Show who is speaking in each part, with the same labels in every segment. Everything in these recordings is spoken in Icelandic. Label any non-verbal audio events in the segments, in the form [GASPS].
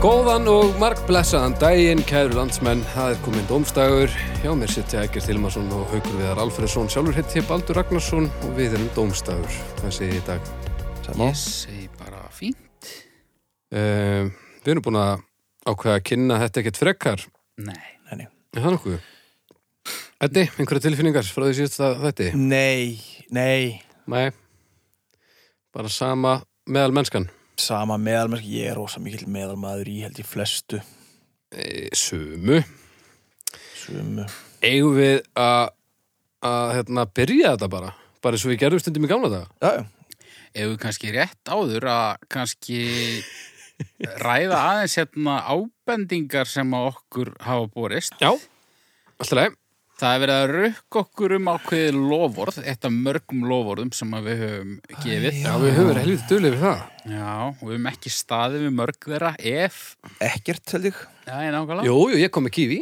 Speaker 1: Góðan og markblessaðan daginn, kæru landsmenn, það er komin dómstagur. Hjá mér sitja Egert Hilmarsson og Haukur Viðar Alfredsson, sjálfur heiti ég Baldur Ragnarsson og við erum dómstagur. Það sé ég í dag. Sama.
Speaker 2: Ég segi bara fínt.
Speaker 1: Uh, við erum búin að ákveða að kynna þetta ekkert frekkar.
Speaker 2: Nei.
Speaker 3: Nei,
Speaker 1: Er það nokkuð? Eddi, einhverja tilfinningar frá því síðust það þetta?
Speaker 3: nei, nei
Speaker 1: Nei, bara sama meðal mennskan.
Speaker 3: sama meðalmennsk, ég er rosa mikill meðalmaður í held í flestu
Speaker 1: E, sumu.
Speaker 3: sumu.
Speaker 1: Eigum við að að, hérna, byrja þetta bara? Bara eins og við gerðum stundum í gamla daga?
Speaker 3: Já, já,
Speaker 2: Ef við kannski rétt áður að kannski ræða aðeins hérna ábendingar sem að okkur hafa borist.
Speaker 1: Já, alltaf leið.
Speaker 2: Það er verið að rukka okkur um ákveðið lofórð, eitt af mörgum lofórðum sem að við höfum gefið.
Speaker 1: Já, við höfum verið helvítið duðlega við það.
Speaker 2: Já, og við höfum ekki staðið við mörg þeirra ef...
Speaker 3: ekkert held ég
Speaker 2: Já, ég nákvæmlega.
Speaker 1: Jú, jú, ég kom með kífi.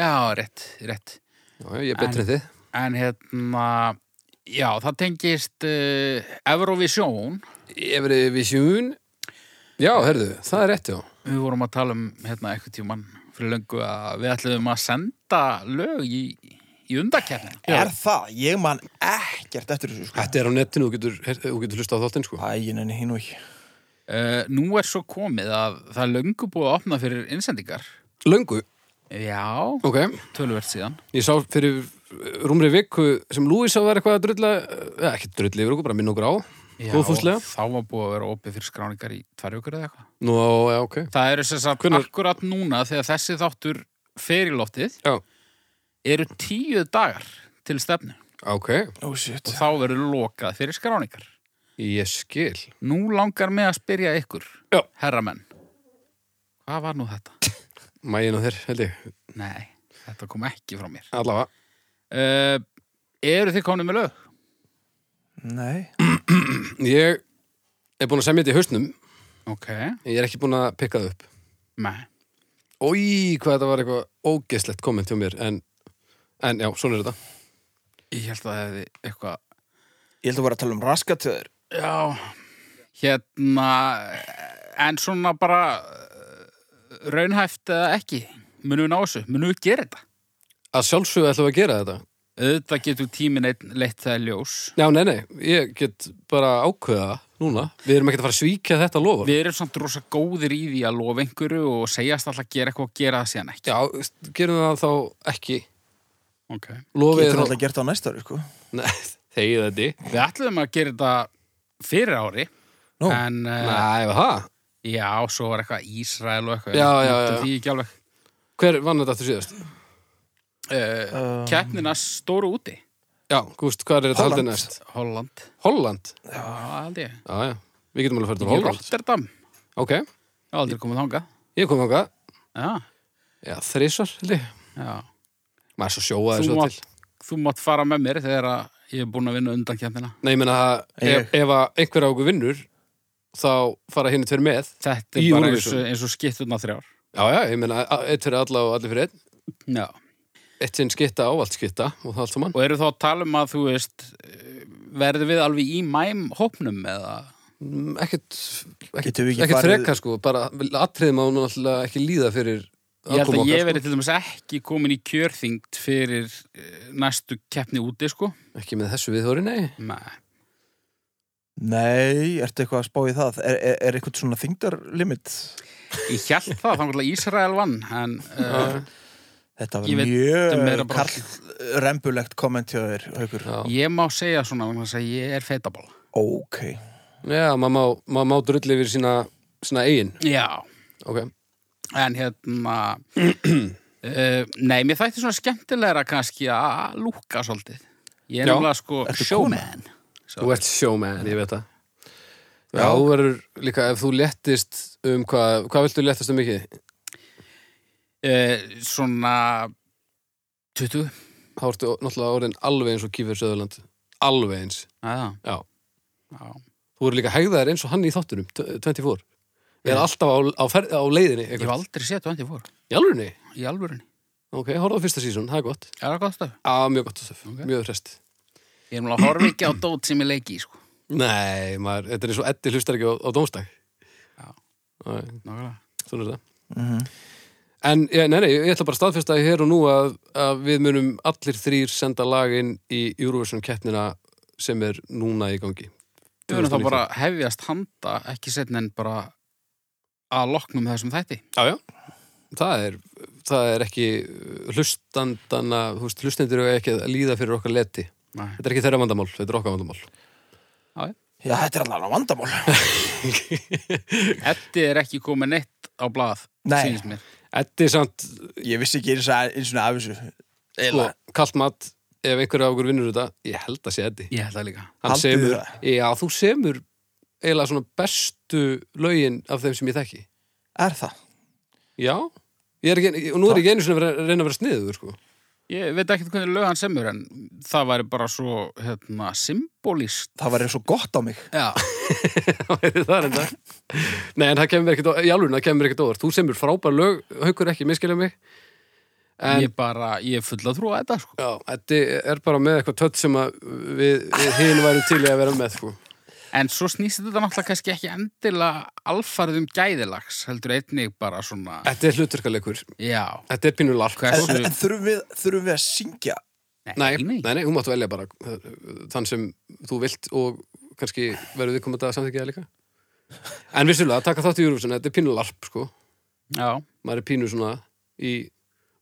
Speaker 2: Já, rétt, rétt.
Speaker 1: Já, já, ég er betri en þið.
Speaker 2: En hérna, já, það tengist uh, Eurovision.
Speaker 1: Ég verið við sjún. Já, herðu, það er rétt, já.
Speaker 2: Við vorum að tala um hérna eitthvað tíman fyrir löngu að við ætlum að senda lög í, í undarkefnin.
Speaker 3: Er það? Ég man ekkert eftir þessu sko
Speaker 1: Þetta er á netinu, þú getur, her- þú getur hlusta á þáttinn, sko.
Speaker 3: Æ, en hinn og ekki
Speaker 2: Uh, nú er svo komið að það er löngu búið að opna fyrir innsendingar.
Speaker 1: Löngu,
Speaker 2: Já,
Speaker 1: ok.
Speaker 2: tölvert síðan.
Speaker 1: Ég sá fyrir eh, rúmri viku sem Lúísa var eitthvað að drulla, eða ekki drulla yfir okkur, bara minn okkur á.
Speaker 2: Já,
Speaker 1: Góðfúslega.
Speaker 2: Þá var búið að vera opið fyrir skráningar í tvær vikur eða eitthvað.
Speaker 1: Nú, já, ok.
Speaker 2: Það eru sem sagt
Speaker 1: Hvenær-
Speaker 2: akkurat núna þegar þessi þáttur fer í loftið
Speaker 1: Já,
Speaker 2: eru tíu dagar til stefnu
Speaker 1: ok.
Speaker 3: Ó, shit
Speaker 2: og þá verður lokað fyrir skráningar.
Speaker 1: Ég skil.
Speaker 2: Nú langar mig að spyrja ykkur,
Speaker 1: Já.
Speaker 2: herramenn, hvað var nú þetta?
Speaker 1: Mægin á þér, held ég.
Speaker 2: Nei, þetta kom ekki frá mér.
Speaker 1: Allavega.
Speaker 2: Uh, eru þið komin með lög?
Speaker 3: Nei
Speaker 1: Ég er búin að semja þetta í hausnum,
Speaker 2: Ok.
Speaker 1: en ég er ekki búin að pikka það upp.
Speaker 2: Nei.
Speaker 1: Ói, hvað þetta var eitthvað ógeðslegt komment hjá mér en, en já, svona er þetta
Speaker 2: Ég held að það hefði eitthvað...
Speaker 3: Ég held að vera að tala um raskatöður
Speaker 2: Já. Hérna, en svona bara eh, raunhæft eða ekki. Munum við ná þessu? Munum við gera þetta?
Speaker 1: Að sjálfsögðu ætlum við að gera þetta
Speaker 2: Auðvitað getur tíminn einn leitt það í ljós.
Speaker 1: Já, nei, nei, ég get bara ákveða núna Við erum ekkert að fara að svíkja þetta lofa
Speaker 2: Við erum samt rosa góðir í því að lofa einhverju og segjast alltaf að gera eitthvað og gera það síðan ekki.
Speaker 1: Já, st- gerum það þá ekki
Speaker 2: Ok.
Speaker 1: Lofið
Speaker 3: Getur
Speaker 1: er
Speaker 3: alltaf gert það á næsta ári sko
Speaker 1: Nei, [LAUGHS] þegið þetta
Speaker 2: Við ætlum að gera þetta fyrir ári,
Speaker 3: Nú,
Speaker 2: en... eh,
Speaker 1: Nei, var það?
Speaker 2: Já, svo var eitthvað Ísrael og eitthvað.
Speaker 1: Já, já,
Speaker 2: Nefndi
Speaker 1: já.
Speaker 2: Því ekki alveg.
Speaker 1: Hver vann þetta aftur síðast?
Speaker 2: Uh,
Speaker 3: Um.
Speaker 2: Keppnina stóru úti.
Speaker 1: Já, Gúst, hvað er þetta
Speaker 3: Holland.
Speaker 1: haldið næst?
Speaker 2: Holland.
Speaker 1: Holland
Speaker 2: Já, það held ég.
Speaker 1: Já, já, við getum alveg að fara til
Speaker 2: Í
Speaker 1: Holland
Speaker 2: Rotterdam.
Speaker 1: Ok,
Speaker 2: Ég hef aldrei komið þangað.
Speaker 1: ég kom þangað
Speaker 2: Já,
Speaker 1: Já, þrísvar, held ég
Speaker 2: já.
Speaker 1: Maður er svo sjóaði
Speaker 2: þú,
Speaker 1: svo til
Speaker 2: mátt, þú mátt fara með mér þegar að ég er búin að vinna undan keppnina.
Speaker 1: Nei, ég meina að ef, ef að einhver á okkur vinnur þá fara hinn tveir með
Speaker 2: Þetta er
Speaker 1: Í
Speaker 2: bara eins
Speaker 1: Eurovision.
Speaker 2: og, eins og skitturna þrjár.
Speaker 1: Já, já, ég meina a- eitt fyrir alla og allir fyrir einn
Speaker 2: Já.
Speaker 1: eitt sinn skitta á allt skitta og það allt saman
Speaker 2: Og eru þá að tala um að þú veist, eh, verðum við alveg í mæm hópnum eða?
Speaker 1: Mm, ekkert, ekkert,
Speaker 3: Getum við ekki
Speaker 1: ekkert
Speaker 3: farið-
Speaker 1: frekar sko bara atriðum á hún alltaf ekki líða fyrir
Speaker 2: Ég held
Speaker 1: aðkomu
Speaker 2: að ég
Speaker 1: okkar, sko.
Speaker 2: verði til dæmis ekki komin í kjörþyngd fyrir eh, næstu keppni úti, sko.
Speaker 1: sko. ekki með þessu viðhóri, nei
Speaker 2: Nei.
Speaker 3: nei, ertu eitthvað að spá í það? Er, er, er eitthvað svona þingdarlimit?
Speaker 2: Ég held það, þannig að Ísrael vann en uh,
Speaker 3: Þetta
Speaker 2: Ég
Speaker 3: var
Speaker 2: veit um meira
Speaker 3: mjög
Speaker 2: bara-
Speaker 3: karlrembulegt komment hjá þér, Haukur
Speaker 1: Já,
Speaker 2: ég má segja svona vegna þess að ég er feitabál
Speaker 3: Ok,
Speaker 1: já maður má, mað má drulli yfir sína, sína eigin
Speaker 2: Já,
Speaker 1: ok,
Speaker 2: en hérna
Speaker 1: [CLEARS THROAT]
Speaker 2: uh, Nei, mér þætti svona skemmtilegra kannski að lúka svolítið Ég er
Speaker 1: Já.
Speaker 2: náttúrulega sko
Speaker 3: Ertu
Speaker 2: showman
Speaker 1: þú ert showman, ég veit það Já, þú verður líka, ef þú lettist um hvað, hvað viltu lettast um mikið?
Speaker 2: uh, Svona 20
Speaker 1: Þá ertu náttúrulega orðin alveg eins og Kífur Söðurland Alveg eins
Speaker 2: Aða.
Speaker 1: Já.
Speaker 2: Já.
Speaker 1: Þú eru líka hegðaðir eins og hann í þáttunum, t- 24. Ég er alltaf á, á, ferð, á leiðinni.
Speaker 2: Ég hef aldrei séð 24
Speaker 1: Í alvörunni?
Speaker 2: í alvörunni
Speaker 1: Ok, horfðu á fyrsta sísón, það er gott.
Speaker 2: Er það gott stöf?
Speaker 1: Á, mjög gott, Stöf.
Speaker 2: Ok.
Speaker 1: Mjög hrest.
Speaker 2: Ég er
Speaker 1: [CLEARS THROAT]
Speaker 2: náttúrulega horf ekki á dót sem ég leiki í, sko
Speaker 1: Nei, maður, þetta er eins og Eddi hlustar ekki á, á dómstag.
Speaker 2: Já.
Speaker 1: Nei,
Speaker 2: Nákvæmlega
Speaker 1: Svona er það.
Speaker 3: Mhm.
Speaker 1: En, ja, nei, nei, ég ætla bara að staðfesta hér og nú að, að við munum allir þrýr senda lagin í Eurovision keppnina sem er núna í gangi.
Speaker 2: Við verðum þá bara hefjast handa, ekki setna en bara að loknum þessum þætti.
Speaker 1: Já, já. Það er, það er ekki hlustandana, þú veist, hlustendur eru ekki að líða fyrir okkar leti.
Speaker 2: Nei.
Speaker 1: Þetta er ekki þeirra vandamál, þetta er okkar vandamál.
Speaker 3: Já, þetta er allavega vandamál.
Speaker 2: Eddi er ekki komið neitt á blað,
Speaker 3: Nei.
Speaker 2: sýnist mér.
Speaker 1: Þetta er samt,
Speaker 3: Ég vissi ekki eins og eins og af þessu.
Speaker 1: sko,
Speaker 3: Eiginlega.
Speaker 1: kallt mat, ef einhverja okkur vinnur þetta, ég held að sé Eddi.
Speaker 2: Ég held það líka.
Speaker 1: Hann
Speaker 3: Haldið
Speaker 1: semur,
Speaker 3: það?
Speaker 1: já, þú semur eiginlega svona bestu lögin af þeim sem ég þekki.
Speaker 3: Er það?
Speaker 1: Já, ég er ekki, og nú er ég ekki einu svona að reyna að vera sniður, sko. [LAUGHS]
Speaker 2: Ég veit ekki hvernig lög hann semur en það væri bara svo hérna, symbolist.
Speaker 3: Það var svo gott á mig.
Speaker 2: Já.
Speaker 1: það er enda. Nei, en það kemur ekkert, ó- í alveg, það kemur ekkert óvart. Þú semur frábær lög, haukur ekki, miskilja mig. En,
Speaker 2: Ég bara, ég er full að trúa þetta sko.
Speaker 1: já, þetta er bara með eitthvað tött sem að við, við hinn værum til í að vera með, sko.
Speaker 2: En svo snýst þetta náttúrulega kannski ekki endilega alfarðum gæðilags, heldur einnig bara svona,
Speaker 1: Þetta er hluturkalegur.
Speaker 2: já.
Speaker 1: Þetta er pínu lark.
Speaker 2: Hvers-
Speaker 1: sko.
Speaker 3: En, en þurfum, við, þurfum við að syngja?
Speaker 1: Nei, nei, nei, hún máttu velja bara uh, þann sem þú vilt og kannski verður við komið að samþykja það líka. En vissulega, taka þátt í Eurovision, þetta er pínu larp, sko.
Speaker 2: Já,
Speaker 1: Maður er pínu svona í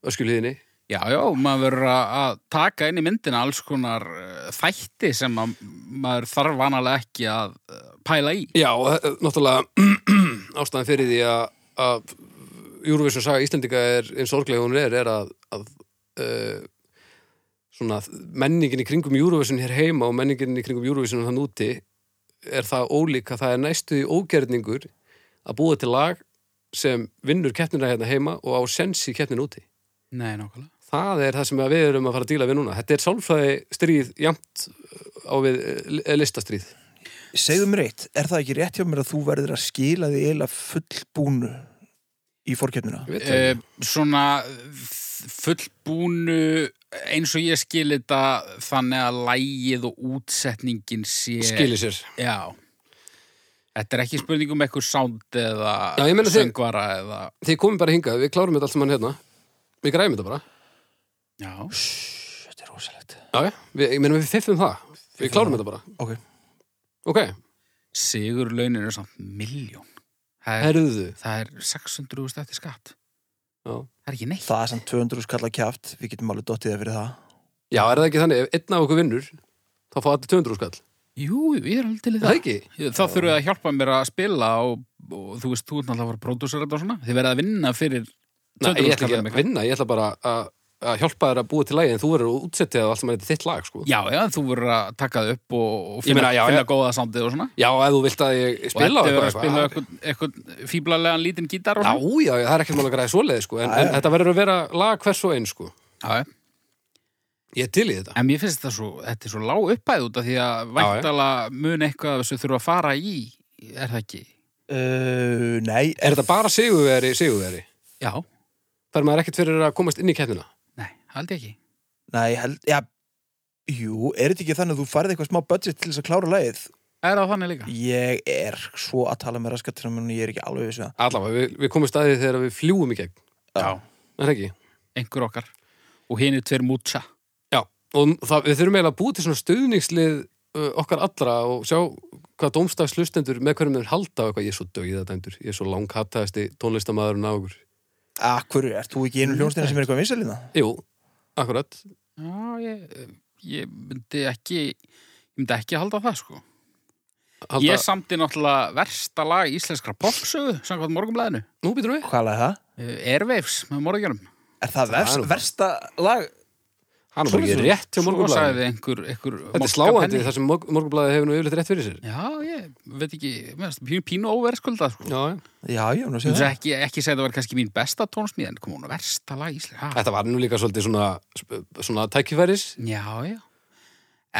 Speaker 1: öskulíðinni.
Speaker 2: já, já, maður verður að að taka inn í myndina alls konar eh, þætti sem að maður þarf vanalega ekki að eh, pæla í.
Speaker 1: Já, og það- náttúrulega [CLEARS THROAT] ástæðan fyrir því að- að Eurovision saga Íslendinga er eins sorglega hún er, er að, að uh, svona menningin í kringum Eurovision hér heima og menningin í kringum Eurovision hann úti er það ólík að það er næstu í ógerningur að búa til lag sem vinnur keppnina hérna heima og á sens í keppnin úti.
Speaker 2: Nei, nákvæmlega.
Speaker 1: Það er það sem að við erum að fara að díla við núna. Þetta er sálfræði stríð jamt á við eh, listastríð.
Speaker 3: Segðu mér eitt, er það ekki rétt hjá mér að þú verður að skila því eiginlega fullbúnu í fórkeppnina?
Speaker 1: Ég veit það
Speaker 2: Eh,
Speaker 1: ekki.
Speaker 2: svona f- fullbúnu eins og ég skil þetta þannig að lægið og útsetningin sé
Speaker 1: Skilir sér.
Speaker 2: já Þetta er ekki spurning um eitthvað sound eða
Speaker 1: Já, ég meina þig-
Speaker 2: söngvara eða
Speaker 1: Þið komum bara hingað, við klárum þetta allt saman hérna Við græfum þetta bara
Speaker 2: Já,
Speaker 3: Þetta er rosalegt.
Speaker 1: Já, já, við, ég meina við fiffum það Við klárum þetta bara
Speaker 3: Ok.
Speaker 1: Ok,
Speaker 2: sigur launin er samt miljón Það er,
Speaker 1: herruðu
Speaker 2: það er 600 eftir skatt
Speaker 1: Já.
Speaker 2: Það er ekki neitt
Speaker 3: Það er samt 200 skalla kjaft, við getum alveg dottið það fyrir það.
Speaker 1: Já, er það ekki þannig, ef einn af okkur vinnur þá fá allir 200 skall Er
Speaker 2: Jú, jú, ég er alveg til í
Speaker 1: Það
Speaker 2: það
Speaker 1: ekki?
Speaker 2: Ég- Það þurfum við að hjálpa mér að spila og, og þú veist, þú ert náttúrulega að fara pródúsar og svona Þið verða að vinna fyrir
Speaker 1: Nei, ég
Speaker 2: 200
Speaker 1: ætla
Speaker 2: skall
Speaker 1: ekki að vinna, ég ætla bara að að hjálpa þér að búa til lagi en þú verður að útsetja það allt saman þetta er þitt lag, sko
Speaker 2: Já, já, þú verður að taka það upp og, og
Speaker 1: Ég
Speaker 2: finna,
Speaker 1: meina, já,
Speaker 2: finna
Speaker 1: já.
Speaker 2: góða soundið og svona.
Speaker 1: Já, ef þú vilt að ég spila á
Speaker 2: og þetta verður að
Speaker 1: eitthvað,
Speaker 2: spila
Speaker 1: eitthvað.
Speaker 2: eitthvað, eitthvað fíblalega lítinn gítar og
Speaker 1: Já,
Speaker 2: svona.
Speaker 1: já, já, það er ekkert mál að græða svoleiði, sko en,
Speaker 3: Já, já.
Speaker 1: en þetta verður að vera lag hvers og einn, sko
Speaker 2: Já, já.
Speaker 1: Ég er til í þetta
Speaker 2: En mér finnst þetta svo, þetta er svo lág uppæð út af því að væntala mun eitthvað af þessu þurfa að fara í, er það ekki?
Speaker 3: Uh, nei,
Speaker 1: Er þetta bara sigurveri, sigurveri?
Speaker 2: Já,
Speaker 1: Það er maður ekkert fyrir að komast inn í keppnina
Speaker 2: nei, held ég ekki.
Speaker 3: nei, held, já, jú, er þetta ekki þannig að þú farið eitthvað smá budget til þess að klára lagið?
Speaker 2: Er það þannig líka?
Speaker 3: Ég er svo að tala með raskatunum en ég er ekki alveg viss við það.
Speaker 1: Allavega, við, við komum staðið þegar við fljúum í gegn,
Speaker 2: Já,
Speaker 1: er það ekki?
Speaker 2: einhver okkar. Og hinn er tver mútsa.
Speaker 1: Já, og það, við þurfum eiginlega að búa til svona stöðningslið uh, okkar allra og sjá hvað dómstagslustendur með hverjum þeir halda og eitthvað, ég er svo dögið að dæmdur, ég er svo langhattaðasti tónlistamaðurinn á okkur.
Speaker 3: Akkur, ert þú ekki í einum hljónstina sem er eitthvað vinsalina?
Speaker 1: Jú, akkurat,
Speaker 2: Já, ég, ég myndi ekki, ég myndi ekki halda það, sko.
Speaker 1: halda,
Speaker 2: Ég samti náttúrulega versta lag íslenskra popsögu, samkvæmt morgunblæðinu.
Speaker 1: nú býtum við,
Speaker 3: Hvað lag er það?
Speaker 2: Eh, Airwaves með morðingjörnum.
Speaker 3: Er það,
Speaker 1: Það er
Speaker 3: verst,
Speaker 1: nú-
Speaker 3: versta lag?
Speaker 1: hann var ekki
Speaker 3: Svoleiðis.
Speaker 1: rétt hjá
Speaker 2: Svo
Speaker 1: morgunblæði.
Speaker 2: sagði einhver, einhver
Speaker 1: Þetta er
Speaker 2: mokkapenni.
Speaker 1: sláandi þar sem morg- morgunblæði hefur nú yfirleitt rétt fyrir sér.
Speaker 2: Já, ég veit ekki, mér finnst pínu, pínu óverðskuldað sko.
Speaker 1: Já, já.
Speaker 3: Já, já, nú
Speaker 2: Ég
Speaker 3: séu
Speaker 2: myndi
Speaker 3: það.
Speaker 2: ekki, ekki segja að það var kannski mín besta tónsmíð en kom hún að versta lag íslega
Speaker 1: Þetta var nú líka svolítið svona, svona tækifæris. [LAUGHS]
Speaker 2: Já, já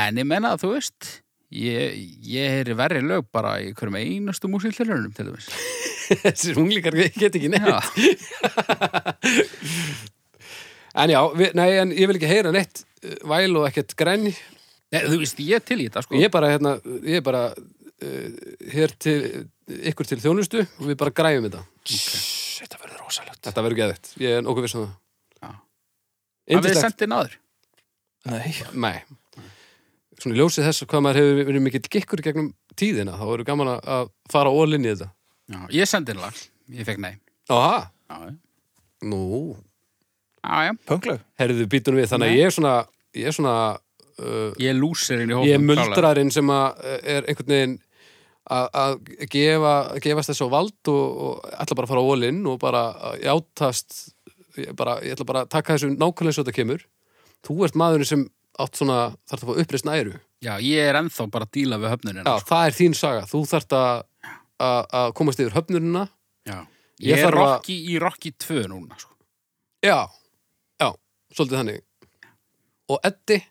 Speaker 2: En ég menna að þú veist ég, ég heyri verri lög bara í hverjum einastu músillilunum til dæmis
Speaker 1: [LAUGHS] Þessir unglingar get ekki neitt.
Speaker 2: Já,
Speaker 1: En já, við, nei, en ég vil ekki heyra neitt eh, væl og ekkert græn
Speaker 2: Nei, þú veist, ég til í þetta sko
Speaker 1: Ég er bara, hérna, ég er bara eh, uh, hér til ykkur til þjónustu og við bara græfum þetta.
Speaker 3: Þetta verður rosalegt. gott
Speaker 1: Þetta verður geðvitt, ég er nokkuð viss um það.
Speaker 2: Já. Hafið þið
Speaker 1: Indislegt,
Speaker 2: sendið náður?
Speaker 3: Nei,
Speaker 1: nei. Svona í ljósið þess hvað maður hefur verið mikill gikkur gegnum tíðina, þá verður gaman að- að fara ólinn í þetta.
Speaker 2: Já, ég sendið lag. Ég fekk nei.
Speaker 1: Aha,
Speaker 2: Já, já.
Speaker 1: nú,
Speaker 2: Já, já.
Speaker 3: pöngleg
Speaker 1: herðu býtunum við, þannig að
Speaker 2: Nei.
Speaker 1: ég er svona, ég er svona, uh,
Speaker 2: Ég er lúserinn í hópum.
Speaker 1: ég er
Speaker 2: klárlega.
Speaker 1: muldrarinn sem að uh, er einhvern veginn að- að gefa, gefast þessu á vald og, og ætla bara að fara á ólinn og bara að játast, ég, bara, ég ætla bara að taka þessu nákvæmlega svo þetta kemur. Þú ert maðurinn sem átt svona, þarf að fá uppreist næru.
Speaker 2: Já, ég er ennþá bara að díla við höfnunina.
Speaker 1: Já, það er þín saga. Þú þarft að að að komast yfir höfnurina.
Speaker 2: Já.
Speaker 1: Ég
Speaker 2: Ég, er
Speaker 1: þarf að-
Speaker 2: Rocky í Rocky 2 núna, sko.
Speaker 1: Já, já, svolítið þannig. Og Eddi,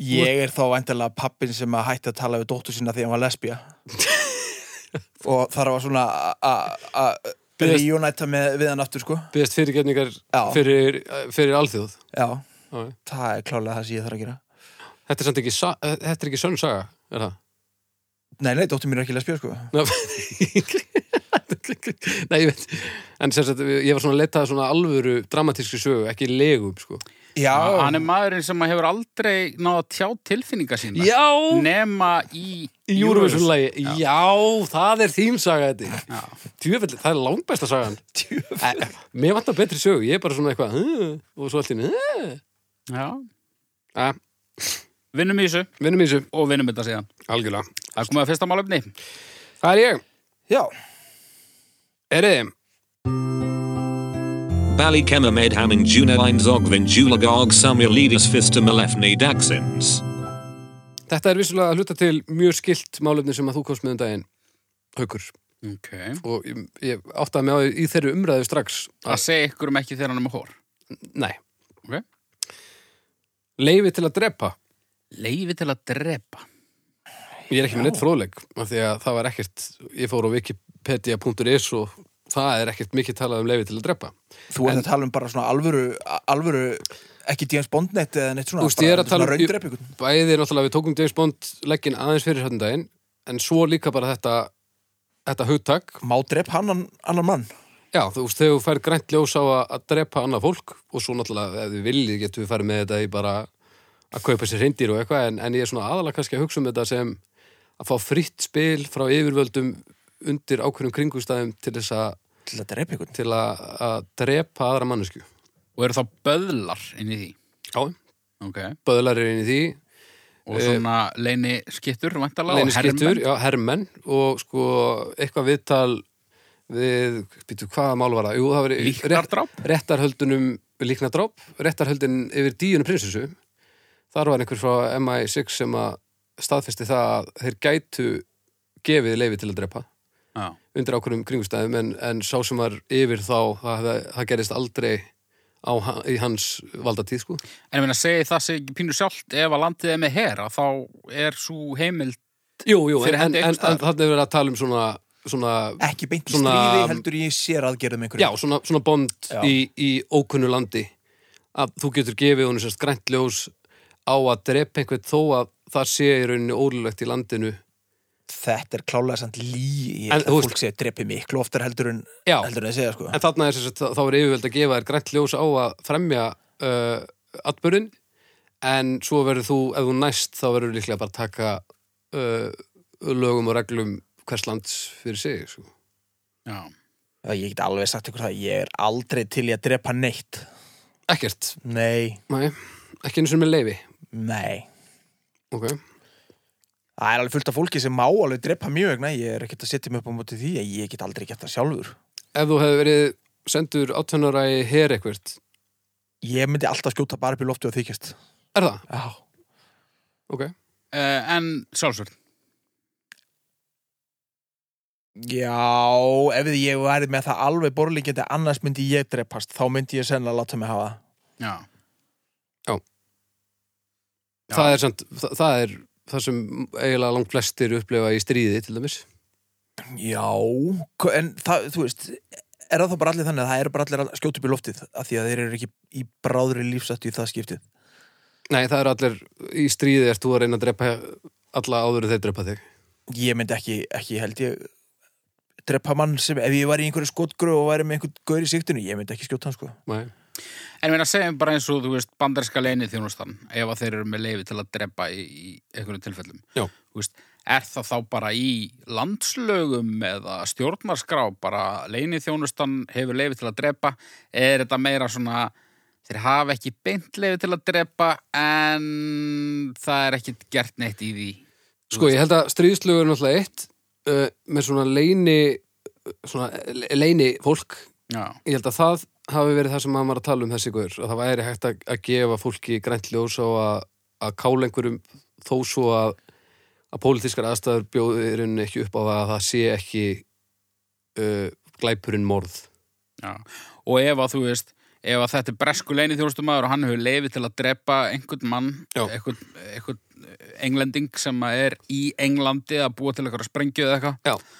Speaker 3: Ég er þá endilega pappin sem að hætti að tala við dóttur sína því að hann var lesbía
Speaker 1: [LAUGHS]
Speaker 3: og þar var svona að- að
Speaker 1: Biðjast-
Speaker 3: reunæta með, við hann aftur sko
Speaker 1: byggðast fyrirgefningar
Speaker 3: Já.
Speaker 1: fyrir, fyrir alþjóð.
Speaker 3: Já,
Speaker 1: Já, já.
Speaker 3: það er klálega það sem ég þarf að gera
Speaker 1: Þetta er samt ekki, sa- eh, þetta er ekki sönn saga, er það?
Speaker 3: Nei, nei, dóttur mín er ekki lesbía sko
Speaker 1: Nei, [LAUGHS] Nei, ég veit En sem sagt, ég var svona að leita að svona alvöru dramatískri sögu, ekki legum, sko
Speaker 3: Já,
Speaker 2: Hann er maðurinn sem hefur aldrei náð að tjá tilfinninga sína.
Speaker 1: Já,
Speaker 2: Nema í...
Speaker 1: í Eurovision-lagi Já. það er þín saga þetta
Speaker 2: Já.
Speaker 1: Tjöfell, það er langbesta sagan
Speaker 3: djöfull.
Speaker 1: Eh, Mér vantar betri sögu, ég er bara svona eitthvað "Huh?" og svo allt í henni
Speaker 2: Já.
Speaker 1: Vinnum
Speaker 2: Vinnum í þessu
Speaker 1: í þessu,
Speaker 2: og vinnum þetta síðan.
Speaker 1: algjörlega
Speaker 2: Það er komið að fyrsta málefni.
Speaker 1: Það er ég,
Speaker 3: Já,
Speaker 1: er þið
Speaker 4: Ballykenna med hamming juna lines og ventulagog samuelidis fista malefni daxins.
Speaker 1: Þetta er vissulega að hluta til mjög skilt málefni sem að þú komst með um daginn Haukur,
Speaker 2: Ok.
Speaker 1: og ég, ég áttaði mig á því í þeirri umræðu strax að
Speaker 2: Að segja ykkur um ekki þegar hann er með hór.
Speaker 1: Nei.
Speaker 2: Ok.
Speaker 1: Leifi til að drepa.
Speaker 2: Leifi til að drepa.
Speaker 1: Ég er ekki með neitt fróðleg, af því að það var ekkert, ég fór á wikipedia.is og það er ekkert mikið talað um leifi til að drepa.
Speaker 3: þú ert að tala um bara svona alvöru, alvöru ekki James Bond neitt eða neitt svona
Speaker 1: Þú veist, ég er
Speaker 3: bara
Speaker 1: að tala
Speaker 3: svona
Speaker 1: um-
Speaker 3: raundreip ykkur.
Speaker 1: Bæði er náttúrulega við tókum James Bond leggin aðeins fyrir hérna daginn, en svo líka bara þetta, þetta hugtak.
Speaker 3: Má dreip hann annan, annan mann
Speaker 1: Já, þú veist, þegar þú fær grænt ljós á að, að drepa annað fólk og svo náttúrulega ef við viljið getum við farið með þetta í bara að kaupa sér reyndir og eitthvað, en, en ég er svona aðalega kannski að hugsa um þetta sem að fá fritt spil frá yfirvöldum undir ákveðnum kringustæðum til þess að
Speaker 3: til að dreip ykkur
Speaker 1: til að, að drepa aðra mannesku
Speaker 2: Og eru þá böðlar inn í því.
Speaker 1: Já,
Speaker 2: Ok.
Speaker 1: böðlar er inn í því
Speaker 2: Og svona leini skittur, vantarlega.
Speaker 1: Eh, leyniskittur, já, hermenn og sko eitthvað viðtal við, býtu, hvaða mál var það? Jú, það var í-
Speaker 2: Líknardráp?
Speaker 1: eh, rétt- réttarhöldunum líknardráp, réttarhöldin yfir díunum prinsessu þar var einhver frá MI6 sem að staðfesti það að þeir gætu gefið leifi til að drepa
Speaker 2: Já.
Speaker 1: undir ákveðnum kringustæðum en, en sá sem var yfir þá það, það, það gerist aldrei á, ha- í hans valdatíð sko
Speaker 2: En ég meina, segi það segi ekki pínu sjálft ef að landið er með hera, þá er svo heimild
Speaker 1: Jú, jú, en,
Speaker 2: Fyrir
Speaker 1: en,
Speaker 2: hendi
Speaker 1: en,
Speaker 2: einhvers
Speaker 1: en
Speaker 2: staðar.
Speaker 1: þannig verið að tala um svona, svona
Speaker 3: ekki beint í
Speaker 1: Svona-
Speaker 3: stríði heldur ég sér aðgerðum einhverju
Speaker 1: já, svona, svona bond
Speaker 3: Já.
Speaker 1: Í, í ókunnu landi að þú getur gefið honum sérst grænt ljós á að drepa einhvern þó að það sé í rauninni ólulegt í landinu
Speaker 3: þetta er klálega samt lí
Speaker 1: En
Speaker 3: en,
Speaker 1: þú
Speaker 3: að
Speaker 1: veist-
Speaker 3: fólk sé að drepi miklu oftar heldur en
Speaker 1: Já,
Speaker 3: heldur en að segja sko
Speaker 1: en þarna er sérst þá er yfirvöld að gefa þér grænt ljós á að fremja uh, atbörun en svo verður þú, ef þú næst þá verður líklega bara að taka uh, lögum og reglum hvers lands fyrir sig sko.
Speaker 2: Já.
Speaker 3: Já, ég get alveg sagt ykkur það, ég er aldrei til í að drepa neitt
Speaker 1: Ekkert,
Speaker 3: nei,
Speaker 1: nei, ekki eins og með leifi
Speaker 3: nei
Speaker 1: okay.
Speaker 3: það er alveg fullt af fólki sem má alveg drepa mjög nei, ég er ekkert að setja mig upp á móti því en ég get aldrei gert það sjálfur
Speaker 1: ef þú hefði verið sendur áttönnara í her eitthvert
Speaker 3: ég myndi alltaf skjóta bara upp í loftu og þykjast
Speaker 1: er það?
Speaker 3: já,
Speaker 1: ok
Speaker 2: Uh, en sjálfsvörn.
Speaker 3: já ef ég væri með það alveg borlíkjandi annars myndi ég drepast, þá myndi ég sennilega láta mig hafa það.
Speaker 2: Já. Já.
Speaker 1: það er, samt, það, það er það sem eiginlega langt flestir upplefa í stríði til dæmis
Speaker 3: Já, hva- en það, þú veist er það þá bara allir þannig að það eru bara allir að skjóta upp í loftið af því að þeir eru ekki í bráðri lífsættu í það skiptið
Speaker 1: nei það er allir í stríði ert þú að reyna að drepa alla áður en þeir drepa þig
Speaker 3: Ég myndi ekki, ekki held ég drepa mann sem ef ég var í einhverju skotgröð og væri með einhvern gaur í siktinu, ég myndi ekki skjóta hann sko
Speaker 1: Nei.
Speaker 2: En ég meina, segjum bara eins og, þú veist, bandarska leini þjónustan, ef að þeir eru með leifi til að drepa í, í einhverjum tilfellum.
Speaker 1: Já.
Speaker 2: Þú veist, er það þá bara í landslögum eða stjórnarskrá, bara leini þjónustan hefur leifi til að drepa, er þetta meira svona, þeir hafa ekki beint leifi til að drepa, en það er ekki gert neitt í því.
Speaker 1: Sko, ég held að stríðslögur er náttúrulega eitt uh, með svona leini svona le- leini fólk
Speaker 2: Já,
Speaker 1: ég held að það hafi verið það sem maður var að tala um þessi guður að það væri hægt að, að gefa fólki grænt ljós á að, að kála einhverjum þó svo að að pólitískar aðstæður bjóðirinn ekki upp á það að það sé ekki uh, glæpurinn morð
Speaker 2: já. Og ef að þú veist, ef að þetta er bresku leini þjónustumæður og hann hefur leifi til að drepa einhvern mann,
Speaker 1: Já.
Speaker 2: einhvern, einhvern eh, englending sem að er í Englandi að búa til eitthvað að sprengja eða eitthvað
Speaker 1: Já,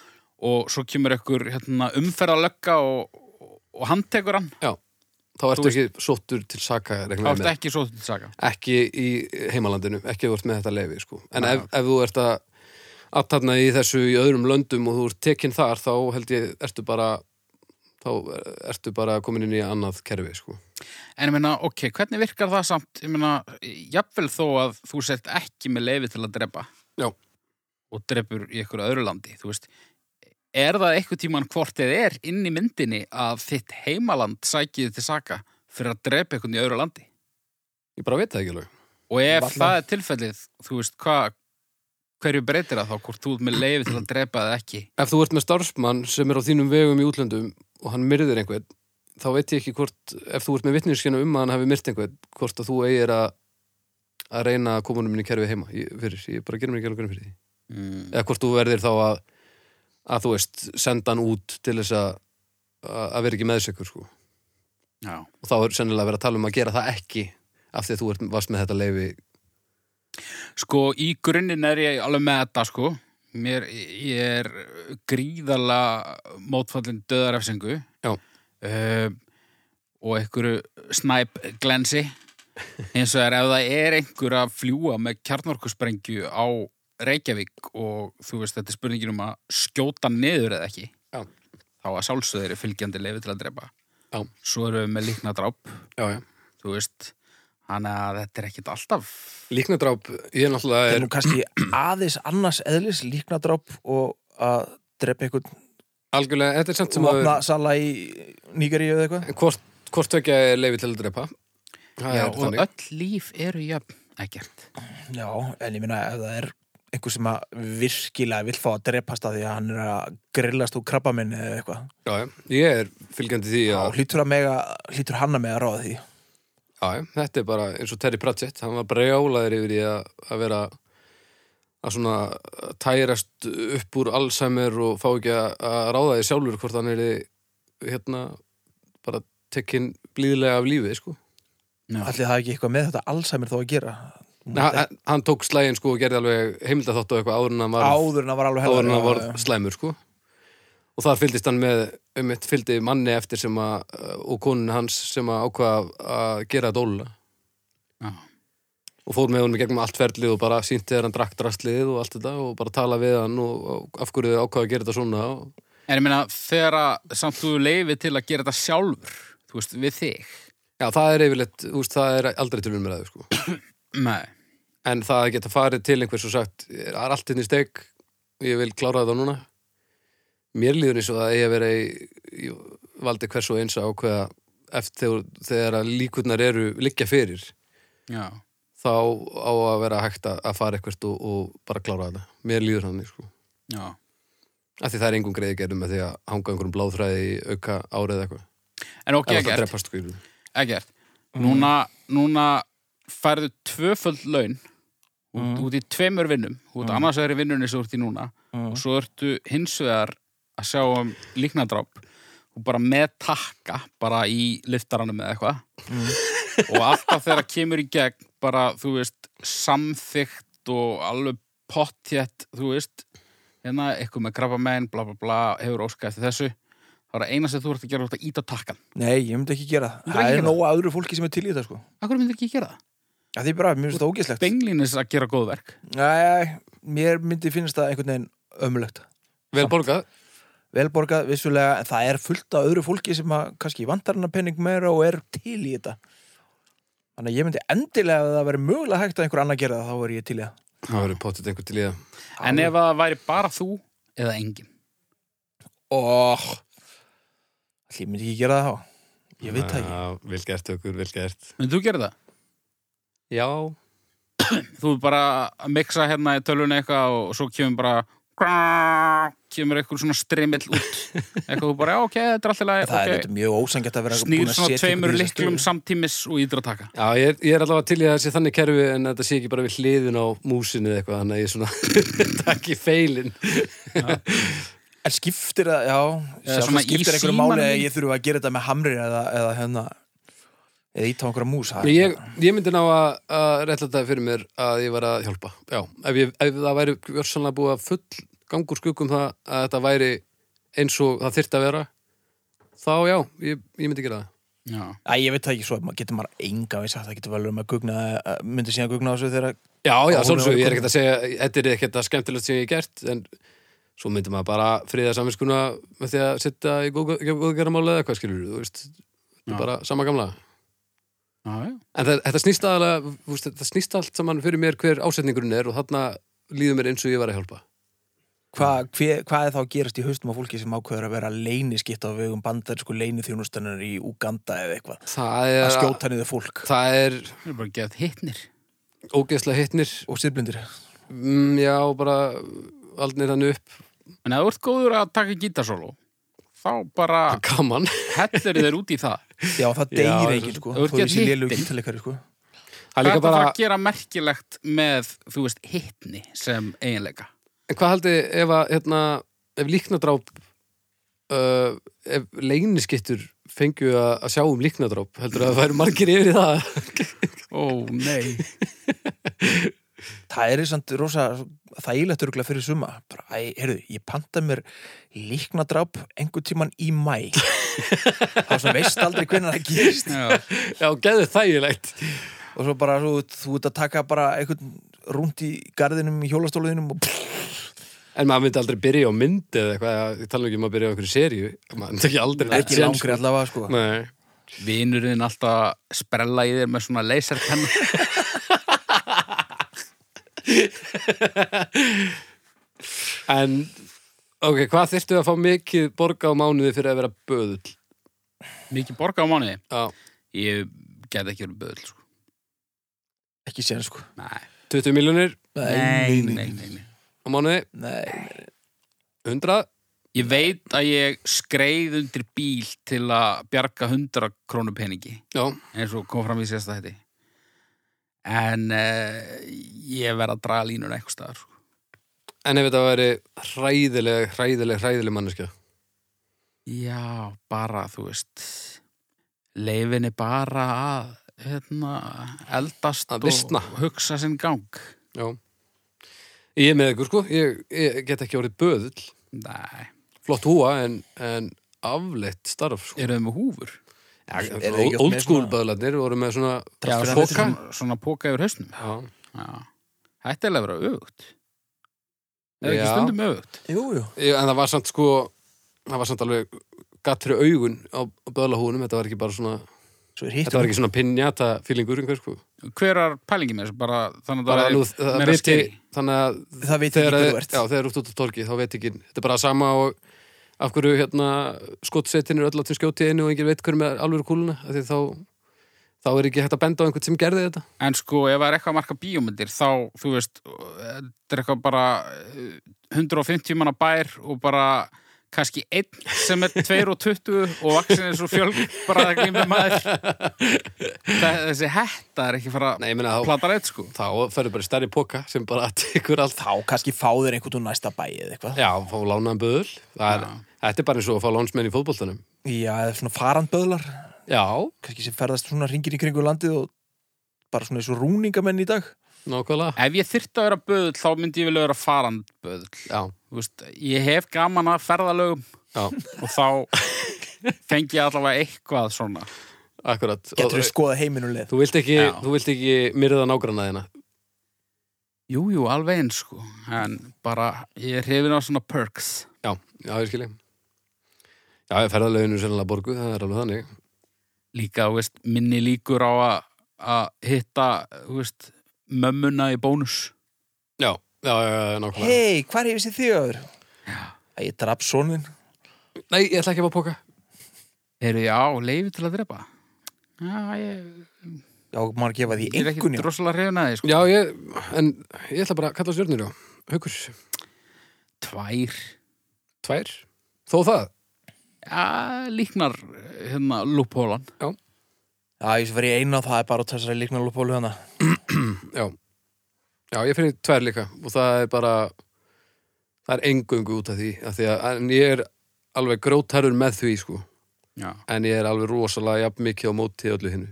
Speaker 2: og svo kemur einhver hérna, umferðalögga og, og hann tekur hann
Speaker 1: já Þá ertu ekki sóttur til saka
Speaker 2: þá
Speaker 1: reikna ég
Speaker 2: ertu
Speaker 1: með.
Speaker 2: ekki svo til saka
Speaker 1: ekki í heimalandinu, ekki ef þú ert með þetta lefi sko. en
Speaker 2: Nei,
Speaker 1: ef, ef þú ert að aðtapna í þessu í öðrum löndum og þú ert tekinn þar, þá held ég ertu bara þá ertu bara komin inn í annað kerfi sko.
Speaker 2: en ég meina, ok, hvernig virkar það samt ég meina, jafnvel þó að þú sért ekki með leifi til að drepa
Speaker 1: Já.
Speaker 2: og drepur í einhverju öðru landi þú veist, er það eitthvað tíman hvort þið er inn í myndinni að þitt heimaland sækið til saka fyrir að drepa einhvern í öðru landi
Speaker 1: ég bara veit það ekki alveg
Speaker 2: og ef
Speaker 3: Varla.
Speaker 2: það er tilfellið, þú veist, hvað hverju breytir það þá, hvort þú ert með leifi til að drepa eða ekki
Speaker 1: ef þú ert með starfsmann sem er á þínum vegum í útlöndum og hann myrðir einhvern þá veit ég ekki hvort, ef þú ert með vitninskjana um að hann hafi myrt einhvern, hvort að þú eigir að að reyna að koma honum inn í kerfi heima ég, fyrir, ég bara gerum mér ekki alveg grunn fyrir því
Speaker 2: mm.
Speaker 1: eða hvort þú verðir þá að að þú veist, senda hann út til þess að að að vera ekki meðsökur sko.
Speaker 2: já
Speaker 1: og þá er sennilega að vera að tala um að gera það ekki af því að þú ert, varst með þetta leifi
Speaker 2: Sko, í grunninn er ég alveg með þetta, sko. Mér, ég er gríðarlega mótfallin döðarefsingu.
Speaker 1: Já.
Speaker 2: Um, og einhverju snæp glensi. Eins og er ef það er einhver að fljúa með kjarnorkusprengju á Reykjavík og þú veist, þetta er spurningin um að skjóta hann niður eða ekki.
Speaker 1: Já.
Speaker 2: Þá að sálsöður er fylgjandi leifi til að drepa.
Speaker 1: Já.
Speaker 2: Svo erum við með líkna dráp,
Speaker 1: já, já.
Speaker 2: þú veist. Þannig að þetta er ekkit alltaf...
Speaker 1: líknadráp, ég er náttúrulega
Speaker 3: Það er
Speaker 1: er
Speaker 3: nú kannski aðeins annars eðlis líknadráp og að drepa einhvern
Speaker 1: algjörlega, þetta er samt sem að
Speaker 3: vopnasala í Nígeríu eða eitthvað
Speaker 1: hvort, hvort tvekja er leifi til að drepa það
Speaker 2: Já,
Speaker 1: er
Speaker 2: og
Speaker 1: þannig
Speaker 2: öll líf eru jöfn, ekkert.
Speaker 3: Já, en ég minna ef það er einhver sem að virkilega vill fá að drepast að því að hann er að grillast úr krabba minni eða eitthvað
Speaker 1: já, já. ég er fylgjandi því
Speaker 3: Já,
Speaker 1: að
Speaker 3: hlýtur, að mega, hlýtur hann að mega að ráða því
Speaker 1: já, já, þetta er bara eins og Terry Pratchett hann var brjálaður yfir því að, að vera að svona tærast upp úr Alzheimer og fá ekki að að ráða því sjálfur hvort hann er hérna bara tekinn blíðlega af lífi sko.
Speaker 2: Já.
Speaker 3: Allir það ekki eitthvað með þetta Alzheimer þó að gera
Speaker 1: Nei, hann, hann tók slægin sko og gerði alveg heimildaþátt og eitthvað áður en hann var,
Speaker 3: Áður en að var alveg
Speaker 1: áður en hann var
Speaker 3: já, já.
Speaker 1: slæmur sko og þar fylgdist hann með um eitt fylgdi manni eftir sem að uh, og konun hans sem að ákvað að gera dóla
Speaker 2: Já.
Speaker 1: og fór með honum í gegnum allt ferlið og bara sýnti þegar hann drakk drastlið og allt þetta og bara tala við hann og, og af hverju þau ákvaða að gera þetta svona og,
Speaker 2: En ég meina, þegar að samt þú leifir til að gera þetta sjálfur, þú veist, við þig.
Speaker 1: já það er yfirleitt, úst, það er aldrei til umræðu sko.
Speaker 2: Nei.
Speaker 1: en það að geta farið til einhvers og sagt er allt hérna í steg og ég vil klára þetta núna mér líður eins og það að ég vera í, í valdi hvers og eins að ákveða eftir þegar að líkurnar eru liggja fyrir
Speaker 2: Já.
Speaker 1: þá á að vera hægt að, að fara eitthvert og, og bara klára þetta mér líður hann sko.
Speaker 2: Já.
Speaker 1: af því það er engum greiði gerðum með því að hanga einhverjum bláþræði í auka árið eða eitthvað
Speaker 2: En ok,
Speaker 1: eða það
Speaker 2: ekkert,
Speaker 1: drepast sko
Speaker 2: ekkert.
Speaker 1: Mhm.
Speaker 2: Núna, núna færðu tvöföld laun út,
Speaker 1: Mhm.
Speaker 3: Mm.
Speaker 2: út í tveimur vinnum, út mm. annars vegar í vinnunni sem þú ert í núna og svo ertu hins vegar að sjá um líknadráp og bara með takka, bara í liftaranum eða eitthvað. og alltaf þegar það kemur í gegn bara, þú veist, samþygt og alveg pottjett þú veist, hérna, eitthvað með krabba bla bla bla, hefur óskað eftir þessu þá er það eina sem þú ert að gera þú ert að íta takkan
Speaker 3: Nei, ég myndi ekki gera
Speaker 2: Myndirðu
Speaker 3: það
Speaker 2: ekki
Speaker 3: Það
Speaker 2: gera
Speaker 3: er nóg öðru fólki sem er til í þetta sko
Speaker 2: Akkur myndir ekki gera það?
Speaker 3: Já, því bara, mér finnst það ógeðslegt
Speaker 2: Benglinis að gera góð verk
Speaker 3: Nei, mér myndi finnst það einhvern veginn ömulegt
Speaker 1: vel borgað
Speaker 3: velborgað vissulega, en það er fullt af öðru fólki sem að kannski vantar hennar penning meira og er til í þetta þannig að ég myndi endilega að það veri mögulega hægt að einhver annar gera það, þá veri ég til í það
Speaker 1: Það verður pottet einhver til í það.
Speaker 2: En ef að það væri bara þú eða engin
Speaker 3: og allir myndi ekki gera það þá ég veit það ekki
Speaker 1: Já, vel gert okkur, vel gert.
Speaker 2: Myndi þú gera það?
Speaker 1: Já.
Speaker 2: Þú er bara að mixa hérna í tölvunni eitthvað og svo kemur bara kemur eitthvað svona strimill
Speaker 3: [LAUGHS]
Speaker 2: út eitthvað þú bara, já, ok, þetta er alltaf lagi
Speaker 3: það er
Speaker 2: okay.
Speaker 3: þetta mjög ósangett að vera búin
Speaker 2: snýr
Speaker 3: að
Speaker 2: svona
Speaker 3: setja
Speaker 2: tveimur
Speaker 3: ykkur í þessa
Speaker 2: liklum
Speaker 3: stöðu.
Speaker 2: samtímis og ídra taka
Speaker 1: Já, ég er, ég er allavega til í að þessi þannig kerfi en þetta sé ekki bara við hliðin á músinu eða eitthvað, þannig að ég svona [LAUGHS] takk í feilin.
Speaker 3: en skiptir það, já
Speaker 2: Eða
Speaker 3: sjá,
Speaker 2: svona
Speaker 3: það skiptir
Speaker 2: í
Speaker 3: einhverju máli
Speaker 2: símanum.
Speaker 3: að ég þurfa að gera þetta með hamrir eða, eða hérna eða íta á einhverja mús það er
Speaker 1: Ég,
Speaker 3: svona-
Speaker 1: ég myndi ná að, að réttla þetta fyrir mér að ég var að hjálpa. Já, ef, ég, ef það væri gjörsanlega búið að full gangur skuggum um það að þetta væri eins og það þyrfti að vera, þá já, ég, ég myndi gera það.
Speaker 2: Já,
Speaker 3: Æ, ég veit það ekki svo, maður getur maður enga við sagt, það getur vel um að gugna, að- myndi síðan gugna á þessu þegar
Speaker 1: Já, já,
Speaker 3: Á, hún
Speaker 1: svolítið,
Speaker 3: er
Speaker 1: ég er ekkert að segja, þetta er ekkert að skemmtilegt sem ég hef gert, en svo myndi maður bara friða saminskuna með því að sitta í góðgerðamála eða hvað skilur, þú veist, þetta
Speaker 2: Já.
Speaker 1: er bara sama gamla.
Speaker 2: já, já
Speaker 1: En það, þetta snýst aðalega, þú veist, þetta snýst allt saman fyrir mér hver ásetningurinn er og þarna líður mér eins og ég var að hjálpa.
Speaker 3: Hva, hve, hvað er þá að gerast í haustum á fólki sem ákveður að vera leiniskitt á vegum bandarinsku leiniþjónustannar í Uganda eða eitthvað
Speaker 1: Það
Speaker 3: að
Speaker 1: er,
Speaker 3: skjóta niður fólk
Speaker 1: það er
Speaker 2: Það er bara að gefa hittnir
Speaker 1: ógeðslega hittnir,
Speaker 3: og sirblindir
Speaker 1: mm, já, bara aldnir hann upp,
Speaker 2: En ef þú ert góður að taka gítarsólu þá bara
Speaker 1: gaman.
Speaker 2: hellir þér út í
Speaker 3: [LAUGHS]
Speaker 2: það
Speaker 3: Já, það deyr enginn sko,
Speaker 2: þú ert
Speaker 3: þú er
Speaker 2: ekki
Speaker 3: sér lélu
Speaker 2: hitinn.
Speaker 3: gítalikari sko
Speaker 1: Það
Speaker 2: Hvað
Speaker 1: er líka
Speaker 2: er þetta
Speaker 1: bara,
Speaker 2: bara að gera merkilegt með, þú veist, hittni sem eiginleika?
Speaker 1: En hvað haldi ef að hérna, ef líknadráp uh, ef leyniskittur fengju að, að sjá um líknadráp heldur að það væri margir yfir í það
Speaker 2: Ó, nei.
Speaker 3: Það er samt rosa þægilegt örgulega fyrir suma bara, æ, heyrðu, ég panta mér líknadráp einhvern tíman í
Speaker 1: [LAUGHS]
Speaker 3: mæ þá sem veist aldrei hvernig það gerist
Speaker 2: Já,
Speaker 3: [LAUGHS]
Speaker 1: Já, geðu þægilegt
Speaker 3: og svo bara svo, þú ert að taka bara einhvern rúnd í garðinum í hjólastóluðinum og
Speaker 1: En maður myndi aldrei byrja á myndi eða eitthvað, ég tala nú ekki um að byrja á einhverju seríu maður myndi ekki aldrei neitt
Speaker 3: ekki
Speaker 1: séns,
Speaker 3: langri allavega sko
Speaker 1: sko. Nei.
Speaker 2: vinurinn alltaf sprella í þér með svona
Speaker 3: [LAUGHS]
Speaker 2: leyserpenna.
Speaker 1: En, ok, hvað þyrftu að fá mikið borga á mánuði fyrir að vera böðull?
Speaker 2: Mikið borga á mánuði.
Speaker 1: Já,
Speaker 2: Ég get ekki verið böðl, sko.
Speaker 3: ekki séðan sko
Speaker 1: 20 miljonir
Speaker 2: Nei, nei, nei, nei.
Speaker 1: á mánuði,
Speaker 3: nei.
Speaker 1: 100
Speaker 2: Ég veit að ég skreið undir bíl til að bjarga 100 krónu peningi,
Speaker 1: Já,
Speaker 2: eins og kom fram í sérsta þetta. En uh, ég verð að draga línuna eitthvað staðar, sko.
Speaker 1: en ef þetta væri hræðileg, hræðileg, hræðileg manneskja
Speaker 2: Já, bara, þú veist, leifinni bara að hérna, eldast
Speaker 1: Að visna.
Speaker 2: og hugsa sinn gang.
Speaker 1: Já. Ég er með ykkur sko, ég, ég get ekki orðið böðull,
Speaker 2: Nei,
Speaker 1: flott húa en, en afleitt starf sko.
Speaker 2: eru þau með húfur?
Speaker 3: eru þið ekki oft
Speaker 1: Old
Speaker 3: með
Speaker 1: school
Speaker 3: svona-
Speaker 1: böðlarnir voru með svona
Speaker 2: Já,
Speaker 3: fyrir
Speaker 2: svona,
Speaker 3: að þetta er
Speaker 2: svona, svona póka yfir hausnum.
Speaker 1: Já,
Speaker 2: Já. Þetta er alveg að vera auðvögt. Er ekki
Speaker 1: Já.
Speaker 2: stundum auðvögt?
Speaker 3: Jú, jú.
Speaker 1: Ég- en það var samt sko, það var samt alveg gatt fyrir augun á böðlahúnum, þetta var ekki bara svona,
Speaker 3: Svo er um-
Speaker 1: þetta var
Speaker 3: hittum
Speaker 1: ekki svona pinjata fílingur einhver sko.
Speaker 2: Hver er pælingi með þessu? Bara þannig að
Speaker 1: Bara
Speaker 2: það
Speaker 1: nú,
Speaker 2: er
Speaker 1: það
Speaker 2: meira
Speaker 1: viti,
Speaker 2: skeri.
Speaker 1: þannig að
Speaker 3: það veit
Speaker 1: þegar,
Speaker 3: ekki
Speaker 1: að-
Speaker 3: hvað þú ert
Speaker 1: já, þegar út út á torgi þá veit ekki, þetta er bara sama og af hverju hérna skottsetin er öll áttum skjóti í einu og enginn veit hverju með alvöru kúluna af því þá, þá er ekki hægt að benda á einhvern sem gerði þetta
Speaker 2: En sko, ef það er eitthvað að marka bíómyndir, þá, þú veist, þetta er eitthvað bara eh, 150 manna bær og bara kannski einn sem er 2 og 20 og vaksin er svo fjölg bara að glýmja
Speaker 1: [LAUGHS]
Speaker 2: maður. Það- Þessi hætta er ekki fara
Speaker 1: Nei, ég meina þá,
Speaker 2: platar eitt, sko.
Speaker 1: þá ferðu bara í stærri poka sem bara [LAUGHS] tekur allt
Speaker 3: þá kannski fá þér einhvern úr næsta bæi eða eitthvað já,
Speaker 1: Já, fá lánaðan böðul Það er, Þetta er bara eins og að fá lánsmenn í fótboltanum
Speaker 3: eða svona farandböðlar
Speaker 1: Já,
Speaker 3: kannski sem ferðast svona ringir í kringu landið og bara svona eins og rúningamenn í dag
Speaker 1: nákvæmlega
Speaker 2: Ef ég þyrfti að vera böðull, þá myndi ég vilja vera farandböðull.
Speaker 1: Já,
Speaker 2: Þú veist, ég hef gaman að ferðalögum
Speaker 1: já,
Speaker 2: og þá fengi ég allavega eitthvað svona.
Speaker 1: akkurat
Speaker 3: getur við
Speaker 1: Og-
Speaker 3: skoða heiminuleg
Speaker 1: Þú vilt ekki,
Speaker 2: Já.
Speaker 1: þú vilt ekki myrða nágranna þina
Speaker 2: Jú, jú, alveg eins, sko. En bara, ég er hrifin á svona perks.
Speaker 1: Já, já, ég skilji Já, ferðalöginu sennilega borgu, það er alveg þannig.
Speaker 2: líka, þú veist, minni líkur á að- að hitta, þú veist, mömmuna í bónus.
Speaker 1: Já, já, já, já, nákvæmlega.
Speaker 3: Hei, hvað er ég vissi þig öður? Æ, ég draf sonin
Speaker 1: Nei, ég ætla ekki að fá póka.
Speaker 2: Eru, já, leifi til að drepa. Já, ég,
Speaker 3: Já, maður gefa því
Speaker 2: ég er ekki
Speaker 3: engunni
Speaker 2: drossalega hrifin að þið, sko.
Speaker 1: Já, ég, en ég ætla bara að kalla stjörnir á. Haukur,
Speaker 2: Tvær,
Speaker 1: tvær, þó það.
Speaker 2: já, líknar, hérna, lúphólan.
Speaker 3: Já, ég sem verið eina það er bara á þessari hérna. líknarlópólu hana
Speaker 1: Já, já, ég finn tvær líka og það er bara, það er engungu út af því. Af því að, en ég er alveg grótarur með því, sko.
Speaker 2: Já.
Speaker 1: En ég er alveg rosalega jafn mikið á móti öllu hinnu.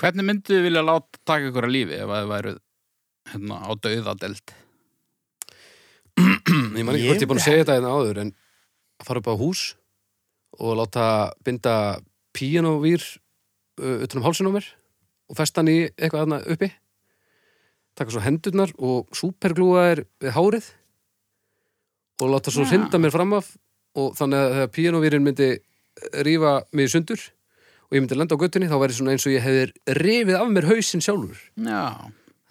Speaker 2: Hvernig myndu þið vilja láta taka ykkur að lífi ef að þið væruð, hérna, á dauðadeld?
Speaker 1: Ég man ekki
Speaker 3: Ég
Speaker 1: hvort ég er búin að segja þetta einn áður, en að fara upp á hús og láta binda píanóvýr uh, utan um hálsinn á mér og festa hann í eitthvað aðna uppi taka svo hendurnar og súperglúa er við hárið og láta svo
Speaker 2: Já.
Speaker 1: hrinda mér fram af og þannig að þegar píanóvýrin myndi eh, rífa mig í sundur og ég myndi lenda á göttunni þá væri svona eins og ég hefði rifið af mér hausinn sjálfur
Speaker 2: Já,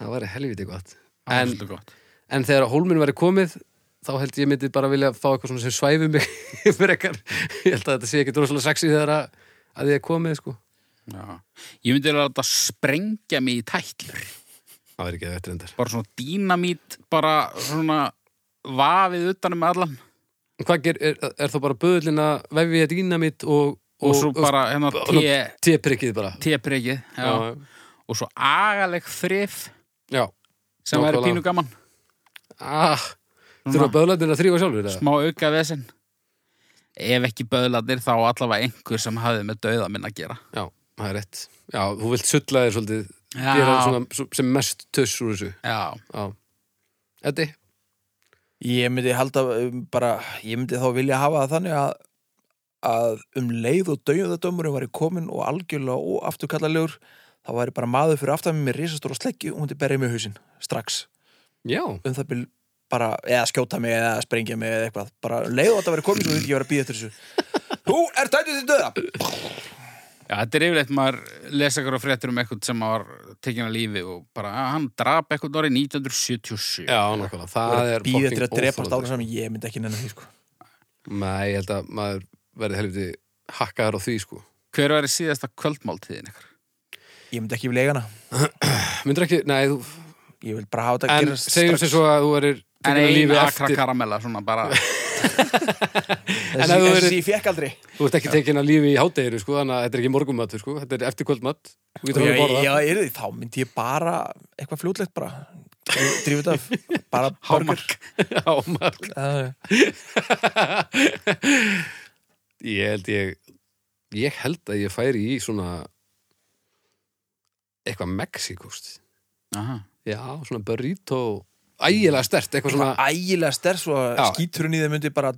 Speaker 1: það væri helviti gott
Speaker 2: það er
Speaker 1: En-
Speaker 2: svolítið gott.
Speaker 1: En þegar hólminn væri komið þá held ég myndi bara vilja fá eitthvað svona sem svæfi mig [LAUGHS] fyrir ekkar ég held að þetta sé ekki droslega sexy þegar að, að ég er komið sko.
Speaker 2: Já. Ég myndi vilja láta sprengja mig í tætlur.
Speaker 1: Það er ekki þetta reyndar.
Speaker 2: Bara svona dínamít, bara svona vafið utanum allan.
Speaker 1: En Hvað ger, er, er þá bara böðlin að vefi ég dýna mitt og,
Speaker 2: og, svo bara hérna te-
Speaker 1: teprikkið bara
Speaker 2: teprekið já.
Speaker 1: Já,
Speaker 2: og svo agaleg þrif
Speaker 1: já.
Speaker 2: sem væri
Speaker 1: Nákvæmlega.
Speaker 2: pínu gaman
Speaker 1: Ah, þurfa böðlandin að þrýfa sjálfur eða?
Speaker 2: smá auka vesen ef ekki böðlandir þá allavega einhver sem hafði með dauða minn að gera
Speaker 1: Já, það er rétt. Já, þú vilt sulla þér svolítið
Speaker 2: Já.
Speaker 1: gera svona, svo- sem mest töss úr þessu.
Speaker 2: já,
Speaker 1: Já. Eddi?
Speaker 3: Ég myndi halda um, bara, ég myndi þá vilja hafa það þannig að að um leið og dauðadömurinn væri komin og algjörlega óafturkallalegur þá væri bara maður fyrir aftan mig með risastóra sleggju og myndi berja mig í hausinn strax
Speaker 1: Já.
Speaker 3: um það byrj bara, eða skjóta mig eða sprengja mig eða eitthvað bara um leið og þetta væri komin svo myndi ég vera að býða eftir þessu Þú er dætið til döða
Speaker 2: já þetta er yfirleitt maður lesa ykkur á fréttur um eitthvað sem var tekin að lífi og bara að hann drap eitthvað árið 1977
Speaker 1: Já, nákvæmlega. Það er
Speaker 3: býða eftir að
Speaker 1: fucking
Speaker 3: drepast
Speaker 1: óþolandi.
Speaker 3: ára saman ég myndi ekki nenni því sko
Speaker 1: Nei, ég held að maður verði helviti hakkaður á því, sko.
Speaker 2: hver var síðasta kvöldmáltíðin ykkur
Speaker 3: ég myndi ekki vilja eiga hana
Speaker 1: Myndur ekki, nei, þú,
Speaker 3: ég vil bara hafa þetta að
Speaker 1: en
Speaker 3: gerast
Speaker 1: segjum sér svo að þú verir
Speaker 2: en
Speaker 1: tekin að
Speaker 2: ein
Speaker 1: lífi
Speaker 2: akra
Speaker 1: eftir,
Speaker 2: karamella svona
Speaker 1: [LAUGHS]
Speaker 2: bara
Speaker 1: en ef
Speaker 3: þessi,
Speaker 1: þú
Speaker 3: þessi
Speaker 1: verið-
Speaker 3: ég fekk aldrei
Speaker 1: þú ert ekki tekin að lífi í hátteginu, sko, þannig að þetta er ekki morgumat, sko, þetta er eftir kvöldmat, þú
Speaker 3: Já,
Speaker 1: getur að borða.
Speaker 3: já, er því, þá myndi ég bara eitthvað fljótlegt bara drífið af, bara
Speaker 1: [LAUGHS]
Speaker 3: burger.
Speaker 2: hámark
Speaker 1: Já, maður.
Speaker 3: Já,
Speaker 1: [LAUGHS] Ég held ég, ég held að ég færi í svona eitthvað Mexikost.
Speaker 2: Aha.
Speaker 1: Já, svona burrito, ægilega stert, eitthvað svona,
Speaker 3: ægilega sterk svo að
Speaker 1: Já.
Speaker 3: skíturinn í þeim myndi bara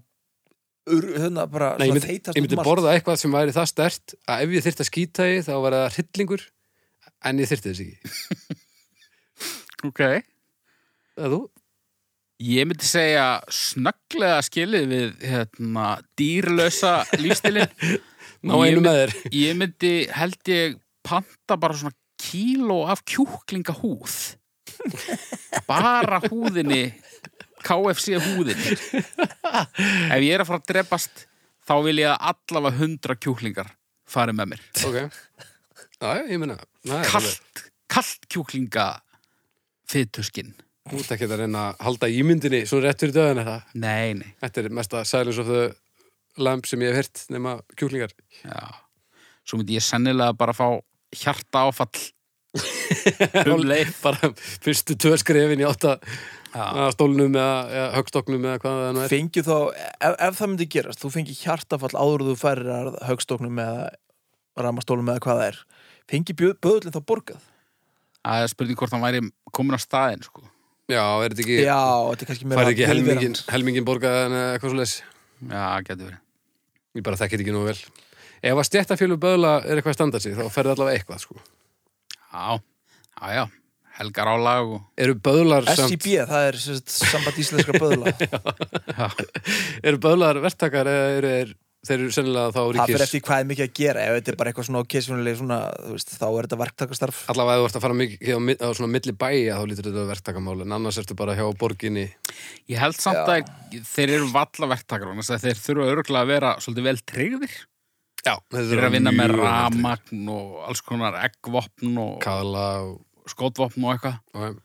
Speaker 3: ur, hérna, bara
Speaker 1: nei, ég
Speaker 3: svona
Speaker 1: myndi,
Speaker 3: þeytast
Speaker 1: ég
Speaker 3: út um
Speaker 1: myndi
Speaker 3: allt.
Speaker 1: borða eitthvað sem væri það stert að ef ég þyrfti að skýta í þá var það hryllingur, en ég þyrfti þess ekki.
Speaker 2: ok
Speaker 1: að þú?
Speaker 2: Ég myndi segja snögglega skilið við hérna, dýrlösa lífstilin.
Speaker 1: [LAUGHS] Ná einu með þér.
Speaker 2: Ég myndi, held ég, panta bara svona kíló af kjúklingahúð. Bara húðinni, KFC húðinni. Ef ég er að fara að drepast, þá vil ég að allavega hundra kjúklingar fari með mér.
Speaker 1: Ok. Já, já, ég meina. það er alveg-
Speaker 2: Kalt, kalt kjúklinga fytuskinn.
Speaker 1: Þú ert ekki að reyna að halda ímyndinni svo rétt fyrir döðan er það.
Speaker 2: Nei, nei.
Speaker 1: Þetta er mesta Silence of the Lamb sem ég hef hirt nema kjúklingar. [LAUGHS]
Speaker 2: Já, svo myndi ég sennilega bara fá hjarta áfall [LAUGHS] um leið
Speaker 1: Bara fyrstu tvö skrefin í átta
Speaker 2: Já,
Speaker 1: að stólnum eða, eða högstoknum eða hvað það nú er.
Speaker 3: fengið þá, ef, ef það myndi gerast þú fengið hjartafall áður en þú færir að högstoknum eða ramastólum eða hvað það er fengið böðlinn þá borgað
Speaker 2: það er spurning hvort hann væri komin á staðinn sko.
Speaker 1: Já, er þetta ekki,
Speaker 3: já, þetta er kannski meira
Speaker 1: færði ekki helmingin,
Speaker 3: viðverandi.
Speaker 1: helmingin borgaðan eða eitthvað svo leis.
Speaker 2: Já, getur verið
Speaker 1: Ég bara þekkir ekki nú vel. Ef að stjættafjölu böðla er eitthvað standað sig, þá ferði allavega eitthvað, sko.
Speaker 2: Já, já, já, helgar álag og...
Speaker 1: Eru böðlar samt,
Speaker 3: SIB, það er sem sagt, samband íslenskra böðla
Speaker 1: eru böðlar verktakar eða eru þeir þeir eru sennilega þá
Speaker 3: það
Speaker 1: [LAUGHS]
Speaker 3: fyrir
Speaker 1: ríkis
Speaker 3: eftir hvað er mikið að gera ef þetta er bara eitthvað svona okkeisjónuleg svona, þú veist, þá er þetta verktakastarf
Speaker 1: Allavega ef þú ert að fara mikið á, mi- á svona milli bæja þá lítur þetta verktakamál en annars ertu bara hjá borginni
Speaker 2: Ég held samt
Speaker 3: Já.
Speaker 2: að þeir eru valla verktakar vegna þess að þeir þurfa örgulega að vera svolítið vel tryggðir.
Speaker 1: Já,
Speaker 2: Þeir eru að vinna með ramagn og alls konar eggvopn og
Speaker 1: Kala og,
Speaker 2: skotvopn og eitthvað.
Speaker 1: og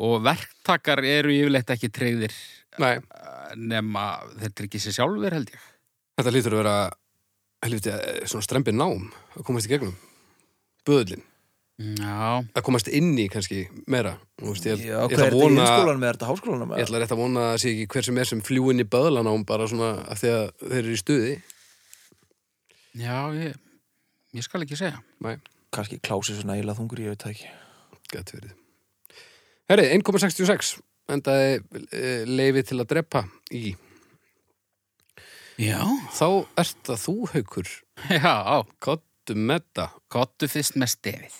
Speaker 2: Og verktakar eru yfirleitt ekki tryggðir
Speaker 1: Nei,
Speaker 2: eh, nema þeir tryggir sér sjálfur held ég.
Speaker 1: þetta lítur að vera helviti, eh, svona strempið nám að komast í gegnum Böðlin,
Speaker 2: Já,
Speaker 1: að komast inn í kannski meira Þú veist, ég,
Speaker 3: Já,
Speaker 1: ég,
Speaker 3: hvað
Speaker 1: ætla
Speaker 3: er
Speaker 1: að
Speaker 3: þetta í
Speaker 1: vona,
Speaker 3: hinskólanum eða er þetta háskólanum
Speaker 1: ég
Speaker 3: eða?
Speaker 1: ætla rétt að vona að það sé ekki hver sem er sem fljú inn í böðlanám bara svona af því að þeir eru í stuði
Speaker 2: já, ég, ég skal ekki segja.
Speaker 1: Nei,
Speaker 3: kannski klási svona eila þungur, ég veit það ekki
Speaker 1: gæti verið Herri, 1,66 endaði eh, leifi til að drepa í
Speaker 2: Já,
Speaker 1: þá ert það þú haukur
Speaker 2: [LAUGHS] já,
Speaker 1: kottum með það
Speaker 2: kottu fyrst með stefið.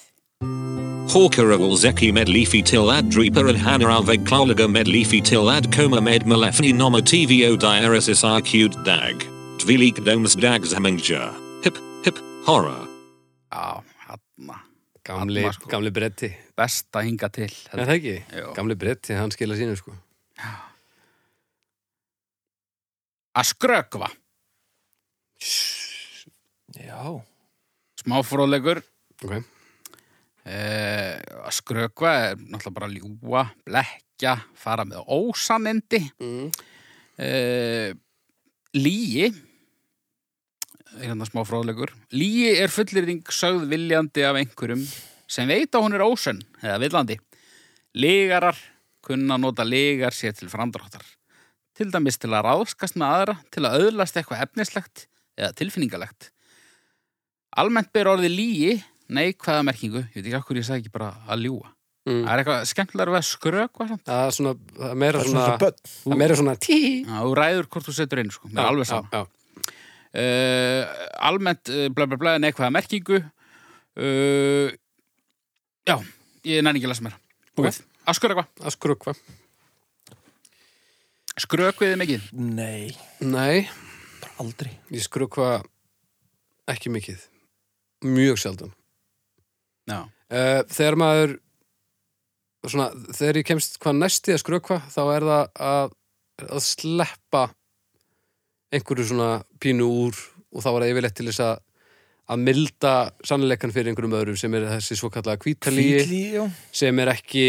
Speaker 4: Hawkera Zeki med leafy till ad dreeper ad hanaraveg klaulaga med leafy till ad coma med malefni noma tvo diaresis iqd dag. Dvilik domes dag zamengja. Hip, hip, horror.
Speaker 2: Já, hann
Speaker 1: gamli,
Speaker 2: Alla, sko.
Speaker 1: gamli bretti
Speaker 2: best að hinga til.
Speaker 1: Er það ekki?
Speaker 2: Já.
Speaker 1: Gamli bretti, hann skila sínu sko
Speaker 2: Að skrökva,
Speaker 3: Já,
Speaker 2: smáfróðlegur,
Speaker 1: Ok,
Speaker 2: Eh, að skrökva er náttúrulega bara að ljúa, blekja, fara með ósanindi,
Speaker 1: mm.
Speaker 2: eh, lígi, er hann smá fróðlegur, lígi er fullyrðing sögð viljandi af einhverjum sem veit að hún er ósönn eða villandi. Ligarar kunna nota ligar sér til framdráttar, til dæmis til að ráðskast með aðra, til að öðlast eitthvað efnislegt eða tilfinningalegt. Almennt ber orðið lígi neikvæða merkingu, ég veit ekki okkur ég sagði ekki bara að ljúa.
Speaker 1: Mm.
Speaker 2: Það er eitthvað skemmtilega við að skrökva samt.
Speaker 1: Það er svona, það er meira
Speaker 3: það er
Speaker 1: svona
Speaker 3: svona svo börn
Speaker 1: Það er meira svona tí
Speaker 2: Já, þú ræður hvort þú setur inn, sko, mér er alveg saman.
Speaker 1: já,
Speaker 2: uh, almennt uh, bla bla bla neikvæða merkingu uh, já, ég nenni ekki að lesa mér
Speaker 1: Ok.
Speaker 2: okay. að skrökva,
Speaker 1: já. Að skrökva
Speaker 2: skrökviði mikið
Speaker 3: Nei,
Speaker 1: Nei,
Speaker 3: bara aldrei
Speaker 1: ég skrökva ekki mikið Mjög sjaldan
Speaker 2: já,
Speaker 1: uh, Þegar maður svona, Þegar ég kemst hvað næsti að skrökva þá er það að, að sleppa einhverju svona pínu úr og þá er það yfirleitt til þess að að milda sannleikan fyrir einhverjum öðrum sem er þessi svo kallaða kvítalíi
Speaker 3: Fýtli, já
Speaker 1: sem er ekki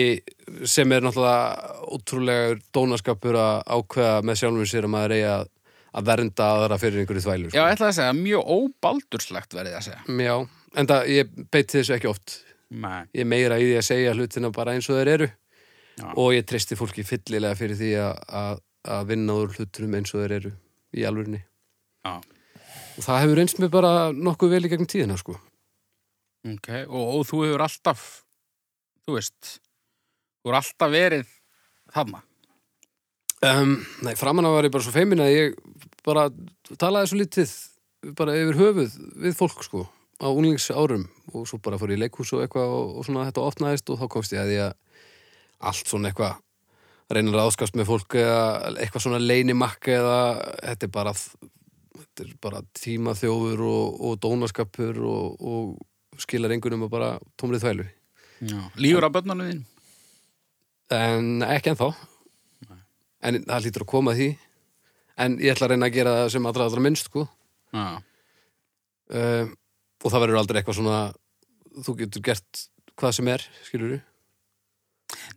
Speaker 1: sem er náttúrulega ótrúlega dónaskapur að ákveða með sjálfum sér að maður eigi að, að vernda aðra fyrir einhverju þvælu
Speaker 2: já, ég ætlaði að segja mjög óbaldurslegt verðið að segja
Speaker 1: Já, en það, ég beiti þessu ekki oft
Speaker 2: Nei.
Speaker 1: ég er meira í því að segja hlutina bara eins og þeir eru
Speaker 2: Já.
Speaker 1: og ég treysti fólki fyllilega fyrir því að, að, að vinna úr hlutunum eins og þeir eru í alvörinni
Speaker 2: Já.
Speaker 1: og það hefur eins með bara nokkuð vel í gegnum tíðina sko.
Speaker 2: ok, og, og þú hefur alltaf þú veist þú hefur alltaf verið þarna
Speaker 1: um, Nei, framan að var ég bara svo feimin að ég bara talaði svo lítið bara yfir höfuð við fólk sko á unglings árum og svo bara fór ég í leikhús og eitthvað og, og svona þetta opnaðist og þá komst ég að ég að allt svona eitthvað reynir að áskast með fólk eða eitthvað svona leinimakk eða þetta er bara þetta er bara tímaþjófur og, og dónaskapur og, og skilar engunum að bara tómrið þvælu
Speaker 2: já. lífur á börnunum þín
Speaker 1: en ekki ennþá en það hlýtur að koma að því en ég ætla að reyna að gera það sem allra allra minnst sko.
Speaker 2: já,
Speaker 1: uh, og það verður aldrei eitthvað svona þú getur gert hvað sem er skilur du?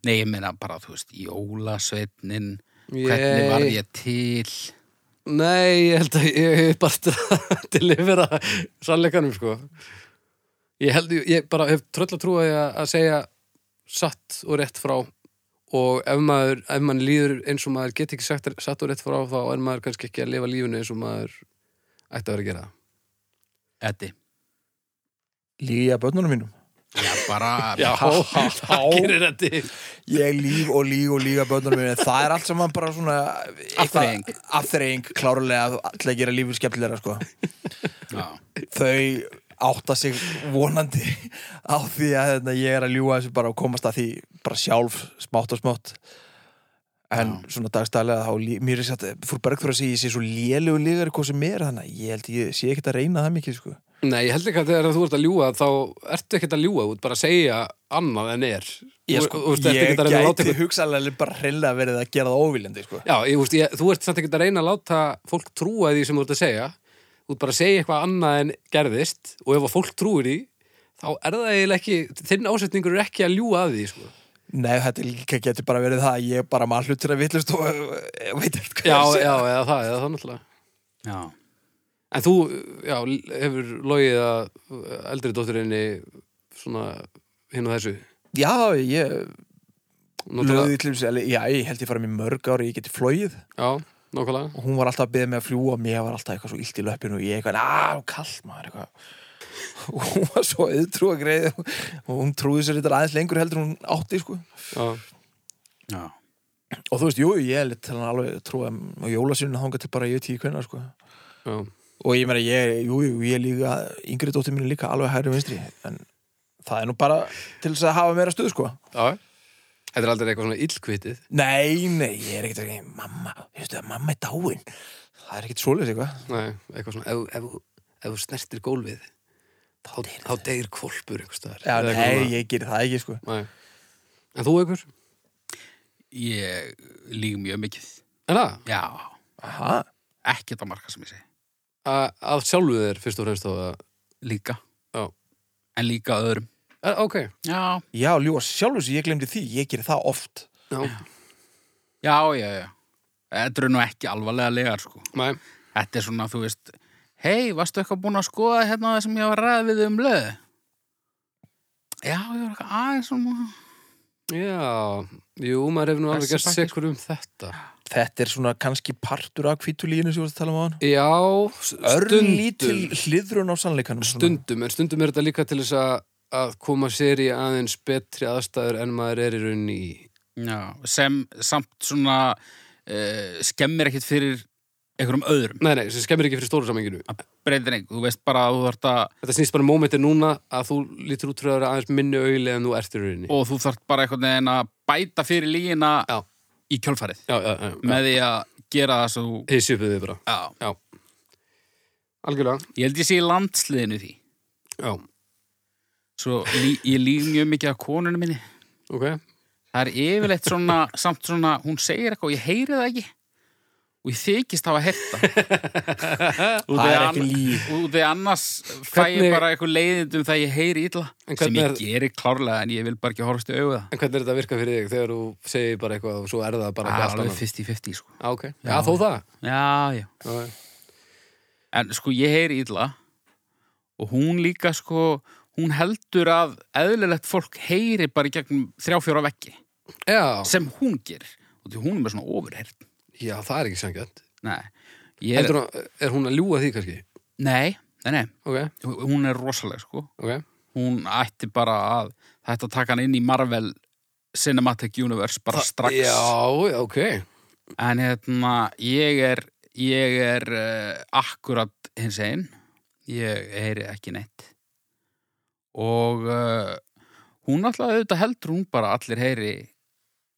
Speaker 2: nei, ég meina bara, þú veist, jólasveitnin hvernig var ég til
Speaker 1: Nei, ég held að ég hef bara [LAUGHS] til yfir að sannleikanum sko. ég held ég bara hef tröll að trúa að, að segja satt og rétt frá og ef maður, ef maður líður eins og maður get ekki sagt satt og rétt frá þá er maður kannski ekki að lifa lífinu eins og maður ætti að vera að gera
Speaker 2: Eddi
Speaker 3: Lígi að börnunum mínum
Speaker 2: Já, bara
Speaker 1: Já, það gerir þetta
Speaker 3: Ég líf og líf og líf að börnunum mínum Það er allt saman bara svona
Speaker 2: Afþreying.
Speaker 3: Aftreying, klárlega Alla að gera lífið skemmtilega, sko
Speaker 2: já.
Speaker 3: Þau átta sig vonandi á því að hérna, ég er að ljúga þessu bara og komast að því bara sjálf smátt og smátt en svona dagstælega þá lí- mér er satt, fór Bergþóra að segja ég sé svo lélegu lígar hvað sem er þannig, að ég held ég sé ekkert að reyna það mikið sko.
Speaker 1: Nei, ég held ekki að þegar þú ert að ljúga þá ertu ekkert að ljúga, þú ert bara að segja annað en er.
Speaker 3: ég,
Speaker 1: Þú-
Speaker 3: sko,
Speaker 1: þú ert ekkert
Speaker 3: ég
Speaker 1: að reyna að láta
Speaker 3: gæti
Speaker 1: eitthvað-
Speaker 3: hugsalega bara hreinlega verið að gera það óviljandi sko.
Speaker 1: Já, ég, þú veist, ég, þú ert samt ekkert að reyna að láta fólk trúa því sem þú ert að segja. Þú ert bara að segja eitthvað annað en gerðist og ef að fólk trúir því, þá er það eiginlega ekki, þinn ásetningur er ekki að ljúga að því, sko.
Speaker 3: nei, þetta líka getur bara verið það að ég er bara maður hlutir að villust og eh, veit ekkert hvað
Speaker 1: Já,
Speaker 3: ég sé
Speaker 1: já, eða það, eða það náttúrulega.
Speaker 2: Já.
Speaker 1: En þú, já, hefur logið að eldri dótturinni svona hinn og þessu.
Speaker 3: já, ég
Speaker 1: Notar það?
Speaker 3: lögði til þessu, já, ég held ég fara mér mörg ári ég geti flóið
Speaker 1: Já, nákvæmlega.
Speaker 3: og hún var alltaf að beða mig að fljúa og mér var alltaf eitthvað svo illt í löppinu og ég eitthvað, á, kallt maður eitthvað [LAUGHS] og hún var svo auðtrú að greið og hún trúði sér þetta aðeins lengur heldur en hún átti sko
Speaker 1: Já.
Speaker 2: Já.
Speaker 3: og þú veist, jú, ég er litt til hann alveg trúið og jólasinu þangað til bara ég tíu kvenna sko
Speaker 1: Já,
Speaker 3: og ég meina, ég, jú, jú, ég líka yngri dóttir mín er líka alveg hægri vinstri en það er nú bara til þess að hafa meira stuð sko
Speaker 1: já. Þetta er aldrei eitthvað svona illkvitið.
Speaker 3: nei, nei, ég er ekkert ekki mamma, veistu að mamma er dáin það er ekkert svoleiðis eitthvað
Speaker 1: Nei, eitthvað svona, ef, ef, þú- ef þú snertir gólfið, þá, þá degir kvolpur einhvers staðar.
Speaker 3: já,
Speaker 1: Eða eitthvað
Speaker 3: nei,
Speaker 1: svona.
Speaker 3: ég gerir það ekki sko
Speaker 1: Nei. En þú ykkur?
Speaker 2: Ég líg mjög mikið.
Speaker 1: En það,
Speaker 2: Já.
Speaker 3: Aha.
Speaker 2: Ekkert að marka sem ég segi.
Speaker 1: að, að sjálfu þér fyrst og fremst þá að...
Speaker 2: Líka.
Speaker 1: Já.
Speaker 2: En líka öðrum.
Speaker 1: Eh, Ok,
Speaker 2: Já.
Speaker 3: Já, ljúa sjálfur sem ég glemdi því, ég gerir það oft
Speaker 1: já,
Speaker 2: Já, já, já. Þetta eru nú ekki alvarlega legar, sko.
Speaker 1: nei,
Speaker 2: Þetta er svona, þú veist, hei, varstu eitthvað búin að skoða hérna það sem ég var að ræða við þig um löðu? Já, ég var eitthvað aðeins svona.
Speaker 1: já, jú, maður hefur nú alveg
Speaker 2: Þessi
Speaker 1: gert
Speaker 2: pakkir.
Speaker 3: sko.
Speaker 1: sekur um þetta.
Speaker 3: Þetta er svona kannski partur af kvítulíinu sem við varst að tala um á hann
Speaker 1: Já,
Speaker 3: Örlítil
Speaker 1: stundum,
Speaker 3: hliðrun á sannleikanum svona.
Speaker 1: stundum, en stundum er þetta líka til þess að, að koma sér í aðeins betri aðstæður en maður er í rauninni í.
Speaker 2: Já, sem samt svona uh, skemmir ekkit fyrir einhverjum öðrum.
Speaker 1: Nei, nei, sem skemmir ekki fyrir stóru samenginu.
Speaker 2: Að breytir einhver, þú veist bara að þú þarft að,
Speaker 1: Þetta snýst bara mómentir núna að þú lítur út fyrir að vera aðeins minni auðli en þú ert í rauninni.
Speaker 2: og þú þarft bara einhvern veginn að bæta fyrir lígina
Speaker 1: Já.
Speaker 2: í kjölfarið.
Speaker 1: Já, já, já.
Speaker 2: Með því að gera það svo, þú-
Speaker 1: Hysja uppið þig bara.
Speaker 2: já,
Speaker 1: Já. Algjörlega.
Speaker 2: ég held ég sé í landsliðinu í því.
Speaker 1: Já.
Speaker 2: Svo lí, ég líf mjög mikið að konunum minni.
Speaker 1: Ok.
Speaker 2: Það er yfirleitt svona, samt svona, hún segir eitthvað og ég heyri það ekki og ég þykist hafa heyrt það.
Speaker 3: Það er ekki líf
Speaker 2: Útið annars fæ
Speaker 1: Hvernig-
Speaker 2: ég bara eitthvað leiðindum það ég heyri illa
Speaker 1: En
Speaker 2: sem
Speaker 1: hvernig
Speaker 2: ég
Speaker 1: er-
Speaker 2: gerir klárlega en ég vil bara ekki horfast í auðu það.
Speaker 1: En hvernig er þetta að virka fyrir þig þegar þú segir bara eitthvað og svo er það bara
Speaker 2: Það er
Speaker 1: eitthvað allt
Speaker 2: alveg
Speaker 1: annað?
Speaker 2: 50-50 sko.
Speaker 1: Já, ok. Já, þó það.
Speaker 2: Já, já.
Speaker 1: Já, já.
Speaker 2: En sko ég heyri illa og hún líka sko, hún heldur að eðlilegt fólk heyri bara í gegnum þrjá-fjóra veggi
Speaker 1: Já.
Speaker 2: sem hún gerir og því hún er með svona ofurheyrt.
Speaker 1: Já, það er ekki sangjönd.
Speaker 2: Nei, ég er...
Speaker 1: Er, er hún að ljúga því kannski?
Speaker 2: Nei, nei, nei.
Speaker 1: Ok.
Speaker 2: Hún er rosaleg sko.
Speaker 1: Ok.
Speaker 2: hún ætti bara að þetta taka hann inn í Marvel Cinematic Universe bara strax
Speaker 1: Já, ok.
Speaker 2: en hérna ég er ég er uh, akkurat hins einn ég heyri ekki neitt og uh, hún alltaf auðvitað heldur hún bara að allir heyri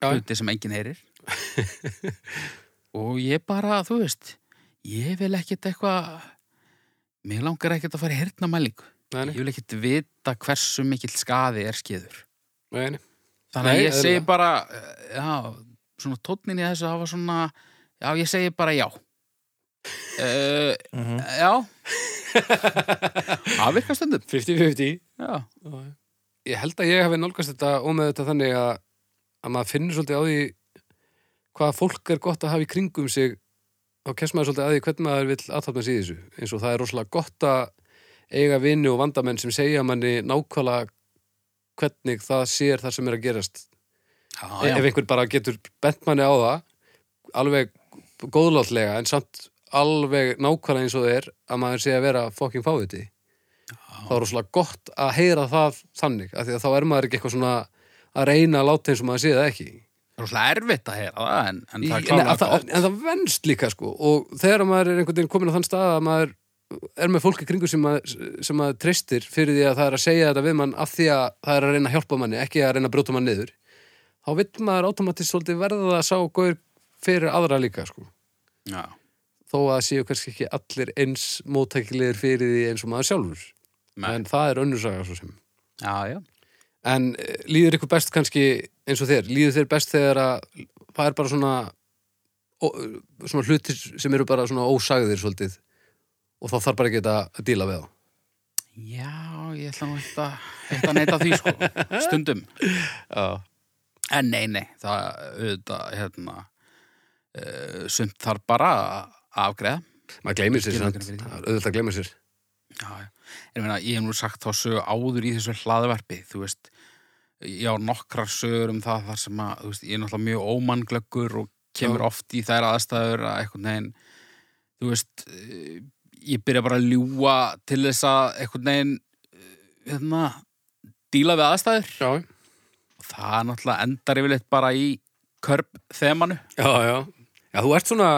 Speaker 1: Já.
Speaker 2: hluti sem enginn heyrir og ég bara, þú veist ég vil ekkit eitthvað mér langar ekkit að fara í hernamælingu
Speaker 1: Nei, nei.
Speaker 2: Ég vil ekkert vita hversu mikill skaði er skeiður.
Speaker 1: Nei, nei.
Speaker 2: Þannig að
Speaker 1: Nei,
Speaker 2: ég segi
Speaker 1: eðlilega.
Speaker 2: bara, eh, já, svona tónnin í þessu, það var svona, já, ég segi bara já. Uh,
Speaker 1: Mhm.
Speaker 2: Já. Það virkar stundum.
Speaker 1: 50-50.
Speaker 2: Já.
Speaker 1: Ég held að ég hafi nálgast þetta og með þetta þannig að, að maður finnur svolítið á því hvað fólk er gott að hafa í kringum sig þá kemst maður svolítið að því hvernig maður vill aðtapna sig í þessu. Eins og það er rosalega gott að eiga vini og vandamenn sem segja manni nákvæmlega hvernig það sér það sem er að gerast.
Speaker 2: Já,
Speaker 1: ef
Speaker 2: já.
Speaker 1: einhver bara getur bent manni á það alveg góðlátlega en samt alveg nákvæmlega eins og það er að maður sé að vera fokking fáviti þá er rosalega gott að heyra það þannig, af því að þá er maður ekki eitthvað svona að reyna að láta eins og maður sé það ekki
Speaker 2: Það er svona erfitt að heyra það, en, en það er
Speaker 1: Í- nei,
Speaker 2: klálega
Speaker 1: að það, en það venst líka sko og þegar maður er einhvern veginn komin á þann stað að maður er með fólki kringu sem maður, sem maður treystir fyrir því að það er að segja þetta við mann af því að það er að reyna að hjálpa manni, ekki að reyna að brjóta mann niður þá vill maður automatist svolítið verða að sá gaur fyrir aðra líka sko.
Speaker 2: Já.
Speaker 1: þó að séu kannski ekki allir eins móttækilegir fyrir því eins og maður sjálfur
Speaker 2: Nei.
Speaker 1: en það er önnur saga svo sem
Speaker 2: Já, já.
Speaker 1: en eh, líður ykkur best kannski eins og þér, líður þér best þegar að það er bara svona ó, svona hlutir sem eru bara svona ósagðir svolítið og þá þarf bara ekki þetta að díla við þá
Speaker 2: Já, ég ætla nú eitt að, eitt að neita því, sko, stundum.
Speaker 1: Já.
Speaker 2: En nei, nei, það, auðvitað, hérna, uh, sumt þarf bara að afgreða.
Speaker 1: maður gleymir sér
Speaker 2: Skilur
Speaker 1: samt,
Speaker 2: ekki fyrir því.
Speaker 1: það er auðvitað að gleyma sér
Speaker 2: Já, já. En ég meina, ég hef nú sagt þá sögu áður í þessu hlaðverfi, þú veist, ég á nokkrar sögur um það þar sem að, þú veist, ég er náttúrulega mjög ómannglöggur og kemur
Speaker 1: Já.
Speaker 2: oft í þær aðstæður að einhvern veginn, þú veist, eh, ég byrja bara að ljúga til þess að einhvern veginn, eh, hérna, díla við aðstæður.
Speaker 1: já,
Speaker 2: Það er náttúrulega endar yfirleitt bara í körp þemanu.
Speaker 1: já, já, já þú ert svona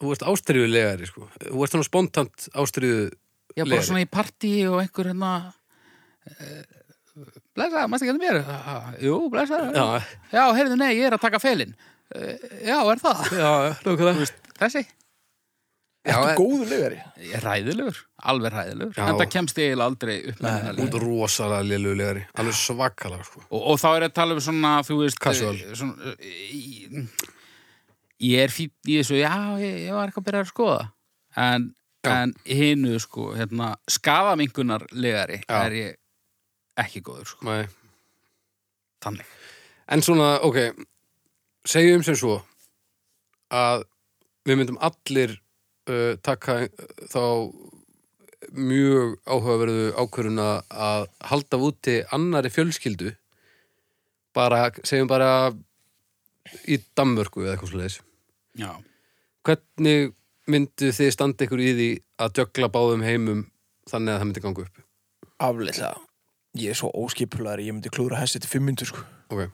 Speaker 1: þú ert ástriðulegari sko þú ert svona spontant ástriðu
Speaker 2: Já, bara
Speaker 1: Leiðari.
Speaker 2: svona í partí og einhver hérna eh, blessaður, mæstu ekki að mér? Ah, Jú, blessaður.
Speaker 1: Já.
Speaker 2: já heyrðu, nei, ég er að taka felin. Eh, Já, er það?
Speaker 1: já,
Speaker 2: Þú
Speaker 1: lókulega
Speaker 2: veist, Þessi? Já,
Speaker 3: Ertu
Speaker 2: en-
Speaker 3: góður legari?
Speaker 2: Ég er Ræðilegur, alveg ræðilegur.
Speaker 1: Já.
Speaker 2: En það kemst ég eiginlega aldrei upp með hérna
Speaker 1: út rosalega lélulegari, alveg svakalega sko
Speaker 2: og, og þá er ég að tala um svona, þú veist
Speaker 1: Casual.
Speaker 2: eh, svona, eh, ég, ég er fýtt í þessu já, ég, ég var eitthvað að byrja að skoða en, en hinu sko hérna, skafamingunar legari
Speaker 1: Já.
Speaker 2: er ég ekki góður sko.
Speaker 1: Nei.
Speaker 2: þannig
Speaker 1: en svona, ok segjum sem svo að við myndum allir uh, taka uh, þá mjög áhugaverðu ákvöruna að halda úti annari fjölskyldu bara, segjum bara í Danmörku eða eitthvað svoleiðis
Speaker 2: já.
Speaker 1: hvernig myndu þið standa ykkur í því að djögla báðum heimum þannig að það myndi ganga upp
Speaker 3: Afleitlega. Ég er svo óskipulegar, ég myndi klúra hessi til fimm myndur, sko.
Speaker 1: ok,